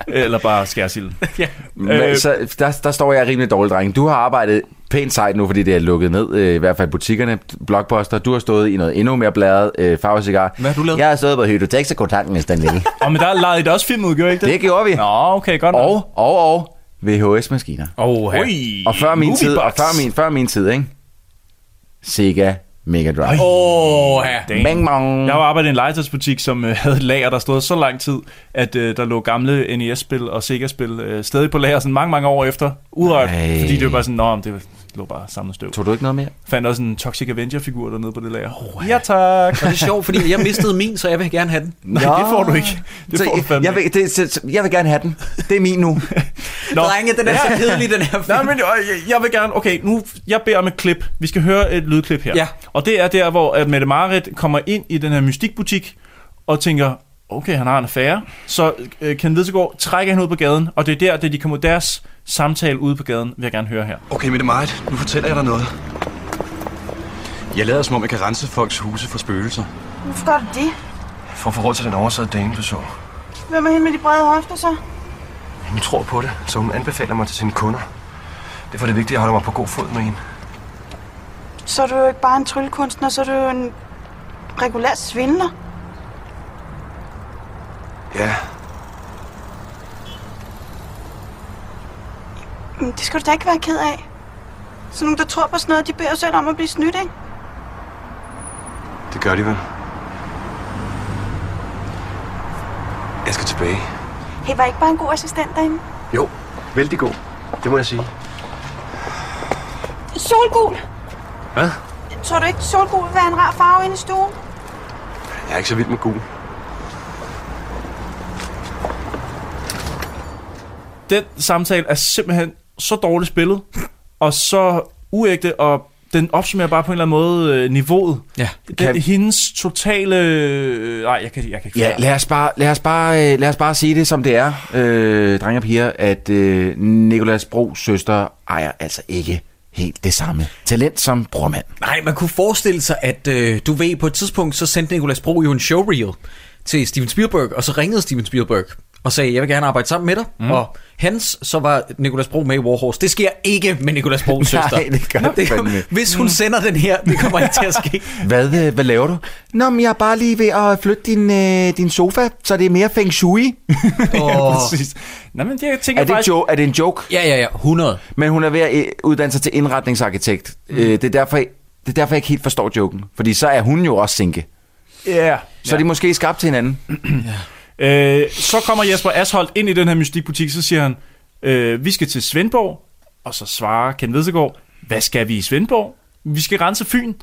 Eller bare skærsilden. ja.
Men, så, der, der står jeg rimelig dårligt, dreng. Du har arbejdet pænt sejt nu, fordi det er lukket ned, øh, i hvert fald butikkerne, blockbuster. Du har stået i noget endnu mere bladet, øh, farvecigar. Hvad har du lavet? Jeg har stået på Hydotexa-kontakten med Stan Lille.
Og men der lejede I da også film ud, gjorde I ikke det?
Det gjorde vi.
Nå, okay, godt
Og, og, og VHS-maskiner.
Oha.
Ui,
og før min tid, og
moviebox.
før min, før min tid, ikke? Sega Mega Drive.
Åh,
Damn.
Bang, bang.
Jeg var arbejdet i en legetøjsbutik, som øh, havde et lager, der stod så lang tid, at øh, der lå gamle NES-spil og Sega-spil øh, stadig på lager sådan mange, mange år efter. Udrørt,
Ej.
fordi det var bare sådan, nå, men det lå bare samlet støv.
Tog du ikke noget mere?
Fandt også en Toxic Avenger-figur dernede på det lager. Oh, ja, tak.
Og det er sjovt, fordi jeg mistede min, så jeg vil gerne have den.
Nej, det får du ikke. Det
Så
får du
jeg-
fandme
jeg, vil, det, så, så- jeg vil gerne have den. Det er min nu.
Nå.
Drenge, den er så kedelig, den her film.
Nej, men øh, jeg, jeg vil gerne... Okay, nu... Jeg beder om et klip. Vi skal høre et lydklip her.
Ja.
Og det er der, hvor at Mette Marit kommer ind i den her mystikbutik og tænker, okay, han har en affære. Så øh, Ken Vedsegaard trækker hende ud på gaden, og det er der, det de kommer deres samtale ude på gaden, vil jeg gerne høre her.
Okay, Mette Marit, nu fortæller jeg dig noget. Jeg lader som om, jeg kan rense folks huse for spøgelser.
Hvorfor gør du det?
For at få råd til den oversatte dame, du så.
Hvem er hende med de brede hofter så?
Hun tror på det, så hun anbefaler mig til sine kunder. Derfor er det vigtigt, at jeg holder mig på god fod med hende.
Så er du jo ikke bare en tryllekunstner, så er du jo en regulær svindler.
Ja,
Men det skal du da ikke være ked af. Så nogen, der tror på sådan noget, de beder selv om at blive snydt, ikke?
det gør de vel. Jeg skal tilbage.
Hey, var ikke bare en god assistent derinde?
Jo, vældig god. Det må jeg sige.
Solgul!
Hvad?
Tror du ikke, solgul vil være en rar farve inde i stuen?
Jeg er ikke så vild med gul.
Den samtale er simpelthen så dårligt spillet, og så uægte, og den opsummerer bare på en eller anden måde øh, niveauet.
Ja.
Den,
Kan-
Hendes totale... øh, Nej, jeg kan, jeg kan ikke
Ja,
forklare.
lad os, bare, lad, os bare, øh, lad os bare sige det, som det er, øh, drenge og piger, at øh, Nikolas Bros søster ejer altså ikke helt det samme talent som brormand.
Nej, man kunne forestille sig, at øh, du ved, på et tidspunkt, så sendte Nicolas Bro jo en showreel til Steven Spielberg, og så ringede Steven Spielberg og sagde, jeg vil gerne arbejde sammen med dig. Mm. Og hans, så var Nicolas Bro med i Warhorse. Det sker ikke med Nicolas Bros
Nej,
søster.
det gør det fandme.
Hvis hun sender den her, det kommer ikke til at ske.
Hvad, øh, hvad laver du? Nå, men jeg er bare lige ved at flytte din, øh, din sofa, så det er mere feng shui.
ja, præcis. Nå, men jeg tænker
Er det,
faktisk...
jo, er det en joke?
Ja, ja, ja. 100.
Men hun er ved at øh, uddanne sig til indretningsarkitekt. Mm. Øh, det, er derfor, det er derfor, jeg ikke helt forstår joken. Fordi så er hun jo også sinke.
Ja.
Så er de måske skabt til hinanden.
Øh, så kommer Jesper Asholdt ind i den her mystikbutik, så siger han, øh, vi skal til Svendborg, og så svarer Ken Vedsegaard, hvad skal vi i Svendborg? Vi skal rense Fyn.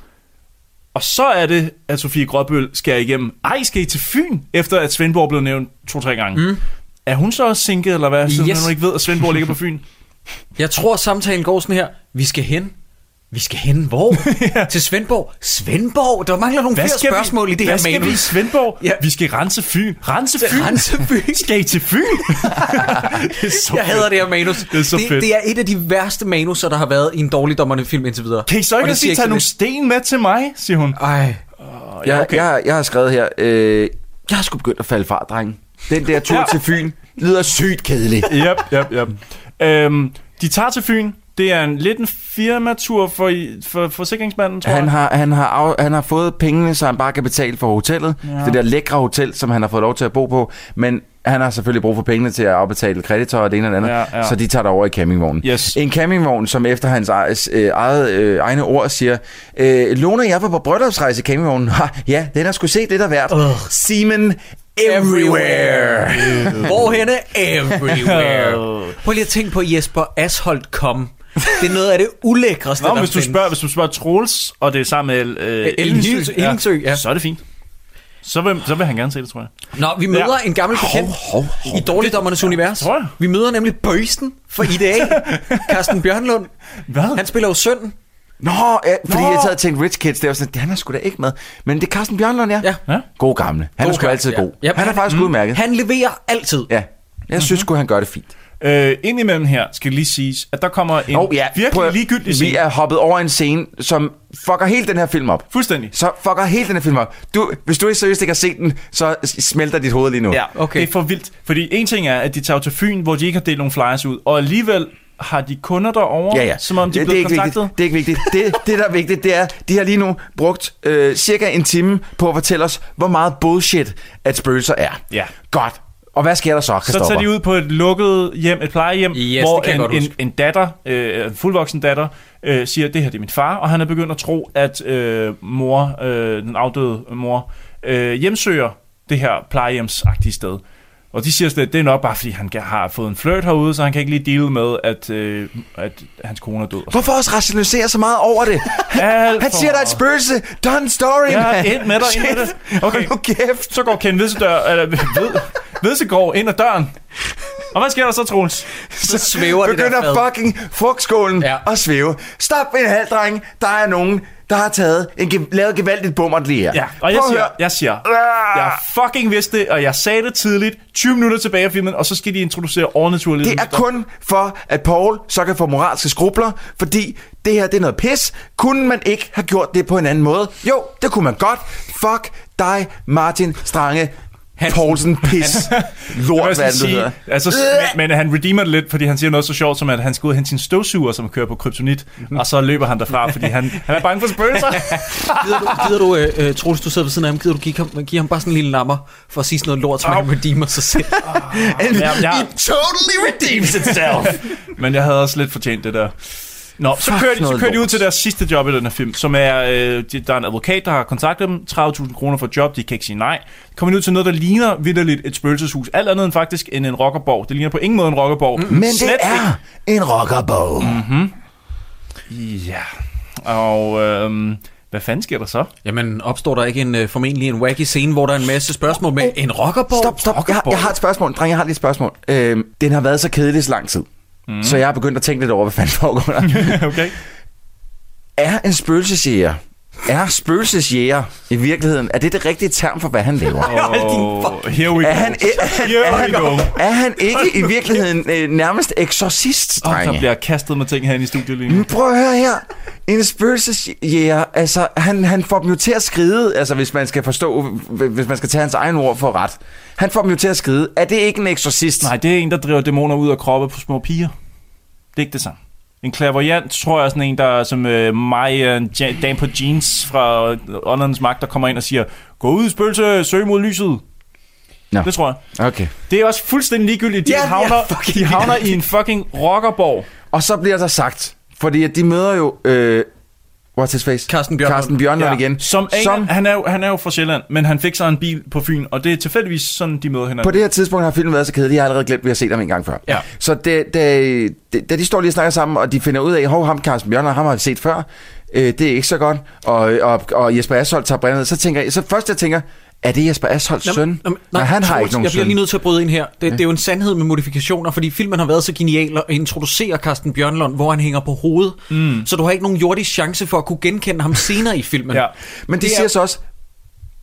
Og så er det, at Sofie Gråbøl skærer igennem, ej, skal I til Fyn? Efter at Svendborg blev nævnt to-tre gange. Mm. Er hun så også sinket, eller hvad? Siden
Yes.
yes. hun ikke ved, at Svendborg ligger på Fyn.
Jeg tror, samtalen går sådan her. Vi skal hen. Vi skal hen hvor? ja. Til Svendborg. Svendborg? Der mangler nogle
Hvad
flere
skal vi-
spørgsmål i det
hvad
her
skal
manus.
vi i Svendborg? Ja. Vi skal rense Fyn. Rense Fyn?
Rense Fyn.
skal I til Fyn? det er så
Jeg
fedt.
hader det her manus. Det
er så
det,
fedt.
det er et af de værste manuser, der har været i en dårligdommerne film indtil videre.
Kan I så
Og
ikke
det
også lige
siger
tage nogle
ikke så
sten med til mig, siger hun.
Ej.
Oh,
Jeg, okay. jeg, jeg har skrevet her, øh, jeg har sgu begyndt at falde fra, drenge. Den der tur
Ja.
til Fyn lyder sygt kedelig.
yep, yep, yep. Øhm, de tager til Fyn. Det er en lidt en firmatur for, i- for forsikringsmanden, tror
Han
jeg.
har, han, har af, han har fået pengene, så han bare kan betale for hotellet.
Ja.
Ja. Det der lækre hotel, som han har fået lov til at bo på. Men han har selvfølgelig brug for pengene til at afbetale kreditorer og det ene og det andet.
Ja, ja.
Så de tager derover i campingvognen.
Yes.
En campingvogn, som efter hans eget, øh, eget, øh, egne ord siger, øh, Lone og jeg var på bryllupsrejse i campingvognen. Ha, ja, den har skulle se det der værd. Semen everywhere.
Hvorhenne? Everywhere. Prøv lige at tænke på Jesper Asholdt kom. Det er noget af det ulækreste,
Nå,
der
hvis du,
findes.
spørger, hvis du spørger Troels, og det er sammen med øh,
Ellingsø, Ellingsø, ja.
så er det fint. Så vil, så vil han gerne se det, tror jeg.
Nå, vi møder
Ja.
ja. en gammel bekendt
hov, hov.
i Dårligdommernes Univers.
Tror jeg.
Vi møder nemlig Bøjsten fra IDA, Carsten Bjørnlund.
Hvad?
Han spiller jo sønnen.
Nå, ja, fordi
Nå.
Nå. jeg sad og tænkte Rich Kids, det var sådan, han er sgu da ikke med. Men det er Carsten Bjørnlund, ja.
Ja.
God gamle. Han god er sgu
gamle,
altid
ja.
god. Ja.
Jamen,
han er
han-
faktisk
mm.
udmærket.
Han leverer altid.
Ja, jeg synes
Mhm.
sgu, han gør det fint.
Øh, indimellem her skal lige siges, at der kommer en
Nå, ja,
virkelig
prøv at-
ligegyldig
Vi
scene.
er hoppet over en scene, som fucker hele den her film op.
Fuldstændig.
Så fucker hele den her film op. Du, hvis du ikke seriøst ikke har set den, så s- smelter dit hoved lige nu.
Ja, okay. Det er for vildt. Fordi en ting er, at de tager jo til Fyn, hvor de ikke har delt nogen flyers ud, og alligevel har de kunder derovre,
Ja, ja.
som om de er
det, det, er
blevet
ikke
kontaktet.
vigtigt. det er ikke vigtigt. Det, det, der er vigtigt, det er, de har lige nu brugt øh, cirka en time på at fortælle os, hvor meget bullshit, at spøgelser er.
Ja.
Godt. Og hvad sker der så,
Så
Christoffer?
tager de ud på et lukket hjem, et plejehjem,
det
hvor
kan jeg godt
en, en,
huske.
en datter, øh, en fuldvoksen datter, øh, siger, det her det er min far, og han er begyndt at tro, at øh, mor, øh, den afdøde mor, øh, hjemsøger det her plejehjemsagtige sted. Og de siger slet, at det er nok bare, fordi han har fået en flirt herude, så han kan ikke lige deal med, at, øh, at hans kone er død.
Hvorfor også rationalisere så meget over det?
Han,
Han siger, der er et spøgelse. Done story,
Ja,
mand.
ind med dig, ind med
Shit.
dig. Okay.
Hold nu kæft.
Så går Ken Vedsedør, eller ved, Vedsegaard ind ad døren. Og hvad sker der så, Troels?
Så svæver det der
Begynder
fad.
fucking frugtskålen
Ja.
ja. at svæve. Stop en halv, dreng. Der er nogen, der har taget en ge- lavet gevaldigt bummert lige her.
Ja, og jeg
Prøv at
siger,
høre.
jeg siger, jeg fucking vidste det, og jeg sagde det tidligt, 20 minutter tilbage af filmen, og så skal de introducere overnaturlige
Det er
lyster.
kun for, at Paul så kan få moralske skrubler, fordi det her det er noget pis. Kunne man ikke have gjort det på en anden måde? Jo, det kunne man godt. Fuck dig, Martin Strange.
Hansen.
Poulsen, pis,
Hvad skal
lort, hvad
jeg
det nu hedder. Øh.
sige? Altså, men, men han redeemer det lidt, fordi han siger noget så sjovt, som at han skal ud og hente sin støvsuger, som kører på kryptonit,
Mhm.
og så løber han derfra, fordi han, han er bange for spøgelser.
Gider du, gider du øh, øh, Troels, du sidder ved siden af ham, gider du give ham, give ham bare sådan en lille lammer for at sige sådan noget lort, så han redeemer sig selv?
And
Ja, ja.
It totally redeems itself.
Men jeg havde også lidt fortjent det der. Nå, så
Fuck
kører, de, så
noget
kører de ud
lort.
til deres sidste job i den her film, som er, øh, de- der er en advokat, der har kontaktet dem, 30.000 kroner for et job, de kan ikke sige nej. Kommer de ud til noget, der ligner vidderligt et spøgelseshus, alt andet end faktisk end en rockerborg. Det ligner på ingen måde en rockerborg. Mm,
Men det er en rockerbog.
Ja, og øhm, hvad fanden sker der så?
Jamen, opstår der ikke en øh, formentlig en wacky scene, hvor der er en masse spørgsmål med en rockerborg?
Stop, stop. Jeg, har- jeg har et spørgsmål. Dreng, jeg har lige et spørgsmål. Øhm, den har været så kedelig så lang tid. Mm. Så jeg er begyndt at tænke lidt over, hvad fanden foregår der.
okay.
Er en spøgelsesjæger, er spøgelsesjæger i virkeligheden, er det det rigtige term for, hvad han laver?
Oh, here we go.
Er han, er, han, er,
Here we
han,
go.
er han ikke i virkeligheden øh, nærmest eksorcist,
Oh, der
drenge?
bliver kastet med ting herinde i studiet lige nu.
Men prøv at høre her. En spøgelsesjæger, altså, han, han får dem jo til at skride, altså, hvis man skal forstå, hvis man skal tage hans egen ord for ret. Han får dem jo til at skride. Er det ikke en eksorcist?
Nej, det er en, der driver dæmoner ud af kroppe på små piger. Det er ikke det samme. En clairvoyant, tror jeg, er sådan en, der er som øh, mig, en ja, dame på jeans fra øh, Åndernes Magt, der kommer ind og siger, gå ud, spøgelse, søg mod lyset.
Nå.
Det tror jeg.
Okay.
Det er også fuldstændig ligegyldigt. De,
Ja,
ja,
det er
havner,
fucking
de havner i
ligegyldigt.
en fucking rockerborg.
Og så bliver der sagt, fordi at de møder jo... Øh, what's his face? Carsten Bjørn. Carsten Bjørnlund ja. igen.
Som, som... Han, er jo, han er jo fra Sjælland, men han fik sig en bil på Fyn, og det er tilfældigvis sådan, de møder hinanden.
På det her tidspunkt har filmen været så kedelig, jeg har allerede glemt, at vi har set ham en gang før.
Ja.
Så da, da, da de står lige og snakker sammen, og de finder ud af, hov, ham Carsten Bjørn, ham har vi set før, øh, det er ikke så godt, og, og, og Jesper Ashold tager brindet, så tænker jeg, så først jeg tænker, er det Jesper Asholds søn?
Nå, men-
nej, han har
Troels,
ikke nogen
Jeg bliver
søn.
lige nødt til at bryde ind her. Det,
Ja.
ja. det er jo en sandhed med modifikationer, fordi filmen har været så genial at introducere Carsten Bjørnlund, hvor han hænger på hovedet. Mm. Så du har ikke nogen jordisk chance for at kunne genkende ham senere i filmen. ja.
Men de siger så også,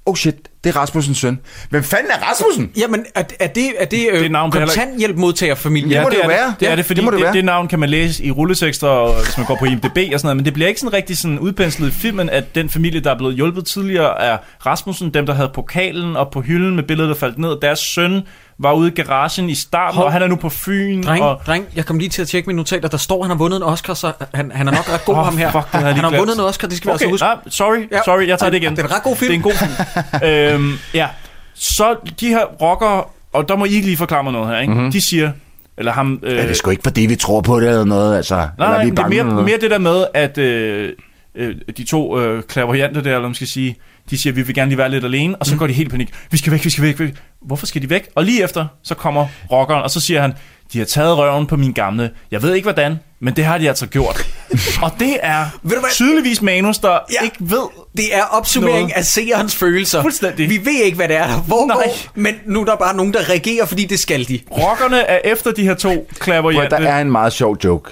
oh shit, det er Rasmussens søn. Hvem fanden er Rasmussen?
Jamen, er, er det, er det, øh,
Det er navn, det er heller ikke-
kontanthjælpmodtagerfamilie?
Ja,
er
er Det, det er det, fordi det,
må
det,
være.
det, navn kan man læse i rulletekster, og hvis man går på IMDb og sådan noget, men det bliver ikke sådan rigtig sådan udpenslet i filmen, at den familie, der er blevet hjulpet tidligere, er Rasmussen, dem der havde pokalen og på hylden med billedet, der faldt ned. Deres søn var ude i garagen i starten,
Hov.
og han er nu på Fyn.
Dreng,
og,
dreng, jeg kom lige til at tjekke mine notater. Der står, at han har vundet en Oscar, så han, han er nok ret god
Åh,
ham her.
fuck, det havde jeg
han
lige
har
glemt.
vundet en Oscar, det skal
okay,
vi altså huske.
Nej, sorry, ja. sorry, jeg tager det igen.
Det er en ret god film.
Det er en god film. øhm, ja. Så de her rockere, og der må I ikke lige forklare mig noget her, ikke?
Mhm.
Mm-hmm. de siger, eller ham... Øh,
Er det sgu ikke, fordi vi tror på det eller noget, altså? eller
Nej,
er
nej,
vi
men det er
bange
mere,
eller noget?
mere det der med, at øh, øh, de to øh, klaverjanter der, eller hvad man skal sige, de siger, vi vil gerne lige være lidt alene, og så mm. går de helt i panik. Vi skal væk, vi skal væk, væk. Hvorfor skal de væk? Og lige efter, så kommer rockeren, og så siger han, de har taget røven på min gamle. Jeg ved ikke hvordan, men det har de altså gjort. og det er tydeligvis manus, der ja. ikke ved
Det er opsummering
Noget.
af seerens følelser.
Fuldstændig.
Vi ved ikke, hvad det er, der foregår, men nu er der bare nogen, der reagerer, fordi det skal de.
Rockerne er efter de her to
Prøv,
klaverjante.
der er en meget sjov joke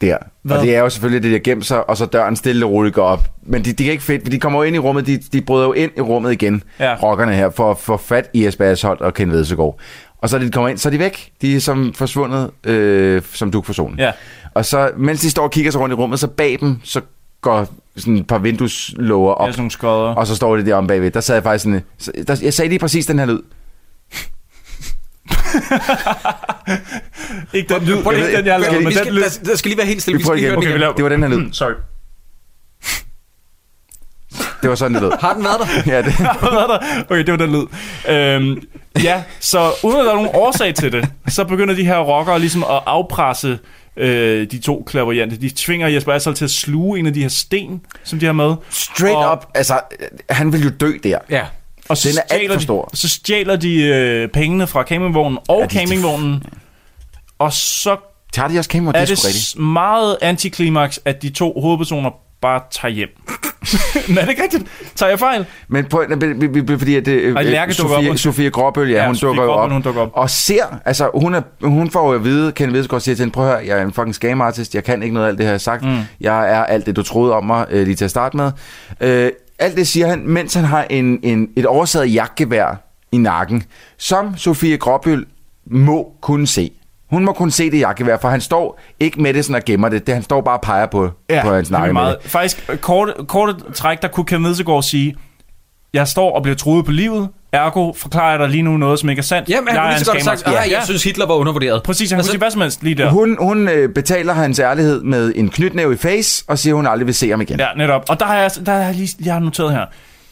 der. Hvad?
Hvad?
Og det er jo selvfølgelig det, der gemt sig, og så døren stille og roligt går op. Men de, de kan ikke fedt, for de kommer jo ind i rummet, de, de bryder jo ind i rummet igen, ja.
Ja.
rockerne her, for at få fat i Jesper Asholdt og Ken Vedsegaard. Og så da de kommer ind, så er de væk. De er som forsvundet, øh, som duk for solen.
Ja.
Og så, mens de står og kigger sig rundt i rummet, så bag dem, så går sådan et par vindueslåger op.
Ja, sådan nogle skodder.
Og så står det der om bagved. Der sad jeg faktisk sådan... øh, Der, jeg sagde lige præcis den her lyd.
Ikke den lyd,
Prøv lige-
ikke den, jeg har
Skal
lavet,
vi-
men
vi
den
skal-
lyd.
der- der skal lige være helt stille.
Vi prøver igen. Okay, vi laver- Det var den her lyd.
Hmm, Sorry.
Det var sådan, det lød.
Har den været der?
ja, det.
Hvad er der? Okay, det var den lyd. Øhm, ja, så uden at der er nogen årsag til det, så begynder de her rockere ligesom at afpresse øh, de to klaverjante. De tvinger Jesper Ashold til at sluge en af de her sten, som de har med.
Straight og, up, altså, øh, han vil jo dø der.
Ja.
Og så
Den er alt
stjæler
for
de-
stor.
Så stjæler de øh, pengene fra campingvognen og campingvognen, og så
Tager de også kamera? Det
er
er
det
sgu rigtigt.
s- meget antiklimaks, at de to hovedpersoner bare tager hjem. Men er det ikke rigtigt? Tager jeg fejl?
Men på, vi- vi- vi- fordi at det, øh,
Ej,
øh,
Lærke dukker op,
Sofie,
undskyld.
Sofie Gråbøl, ja,
Ja,
hun,
Sofie
dukker jo
Gråbøl,
op,
hun dukker op.
Og ser, altså hun, er, hun får jo at vide, Ken Vedsgaard siger til hende, prøv at høre, jeg er en fucking scam artist, jeg kan ikke noget af alt det, jeg har sagt. Mm. Jeg er alt det, du troede om mig øh, lige til at starte med. Øh, alt det siger han, mens han har en, en, et oversaget jagtgevær i nakken, som Sofie Gråbøl må kunne se. Hun må kunne se det jagtgevær, for han står ikke med det sådan og gemmer det. det han står bare og peger på, ja, på hans
det er
nakke med det.
meget, Faktisk, øh, kort, kort træk, der kunne Kevin Vedsegaard sige, jeg står og bliver truet på livet, ergo forklarer jeg dig lige nu noget, som ikke er sandt.
Jamen, han
jeg
kunne lige så godt have sagt, "Ah, jeg synes, Hitler var undervurderet.
Præcis, han altså,
Altså-
kunne sige hvad som helst lige der.
Hun, hun øh, betaler hans ærlighed med en knytnæve i face, og siger, hun aldrig vil se ham igen.
Ja, netop. Og der har jeg, der har jeg lige jeg har noteret her.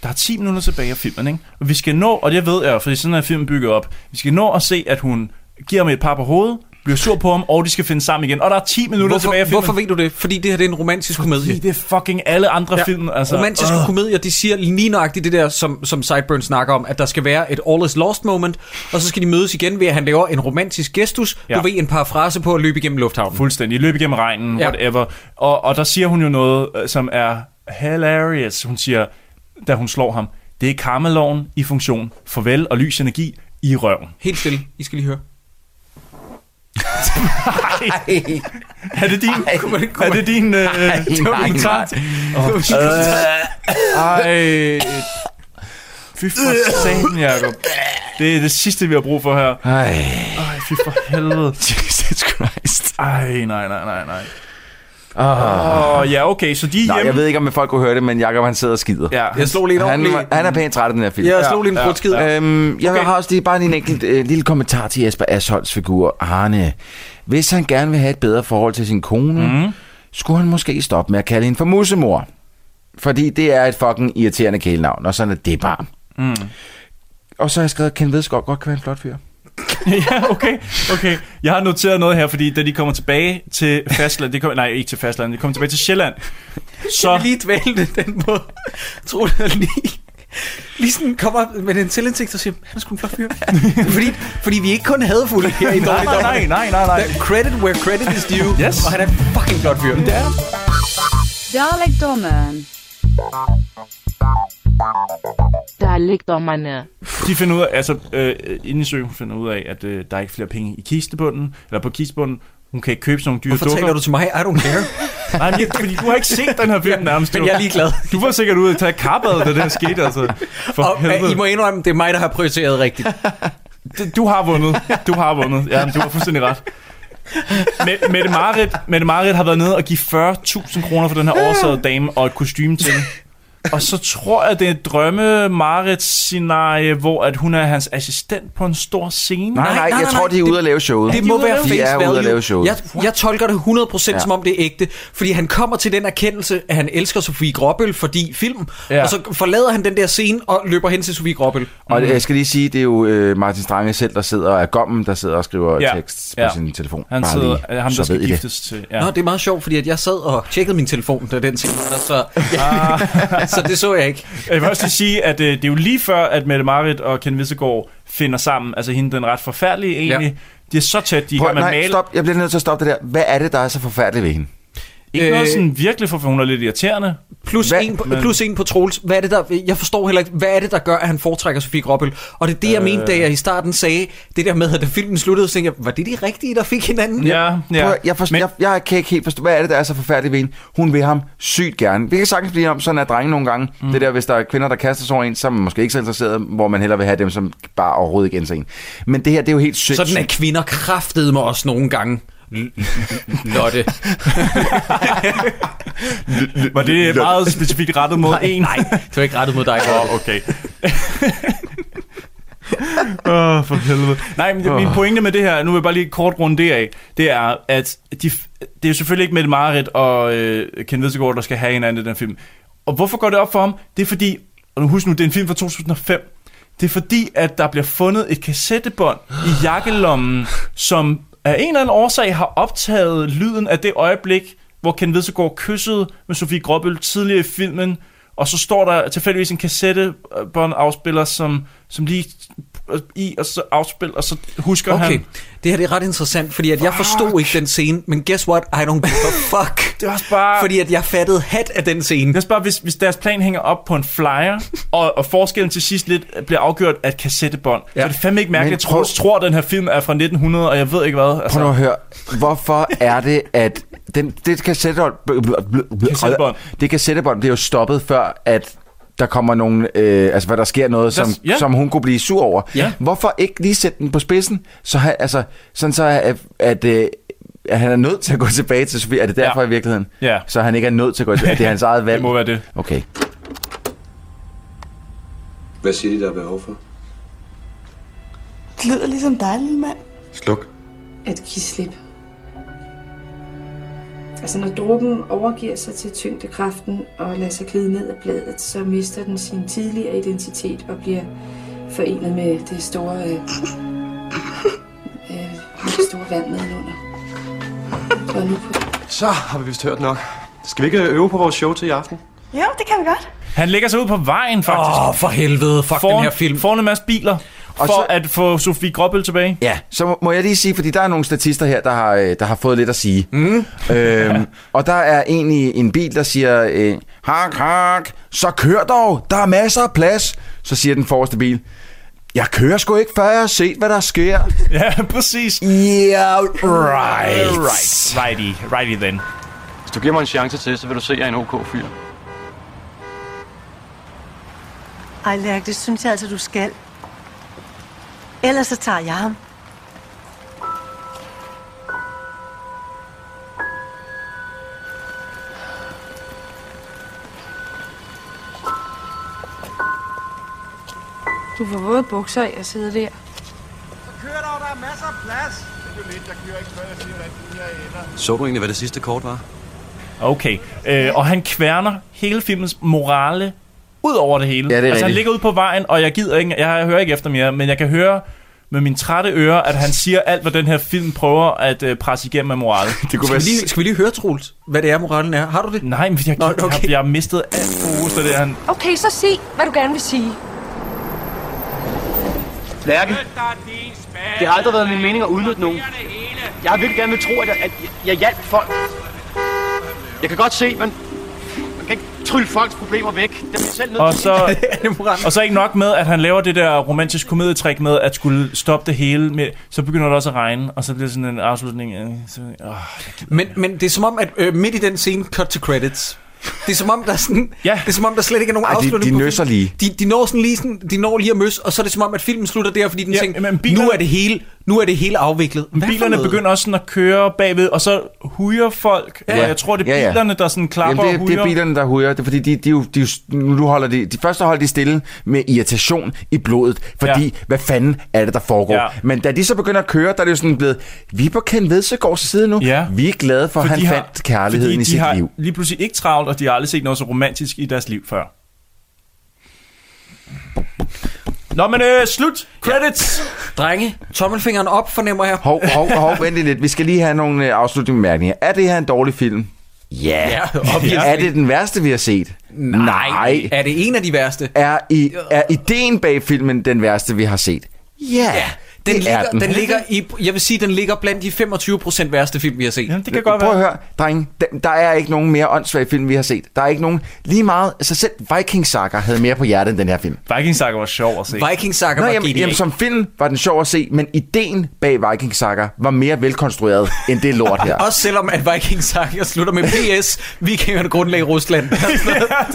Der er 10 minutter tilbage af filmen, ikke? Og vi skal nå, og det ved jeg, jo, fordi sådan er filmen bygget op. Vi skal nå at se, at hun giver ham et par på hovedet, bliver sur på ham, og de skal finde sammen igen. Og der er 10 minutter
Hvorfor,
tilbage af filmen.
hvorfor ved du det? Fordi det her det er en romantisk komedie.
det er fucking alle andre film, altså.
Romantiske
Ugh.
komedier, de siger lige nøjagtigt det der, som, som Sideburn snakker om, at der skal være et all is lost moment, og så skal de mødes igen ved, at han laver en romantisk gestus. Ja.
Ja.
Du ved, en parafrase på at løbe igennem lufthavnen.
Fuldstændig. Løb igennem regnen,
Ja.
ja. whatever. Og, og der siger hun jo noget, øh, som er hilarious. Hun siger, da hun slår ham, det er karmaloven i funktion. Farvel og lys energi i røven.
Helt stille. I skal lige høre.
Nej. Er det din? Kunne man, kunne er det din? Øh, nej,
nej.
Ej. Fy for satan, Jacob. Det er det sidste, vi har brug for her.
Ej.
Ej, fy for helvede.
Jesus Christ.
Ej, nej, nej, nej, nej.
Åh.
Åh, ja, okay, så de er
Nå,
hjemme.
jeg ved ikke, om folk kunne høre det, men Jacob han sidder og skider.
Ja.
Jeg slog lige en
han,
ordentlig-
han er pænt træt af den her film.
Ja, jeg slog lige en Ja, brudskid. ja.
Øhm, jeg okay. har også lige bare lige en enkelt øh, lille kommentar til Jesper Asholds figur, Arne. Hvis han gerne vil have et bedre forhold til sin kone,
Mhm.
mm. skulle han måske stoppe med at kalde hende for musemor. Fordi det er et fucking irriterende kælenavn, og sådan er det bare.
Mm.
Og så har jeg skrevet, at Ken Vedskov godt kan være en flot fyr.
ja, okay, okay. Jeg har noteret noget her, fordi da de kommer tilbage til fastlandet, de kommer, nej, ikke til fastlandet, de kommer tilbage til Sjælland, så... Jeg
lige dvæle det den måde. Tror du, jeg lige... Lige sådan kommer op med en selvindsigt og siger, han skulle en flot fyr. fordi, fordi vi er ikke kun hadfulde her i
Nej,
Dårlig
nej,
Dommerne.
nej, nej, nej.
Der er Credit where credit is due.
Yes.
Og han er en fucking flot fyr.
Det er
Dårligdommeren. Dårligdommerne.
De finder ud af, altså øh, inden i søen, hun finder ud af, at øh, der er ikke flere penge i kistebunden, eller på kistebunden. Hun kan ikke købe sådan nogle dyre
Hvorfor
dukker.
taler du til mig? I don't care.
Nej, men jeg, fordi du har ikke set den her film nærmest.
men
jo.
jeg er ligeglad.
Du var sikkert ude og tage karbadet, da det her skete, altså. For
og
helvede.
I må indrømme, det er mig, der har prioriteret rigtigt.
Det- Du har vundet. Du har vundet. Ja, men du har fuldstændig ret. Me- Mette Marit, Mette Marit har været nede og give 40.000 kroner for den her oversatte dame og et kostume til hende. Og så tror jeg, det er et drømme Marits scenarie, hvor at hun er hans assistent på en stor scene.
Nej, nej, nej, jeg tror, de er ude at lave showet.
Det må
De er
være
ude at lave-
face
De er ude at
value.
lave showet.
Jeg, jeg tolker det 100% ja. som
Ja.
om det er ægte, fordi han kommer til den erkendelse, at han elsker Sofie Gråbøl, fordi film, ja.
Ja.
og så forlader han den der scene og løber hen til Sofie Gråbøl.
Og jeg skal lige sige, det er jo øh, Martin Strange selv, der sidder og er gommen, der sidder og skriver ja. tekst på ja. sin telefon.
Han
Bare
sidder-
lige,
ham,
så
der skal
ved I det.
giftes
til.
Ja. Nå, det er meget sjovt, fordi at jeg sad og tjekkede min telefon, da den scene var der, så, ja.
Ah.
så det så jeg ikke.
Jeg vil også lige sige, at øh, det er jo lige før, at Mette Marit og Ken Vissegaard finder sammen. Altså hende, den ret forfærdelige egentlig. Ja. De er så tæt, de er i
Prøv,
gang med at
nej,
male.
stop. Jeg bliver nødt til at stoppe det der. Hvad er det, der er så forfærdeligt ved hende?
Ikke øh, noget sådan virkelig for, for hun er lidt irriterende.
Plus, en på,
Men-
plus en på Troels. Hvad er det, der, jeg forstår heller ikke, hvad er det, der gør, at han foretrækker Sofie Gråbøl? Og det er det, jeg øh.
Øh.
mente, da jeg i starten sagde, det der med, at da filmen sluttede, så tænkte jeg, var det de rigtige, der fik hinanden?
Prøv, at- jeg, forst- men... jeg, jeg kan ikke helt forstå, hvad er det, der er så forfærdeligt ved hende? Hun vil ham sygt gerne. Vi kan sagtens blive om, sådan er drenge nogle gange. Mm. Det der, hvis der er kvinder, der kaster sig over en, som måske ikke er så interesseret, hvor man hellere vil have dem, som bare overhovedet ikke indser en. Men det her, det er jo helt sygt.
Sådan er kvinder kraftede mig også nogle gange. Lotte.
Var det meget specifikt rettet mod en? Nej,
det var ikke rettet mod dig.
Åh, oh, okay. Åh, oh, for helvede. Nej, men det, min
Åh.
pointe med det her, nu vil jeg bare lige kort runde det af, det er, at de, f- det er jo selvfølgelig ikke Mette Marit og øh, Ken Vedsegaard, der skal have hinanden i den film. Og hvorfor går det op for ham? Det er fordi, og nu husk nu, det er en film fra 2005, det er fordi, at der bliver fundet et kassettebånd i jakkelommen, som af en eller anden årsag har optaget lyden af det øjeblik, hvor Ken Vedsegaard kyssede med Sofie Gråbøl tidligere i filmen, og så står der tilfældigvis en kassettebånd afspiller, som, som lige i, og så afspiller, og så husker
Okay,
han...
det her det er ret interessant, fordi at jeg forstod ikke den scene, men guess what? I don't give a fuck.
det var bare...
Fordi at jeg fattede hat af den scene.
Det er bare, hvis, hvis deres plan hænger op på en flyer, og, og forskellen til sidst lidt bliver afgjort af et kassettebånd. Ja. Så er det er fandme ikke mærkeligt,
Men
at Troels tror, at den her film er fra 1900, og jeg ved ikke hvad. Altså,
Prøv nu at høre, hvorfor er det, at den, det kassettebånd, bl- bl- bl- bl-
Kassettebånd.
det kassettebånd bliver jo stoppet før, at der kommer nogle, øh, altså hvad der sker noget, som,
ja.
ja. som hun kunne blive sur over.
Ja.
Hvorfor ikke lige sætte den på spidsen, så han, altså, sådan så at, at, øh, at han er nødt til at gå tilbage til Sofie. Er det derfor ja. i virkeligheden?
Ja.
Så han ikke er nødt til at gå tilbage. Er det hans eget valg? Det må
være det.
Okay.
Hvad siger de, der er behov for?
Det lyder ligesom dig, lille mand.
Sluk.
At give slip. Altså når dråben overgiver sig til tyngdekraften og lader sig glide ned ad bladet, så mister den sin tidligere identitet og bliver forenet med det store, øh, øh, med det store vand nedenunder. Og nu på
Så har vi vist hørt nok. Skal vi ikke øve på vores show til i aften?
Jo, det kan vi godt.
Han lægger sig ud på vejen, faktisk.
Åh, oh, for helvede. Fuck
foran,
den her film.
Foran en masse biler, for
så-
så, at få Sofie Gråbøl tilbage.
Ja, så må- må jeg lige sige, fordi der er nogle statister her, der har, øh, der har fået lidt at sige. Mm. Øhm, og der er en i en bil, der siger, øh, hak, hak, så kør dog, der er masser af plads. Så siger den forreste bil, Jeg kører sgu ikke, før jeg har set, hvad der sker.
Ja, præcis.
Yeah, right.
Right. Righty. Righty then.
Hvis du giver mig en chance til, så vil du se, at jeg er en ok fyr.
Ej, Lærk, det synes jeg altså, du skal. Ellers så tager jeg ham.
Du får våde bukser af at sidde der.
Kør dog, der er masser af plads. Det er jo lidt, jeg kører ikke før, jeg siger, hvordan den her ender.
Så du egentlig, hvad det sidste kort var?
Okay. Øh, og han kværner hele filmens morale ud over det hele.
Ja, det er
altså, han
rigtigt.
ligger ude på vejen, og jeg gider ikke, jeg hører ikke efter mere, men jeg kan høre med mine trætte ører, at han siger alt, hvad den her film prøver at øh, presse igennem af morale. Det
Skal vi, lige, skal vi lige høre, Troels, hvad det er, moralen er? Har du det?
Nej, men jeg,
Nå, okay.
jeg, jeg har mistet alt fokus, det der. Han,
Okay, så sig, hvad du gerne vil sige.
Lærke, det har aldrig været min mening at udnytte nogen. Jeg har virkelig gerne vil tro, at jeg, at jeg hjalp folk. Jeg kan godt se, men man kan ikke trylle folks problemer væk. Det er jeg selv nødt
Og
til.
så, og så ikke nok med, at han laver det der romantisk komedietrik med at skulle stoppe det hele. Med, så begynder det også at regne, og så bliver det sådan en afslutning. øh, Så, åh,
Men, men det er som om, at øh, midt i den scene, cut to credits. Det er som om, der, er sådan, ja. det er, som om, der slet ikke er nogen
Ej, de-
afslutning
de
på
nøsser
filmen.
lige.
De, de, når sådan lige sådan, de når lige at møs, og så er det som om, at filmen slutter der, fordi den ja,
Ja,
tænker,
men
nu
bilerne-
er det hele, nu er det hele afviklet. Hvad for
bilerne
noget?
begynder også sådan at køre bagved, og så hujer folk. Ja.
Ja.
Og jeg tror, det er
Ja, ja.
bilerne, der sådan klapper
Jamen, det, er-
og
det
hujer.
er bilerne, der hujer. Det er fordi, de, de, er jo- de, er jo- nu holder de, de første holder de stille med irritation i blodet. Fordi, ja. hvad fanden er det, der foregår?
Ja.
Ja. Men da de så begynder at køre, der er det jo sådan blevet, vi er på Ken Vedsegaards side nu.
Ja.
Vi er glade for, at han
de har-
fandt
fordi
kærligheden i
de
sit
har
liv.
lige pludselig ikke travlt, og de har aldrig set noget så romantisk i deres liv før. Nå, men øh, slut. Credits.
Ja. Drenge, tommelfingeren op, fornemmer jeg.
Hov, hov, hov, vent lige lidt. Vi skal lige have nogle øh, afsluttende bemærkninger. Er det her en dårlig film? Ja.
Ja, obviously.
er det den værste, vi har set?
Nej. Er det en af de værste?
Er, i, er ideen bag filmen den værste, vi har set? Ja,
den,
det er
ligger,
den.
den. ligger i, jeg vil sige, den ligger blandt de 25% værste film, vi har set. Jamen,
det kan
Prøv at høre, dreng, der, der er ikke nogen mere åndssvage film, vi har set. Der er ikke nogen, lige meget, altså selv Viking Saga havde mere på hjertet end den her film.
Viking Saga var sjov at se.
Viking Saga
Nå,
var
jamen,
genial.
jamen, som film var den sjov at se, men ideen bag Viking Saga var mere velkonstrueret end det lort her.
Også selvom at Viking Saga slutter med PS, vikingerne grundlagde Rusland. det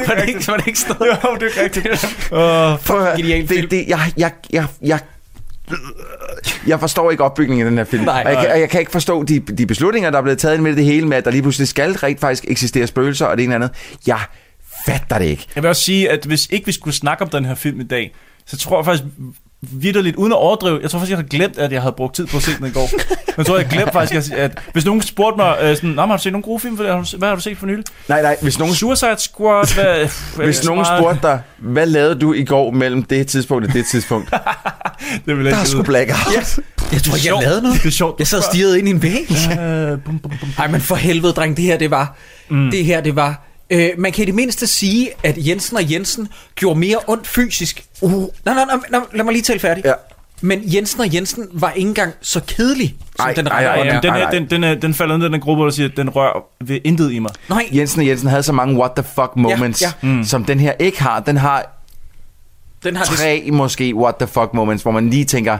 var det ikke, var det ikke sådan noget?
Jo, det er rigtigt.
Prøv at høre, det, det, jeg, jeg, jeg, jeg, jeg forstår ikke opbygningen af den her film.
Nej.
og, jeg, kan- og jeg kan ikke forstå de, de beslutninger, der er blevet taget med det hele, med at der lige pludselig skal rent faktisk eksistere spøgelser og det ene og andet. Jeg fatter det ikke.
Jeg vil også sige, at hvis ikke vi skulle snakke om den her film i dag, så tror jeg faktisk vidderligt, uden at overdrive, jeg tror faktisk, jeg havde glemt, at jeg havde brugt tid på at se den i går. Men jeg tror, jeg glemte faktisk, at, at hvis nogen spurgte mig, øh, sådan, "Nå, men har du set nogle gode film, for det? Har du se- hvad har du set for nylig?
Nej, nej, hvis nogen...
Suicide Squad, hvad,
Hvis nogen spurgte dig, hvad lavede du i går mellem det tidspunkt og det tidspunkt?
det ville
der er sgu blackout.
Ja. Jeg tror ikke, jeg lavede noget.
Det er sjovt.
Jeg sad og stirrede ind i en væg.
Øh,
Nej, men for helvede, dreng, det her, det var. Mm. Det her, det var. Øh, man kan i det mindste sige, at Jensen og Jensen gjorde mere ondt fysisk. Uh. Nej, nej, nej, nej, lad mig lige tale færdig.
Ja.
Men Jensen og Jensen var ikke engang så kedelig, som
Ej,
den
ej,
rette
ej,
ånd
ej,
er.
ej.
Den, her, den, den, er- den falder ned i den gruppe, der siger, at den rører ved intet i mig.
Nej,
Jensen og Jensen havde så mange what the fuck moments,
ja.
ja, ja. Mm. som den her ikke har. Den har
den har det,
tre måske what the fuck moments, hvor man lige tænker,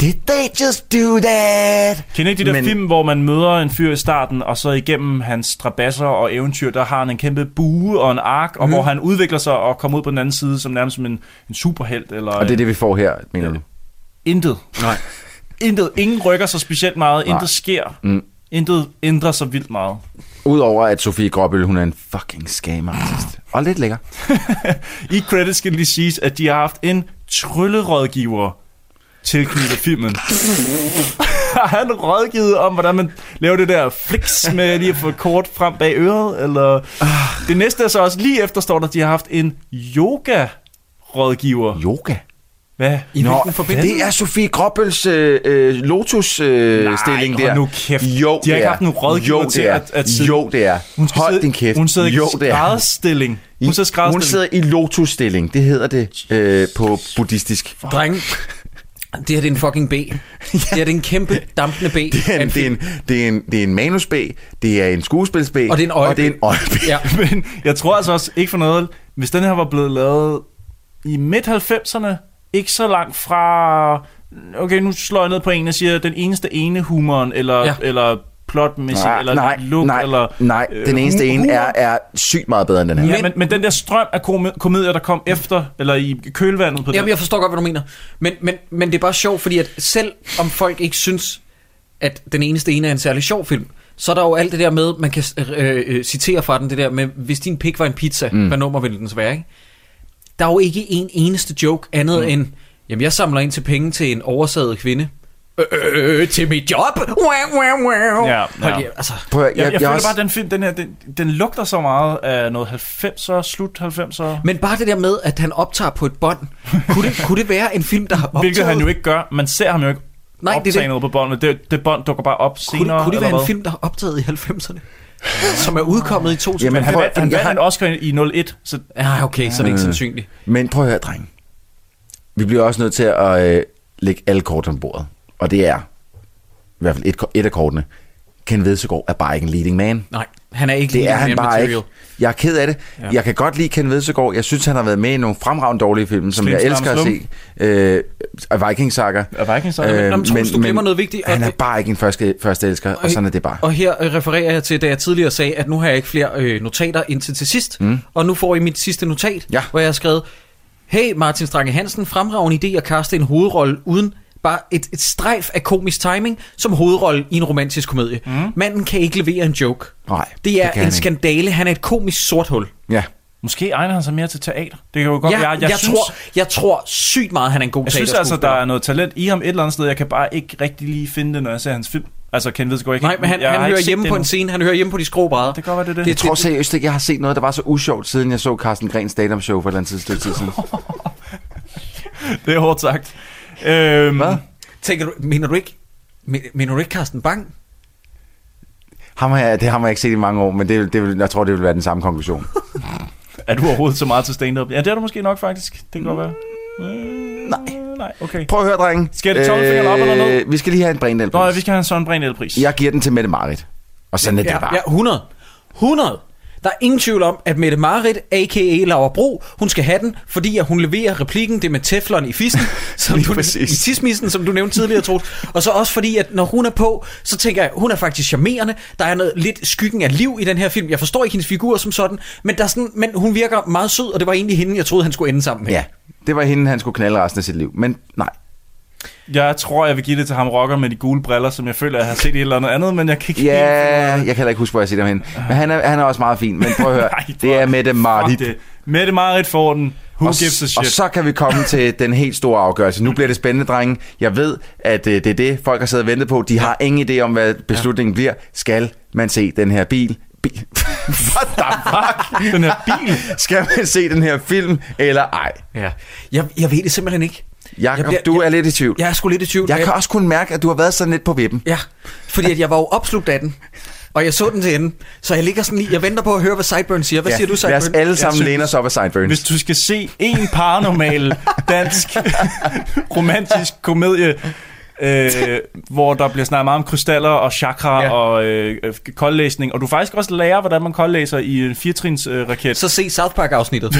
did they just do that?
Kender I de der Men...
Men-
film, hvor man møder en fyr i starten, og så igennem hans strabasser og eventyr, der har han en kæmpe bue og en ark, og mm.
Mhm.
hvor han udvikler sig og kommer ud på den anden side som nærmest som en, en superhelt. Eller
Og det er det, vi får her, mener du?
Intet.
Nej.
Intet. Ingen rykker sig specielt meget. Nej.
Nej.
Intet sker.
Mm.
Intet ændrer sig vildt meget.
Udover at Sofie Gråbøl, hun er en fucking scammer. Og lidt lækker.
I credits skal det lige siges, at de har haft en tryllerådgiver tilknyttet filmen. har han rådgivet om, hvordan man laver det der fliks med lige at få kort frem bag øret? Eller... Det næste er så også, lige efter står der, at de har haft en yoga-rådgiver.
Yoga?
Hvad?
I hvilken forbindelse?
det er Sofie Gråbøls øh, øh, Lotus-stilling øh, stilling
hold
der.
nu kæft.
Jo,
De har
det
ikke
er.
haft nogen rådgiver
jo,
til
det er.
at- at sidde-
Jo, det er.
Hun skal
Hold
sidde-
din kæft.
Hun sidder ikke
jo,
i
det er.
skrædderstilling. Hun sidder i
Hun
skrædderstilling.
sidder i lotus-stilling. Det hedder det øh, på buddhistisk.
dreng. Det her, det er en fucking B. Det her, det er en kæmpe dampende B.
Det er en, det er en, det er en, det er en manus-B, det er en skuespils-B,
Og det er en øje-B.
og det er en øje-B.
Ja.
Men jeg tror altså også, ikke for noget, hvis den her var blevet lavet i midt-90'erne, ikke så langt fra... Okay, nu slår jeg ned på en og siger, den eneste ene humoren, eller, ja. eller plotmæssigt,
Nej,
eller
nej,
look,
nej,
eller... Øh,
nej, den eneste
hu-
ene
humor.
er, er sygt meget bedre end den her.
Ja, men, men den der strøm af kom- komedier, der kom efter, eller i kølvandet på
Jamen,
den.
jeg forstår godt, hvad du mener. Men, men, men det er bare sjovt, fordi at selv om folk ikke synes, at den eneste ene er en særlig sjov film, så er der jo alt det der med, man kan øh, øh, citere fra den, det der med, hvis din pik var en pizza, mm.
Mm.
hvad nummer ville den så være, ikke? Der er jo ikke en eneste joke andet mm. end, jamen jeg samler ind til penge til en oversaget kvinde. Øh, øh, øh, til mit job! Wow, wow, wow.
Ja,
Hold
ja.
i- altså.
Prøv, at-
Jeg, jeg, jeg føler
også-
bare, at den film, den her, den, den lugter så meget af noget 90'er, slut 90'er.
Men bare det der med, at han optager på et bånd, kunne det, kunne det være en film, der har optaget?
Hvilket han jo ikke gør. Man ser ham jo ikke
Nej,
Nej,
det er
optage det
det.
noget på båndet. Det, det bånd dukker bare op senere.
Kunne det, kunne det
eller
være en
hvad?
film, der er optaget i 90'erne? Som er udkommet i 2000?
Jamen, han, vandt- han
jeg
vandt
har-
en Oscar i 01, så...
Ja, okay, så er det ikke
Øh,
sandsynligt.
Men prøv at høre, dreng. Vi bliver også nødt til at øh, lægge alle kortene på bordet. Og det er, i hvert fald et, ko- et af kortene, Ken Vedsegaard er bare ikke en leading man.
Nej, han er ikke
Det er
leading
han
man
bare
material.
ikke. Jeg er ked af det. Ja. Jeg kan godt lide Ken Vedsegaard. Jeg synes, han har været med i nogle fremragende dårlige film, som
Slim,
jeg
Slam,
elsker at
Slum.
se. Øh, Viking Saga. Øh,
Viking Saga. Nå, men
Troels, du glemmer noget vigtigt, og-
Han er bare ikke en første, første elsker, og sådan er det bare.
Og her øh, refererer jeg til, da jeg tidligere sagde, at nu har jeg ikke flere øh, notater indtil til sidst. Mm.
Mm.
Og nu får I mit sidste notat, ja. hvor jeg har skrevet, Hey Martin Strange Hansen, fremragende idé at kaste en hovedrolle uden bare et, et strejf af komisk timing som hovedrolle i en romantisk komedie. Mm. Manden kan ikke levere en joke.
Nej,
Det er
kan
det
han
en
ikke.
skandale. Han er et komisk sort hul.
Ja.
Måske egner han sig mere til teater. Det kan jo godt
Ja,
være. Jeg,
jeg
synes,
tror- jeg tror sygt meget, han er en god
Jeg synes altså, der
teaterskuespiller.
er noget talent i ham et eller andet sted. Jeg kan bare ikke rigtig lige finde det, når jeg ser hans film. Altså, Ken Vedskov, jeg kan
Nej, men han,
jeg
han
har ikke
hører
set
hjemme
det
på
endnu.
en scene. Han hører hjemme på de skrå brædder. Det
kan godt være, det
Jeg tror seriøst ikke, jeg har set noget, der var så usjovt, siden jeg så Carsten Grens stand show for et eller andet tidspunkt tid siden.
Det er hårdt sagt. Øhm, Hvad?
Tænker du, mener du ikke, men- mener du ikke Carsten Bang?
Ham har jeg, det har jeg ikke set i mange år, men det, det, vil- jeg tror, det vil være den samme konklusion.
Er du overhovedet så meget til stand-up? Ja, det er du måske nok faktisk. Det kan godt være. Nej. Nej, okay.
Prøv at høre, drenge. Øh,
Skal det tommelfingeren op eller ned?
Vi skal lige have en Brændal.
Nå, ja, vi skal have en sådan Brændal-pris.
Jeg giver den til Mette Marit. Og sådan er det
ja,
bare.
Ja, 100. 100. Der er ingen tvivl om, at Mette Marit, a.k.a. Laura Bro, hun skal have den, fordi at hun leverer replikken, det med teflon i fissen, som du, i tismissen, som du nævnte tidligere, Troels. Og så også fordi, at når hun er på, så tænker jeg, hun er faktisk charmerende. Der er noget lidt skyggen af liv i den her film. Jeg forstår ikke hendes figur som sådan, men, der er sådan, men hun virker meget sød, og det var egentlig hende, jeg troede, han skulle ende sammen med.
Ja, det var hende, han skulle knalde resten af sit liv. Men nej.
Jeg tror, jeg vil give det til ham rocker med de gule briller, som jeg føler, jeg har set i et eller andet andet, men jeg kan ikke
Ja, jeg kan heller ikke huske, hvor jeg siger hende. Men han er, han er også meget fin. Men prøv at høre,
Nej,
det er Mette Marit.
det. Mette Marit får den. Who
og,
gives a
og
shit?
så kan vi komme til den helt store afgørelse. Nu bliver det spændende, drenge. Jeg ved, at øh, det er det, folk har siddet og ventet på. De har ingen idé om, hvad beslutningen bliver. Skal man se den her bil? bil. What the fuck?
den her bil?
Skal man se den her film, eller ej?
Ja. Jeg, jeg ved det simpelthen ikke.
Jakob,
bliver-
du er lidt i tvivl.
Jeg er sgu lidt i tvivl.
Jeg kan
Jeg-
også kunne mærke, at du har været sådan lidt på vippen.
Ja, fordi at jeg var jo opslugt af den, og jeg så den til enden. Så jeg ligger sådan lige, jeg venter på at høre, hvad Sideburn siger. Hvad
Ja,
siger du, Sideburn?
lad os alle sammen
Jeg synes-
læne os op af Sideburns.
Hvis du skal se en paranormal dansk romantisk komedie, øh, hvor der bliver snakket meget om krystaller og chakra ja. og øh, øh, koldlæsning, og du faktisk også lærer, hvordan man koldlæser i en firtrins øh, raket.
Så se South Park-afsnittet.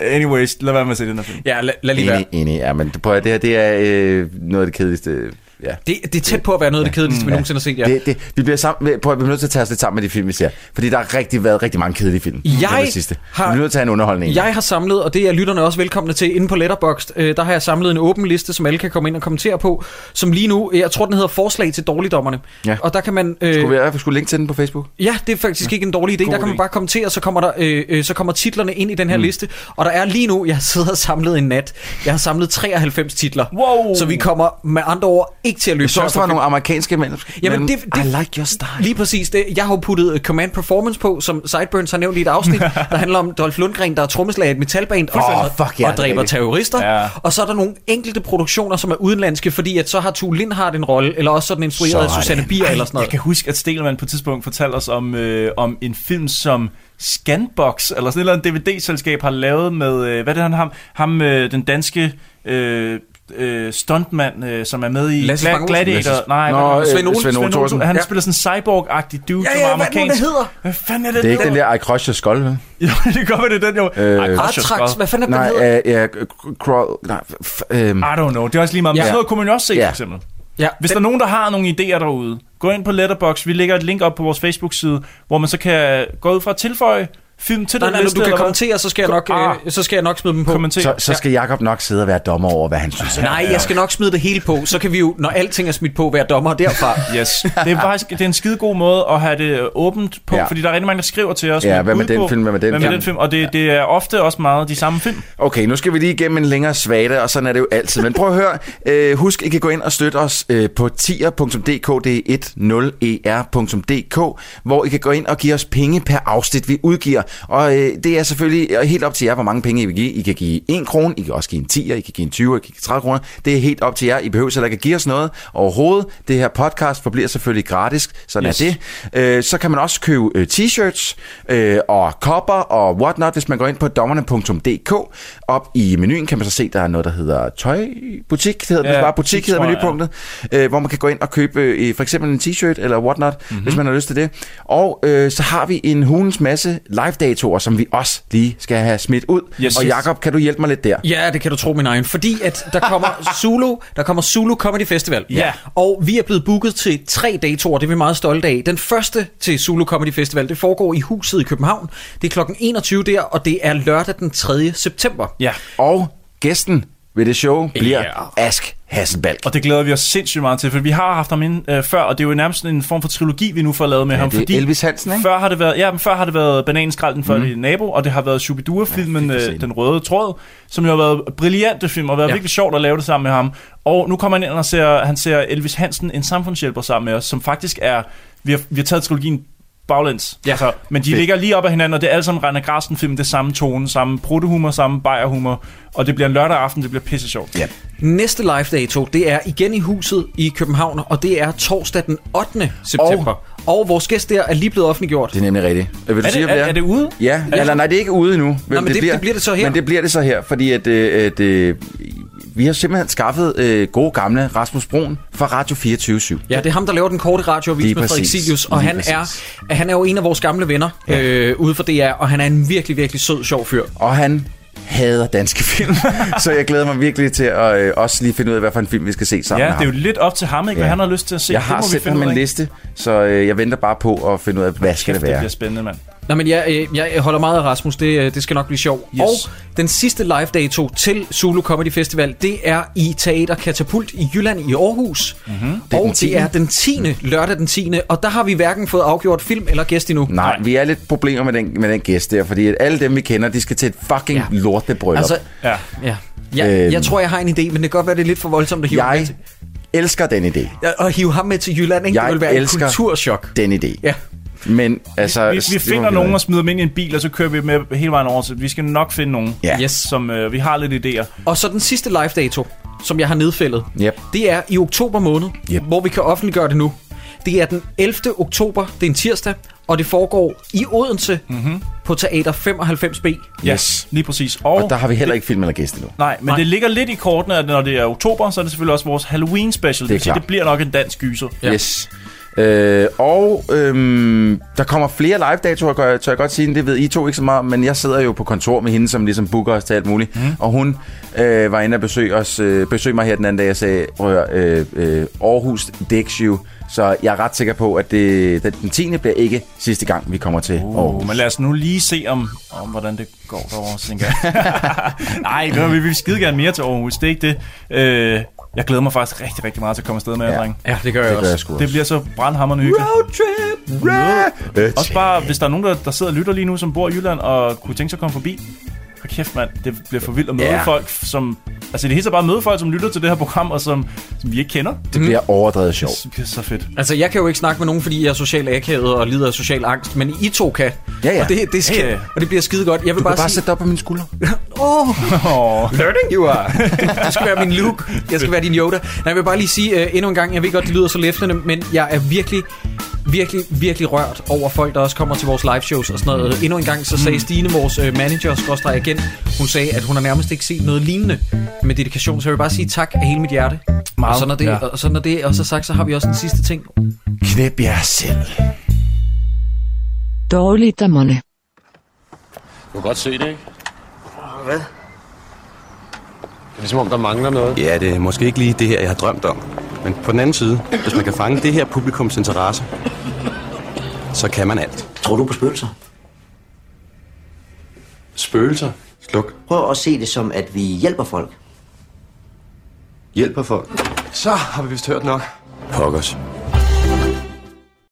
Anyways, lad være med at se den her film.
Ja, lad, lad
Enig, enig. Ja, men prøv at, det her det er øh, noget af det kedeligste. øh, Ja.
Det, det er tæt på at være noget af det kedeligste, vi nogensinde har set, ja.
Det, det, vi, bliver sammen, prøv at, vi bliver nødt til at tage os lidt sammen med de film, vi ser. Fordi der har rigtig været rigtig mange kedelige film.
Jeg
Her på det sidste.
har-
Vi bliver nødt til at have en underholdning. ind.
Jeg øh, har samlet, og det er lytterne også velkomne til, inde på Letterboxd, øh, der har jeg samlet en åben liste, som alle kan komme ind og kommentere på, som lige nu, jeg tror den hedder Forslag til dårligdommerne.
Ja.
Og der kan man... Øh,
Skulle vi skulle linke til den på Facebook?
Ja, det er faktisk ikke en dårlig idé.
God
der kan man
idé.
bare kommentere, så kommer, der, øh, øh, så kommer titlerne ind i den her mm. liste. Og der er lige nu, jeg sidder og samlet en nat, jeg har samlet 93 titler.
Wow.
Så vi kommer med andre ord ikke til at løbe
Jeg så også,
tør
der var
for film.
nogle amerikanske mænd.
Jamen, det, det, I
like your style.
Lige præcis. Det, jeg har jo puttet øh, Command Performance på, som Sideburns har nævnt i et afsnit, der handler om Dolph Lundgren, der er trommeslager i et metalband og,
Åh, fuck ja,
og
det er
dræber
rigtigt.
terrorister.
Ja.
Og så er der nogle enkelte produktioner, som er udenlandske, fordi at så har Tue Lindhardt en rolle, eller også så er den instrueret af Susanne Bier eller sådan noget.
Jeg kan huske, at Stelman på et tidspunkt fortalte os om, øh, om en film, som Scanbox, eller sådan et eller andet DVD-selskab har lavet med, øh, hvad er det han ham, ham øh, den danske øh, øh, stuntmand, øh, som er med i
Lasse Spang
Gla-
Olsen. Lasse-
Gladiator. Nej,
Nå,
hvad hedder han?
øh, Svend Ole Thorsen.
Han
Ja.
spiller sådan en cyborg-agtig dude,
Ja,
som
ja,
er
hvad er det nu,
amerikansk.
det hedder?
Hvad fanden er
Det
det?
er ikke den der I Crush Your Skull, vel?
Jo, det kan godt være, det er den jo.
Øh,
Ej, Crush Your Skull.
nej, hedder? Øh, ja, g- crawl, nej, f- øhm.
I don't know. Det er også lige meget. Men
Ja.
sådan noget kunne man jo også se,
Ja.
for eksempel. Ja, Hvis der er nogen, der har nogle idéer derude, gå ind på Letterbox. Vi lægger et link op på vores Facebook-side, hvor man så kan gå ud fra at tilføje film til
Nej,
den
nej,
liste,
du kan
eller hvad? Ah.
kommentere, så skal jeg nok, øh, så skal jeg nok smide dem på.
Kommentere.
Så, så skal Jakob nok sidde og være dommer over, hvad han synes. er-
Nej, jeg skal nok smide det hele på, så kan vi jo, når alting er smidt på, være dommer derfra.
Yes. Det er faktisk det er en skide god måde at have det øh, åbent på,
Ja.
ja. fordi der er rigtig mange, der skriver til os.
Ja,
et
hvad med
bud
den
på,
film, hvad med den
hvad
film?
Med den film? Og det, det er ofte også meget de samme film.
Okay, nu skal vi lige igennem en længere svada, og sådan er det jo altid. Men prøv at høre, øh, husk, I kan gå ind og støtte os øh, på tier.dk, det er E 10er.dk, hvor I kan gå ind og give os penge per afsnit, vi udgiver. Og øh, det er selvfølgelig øh, helt op til jer, hvor mange penge I vil give. I kan give 1 krone, I kan også give en 10'er, I kan give en 20'er, I kan give 30 kroner. Det er helt op til jer. I behøver heller ikke at give os noget overhovedet. Det her podcast forbliver selvfølgelig gratis, sådan yes.
Yes.
er det. Øh, så kan man også købe øh, t-shirts øh, og kopper og whatnot, hvis man går ind på dommerne.dk. Op i menuen kan man så se, der er noget, der hedder tøjbutik. Det hedder
Ja,
ja, bare butik,
butik,
hedder
tror jeg,
menupunktet. Øh, hvor man kan gå ind og købe øh, for eksempel en t-shirt eller whatnot, mm-hmm. hvis man har lyst til det. Og øh, så har vi en hulens masse live-datoer, som vi også lige skal have smidt ud.
Yes.
Yes, og
Yes.
Jakob, kan du hjælpe mig lidt der?
Ja, det kan du tro min egen, fordi at der kommer Zulu, der kommer Zulu Comedy Festival.
Ja.
Og vi er blevet booket til tre datoer, det er vi meget stolte af. Den første til Zulu Comedy Festival, det foregår i huset i København. Det er klokken 21 der, og det er lørdag den 3. september.
Ja.
Og gæsten ved det show bliver Ask Hasselbalg.
Og det glæder vi os sindssygt meget til, for vi har haft ham ind øh, før, og det er jo nærmest en form for trilogi, vi nu får lavet med
Ja,
ham.
det er
fordi
Elvis Hansen, ikke? Mhm.
Før har det været, ja, men før har det været Bananenskralden for mm. nabo, og det har været Shubidua-filmen øh, Den Røde Tråd, som jo har været brillante film, og været
Ja.
ja. virkelig sjovt at lave det sammen med ham. Og nu kommer han ind og ser, han ser Elvis Hansen, en samfundshjælper sammen med os, som faktisk er, vi har, vi har taget trilogien baglæns. Ja. Altså, men de
Fedt.
ligger lige op ad hinanden, og det er alle sammen Rainer Grasten film, det er samme tone, samme bruttehumor, samme bajerhumor, og det bliver en lørdag aften, det bliver pisse sjovt.
Ja.
Næste live dato, det er igen i huset i København, og det er torsdag den 8. september. Og, og vores gæst der er lige blevet offentliggjort.
Det er nemlig rigtigt. Øh, Vil du
Er det-
sige, hvad
er- er det ude? Er
Ja,
det-
eller nej, det er ikke ude endnu.
men det- det bliver det så her.
Men det bliver det så her, fordi at, øh, at øh, vi har simpelthen skaffet øh, gode gamle Rasmus Broen fra Radio 24
Ja, det er ham, der laver den korte radioavis
Lige
med Frederik
præcis.
Silius, og
Lige
han er, han er jo en af vores gamle venner ja. øh, ude for DR, og han er en virkelig, virkelig sød, sjov fyr.
Og han hader danske film, så jeg glæder mig virkelig til at øh, også lige finde ud af, hvad for en film vi skal se sammen
Ja,
med
det er jo
ham.
lidt op til ham, ikke, hvad han har lyst til at se.
Jeg
Det
har
må vi
sendt
finde
ham
ud
en
af.
liste, så øh, jeg venter bare på at finde ud af, hvad skal det
Kæft, det
være.
bliver spændende, mand.
Nå, men jeg, øh, jeg holder meget af Rasmus, det, øh, det skal nok blive sjovt. Yes. Og den sidste live dato til Zulu Comedy Festival, det er i Teater Katapult i Jylland i Aarhus. Mm-hmm.
Mhm. Det er den
Og det er den 10. lørdag den 10. Og der har vi hverken fået afgjort film eller gæst endnu.
Nej, vi er lidt problemer med den, med den gæst der, fordi at alle dem, vi kender, de skal til et fucking
Ja.
ja. lortebryllup.
Altså, ja. ja. Jeg,
Øhm.
jeg tror, jeg har en idé, men det kan godt være, det er lidt for voldsomt at hive, ham med
jeg
altså-
til,
elsker den idé.
at hive ham med til Jylland. Ikke? det vil være et
elsker
kulturschok.
Den idé.
Ja.
Men altså...
Vi, vi
det må
finder nogen
gøre.
og smider dem ind i en bil, og så kører vi med hele vejen over. Så vi skal nok finde nogen,
Ja.
yes. som øh, vi har lidt idéer.
Og så den sidste live dato, som jeg har nedfældet,
Yep.
det er i oktober måned,
Yep.
hvor vi kan offentliggøre det nu. Det er den 11. oktober, det er en tirsdag, og det foregår i Odense
Mhm.
mm-hmm. på Teater 95B.
Ja,
Yes.
lige præcis. Og,
Og der har vi heller ikke film eller gæst endnu.
Nej, men Nej. det ligger lidt i kortene, at når det er oktober, så er det selvfølgelig også vores Halloween special.
Det er
Det, det,
klart.
det bliver nok en dansk gyser.
Ja. Yes. Øh, og øhm, der kommer flere live-datoer, gør jeg- tør jeg godt sige, det ved I to ikke så meget om, men jeg sidder jo på kontor med hende, som ligesom booker os til alt muligt, mm. og hun øh, var inde og besøge, os, øh, besøge mig her den anden dag, jeg sagde, prøv at høre, øh, øh, Aarhus dæks jo, så jeg er ret sikker på, at det, den 10. bliver ikke sidste gang, vi kommer til Aarhus.
Oh, men lad os nu lige se, om, om hvordan det går derovre, tænker jeg. Nej, nu, vi vil skide gerne mere til Aarhus, det er ikke det. Øh, jeg glæder mig faktisk rigtig, rigtig meget til at komme afsted med jer,
Ja.
drenge.
Ja, det gør jeg
Det gør
også.
jeg sgu også.
Det bliver så brandhammerende hyggeligt.
Roadtrip!
Ra-
Også bare, hvis der er nogen, der, der sidder og lytter lige nu, som bor i Jylland, og kunne tænke sig at komme forbi. Hvor kæft, mand. Det bliver for vildt at møde
Ja.
yeah. folk, som... Altså, det hele taget bare at møde folk, som lytter til det her program, og som, som vi ikke kender.
Det bliver overdrevet sjovt.
Det bliver så fedt.
Altså, jeg kan jo ikke snakke med nogen, fordi jeg er social akavet og lider af social angst, men I to kan.
Ja, ja.
Og det, det, skal,
Ja, ja.
Og det bliver skide godt. Jeg vil
Du
bare,
kan bare
sige,
sætte dig op på min skulder.
Oh.
Learning you are. Du skal være min Luke. øh, Jeg skal være din Yoda. Nej, jeg vil bare lige sige uh, endnu en gang, jeg ved godt, det lyder så læftende, men jeg er virkelig virkelig, virkelig rørt over folk, der også kommer til vores live shows og sådan noget. Endnu en gang så sagde Stine, vores øh, manager, skråstrej igen, hun sagde, at hun har nærmest ikke set noget lignende med dedikation. Så jeg vil bare sige tak af hele mit hjerte.
Meget,
og så når det,
ja.
og så når det også er sagt, så har vi også den sidste ting.
Knep jer selv.
Dårligt dommerne.
Du kan godt se det, ikke?
Hvad?
Det er ligesom om, der mangler noget. Ja, det er måske ikke lige det her, jeg har drømt om. Men på den anden side, hvis man kan fange det her publikums interesse, så kan man alt.
Tror du på spøgelser?
Spøgelser? Sluk.
Prøv at se det som, at vi hjælper folk.
Hjælper folk. Så har vi vist hørt nok. Pokkers.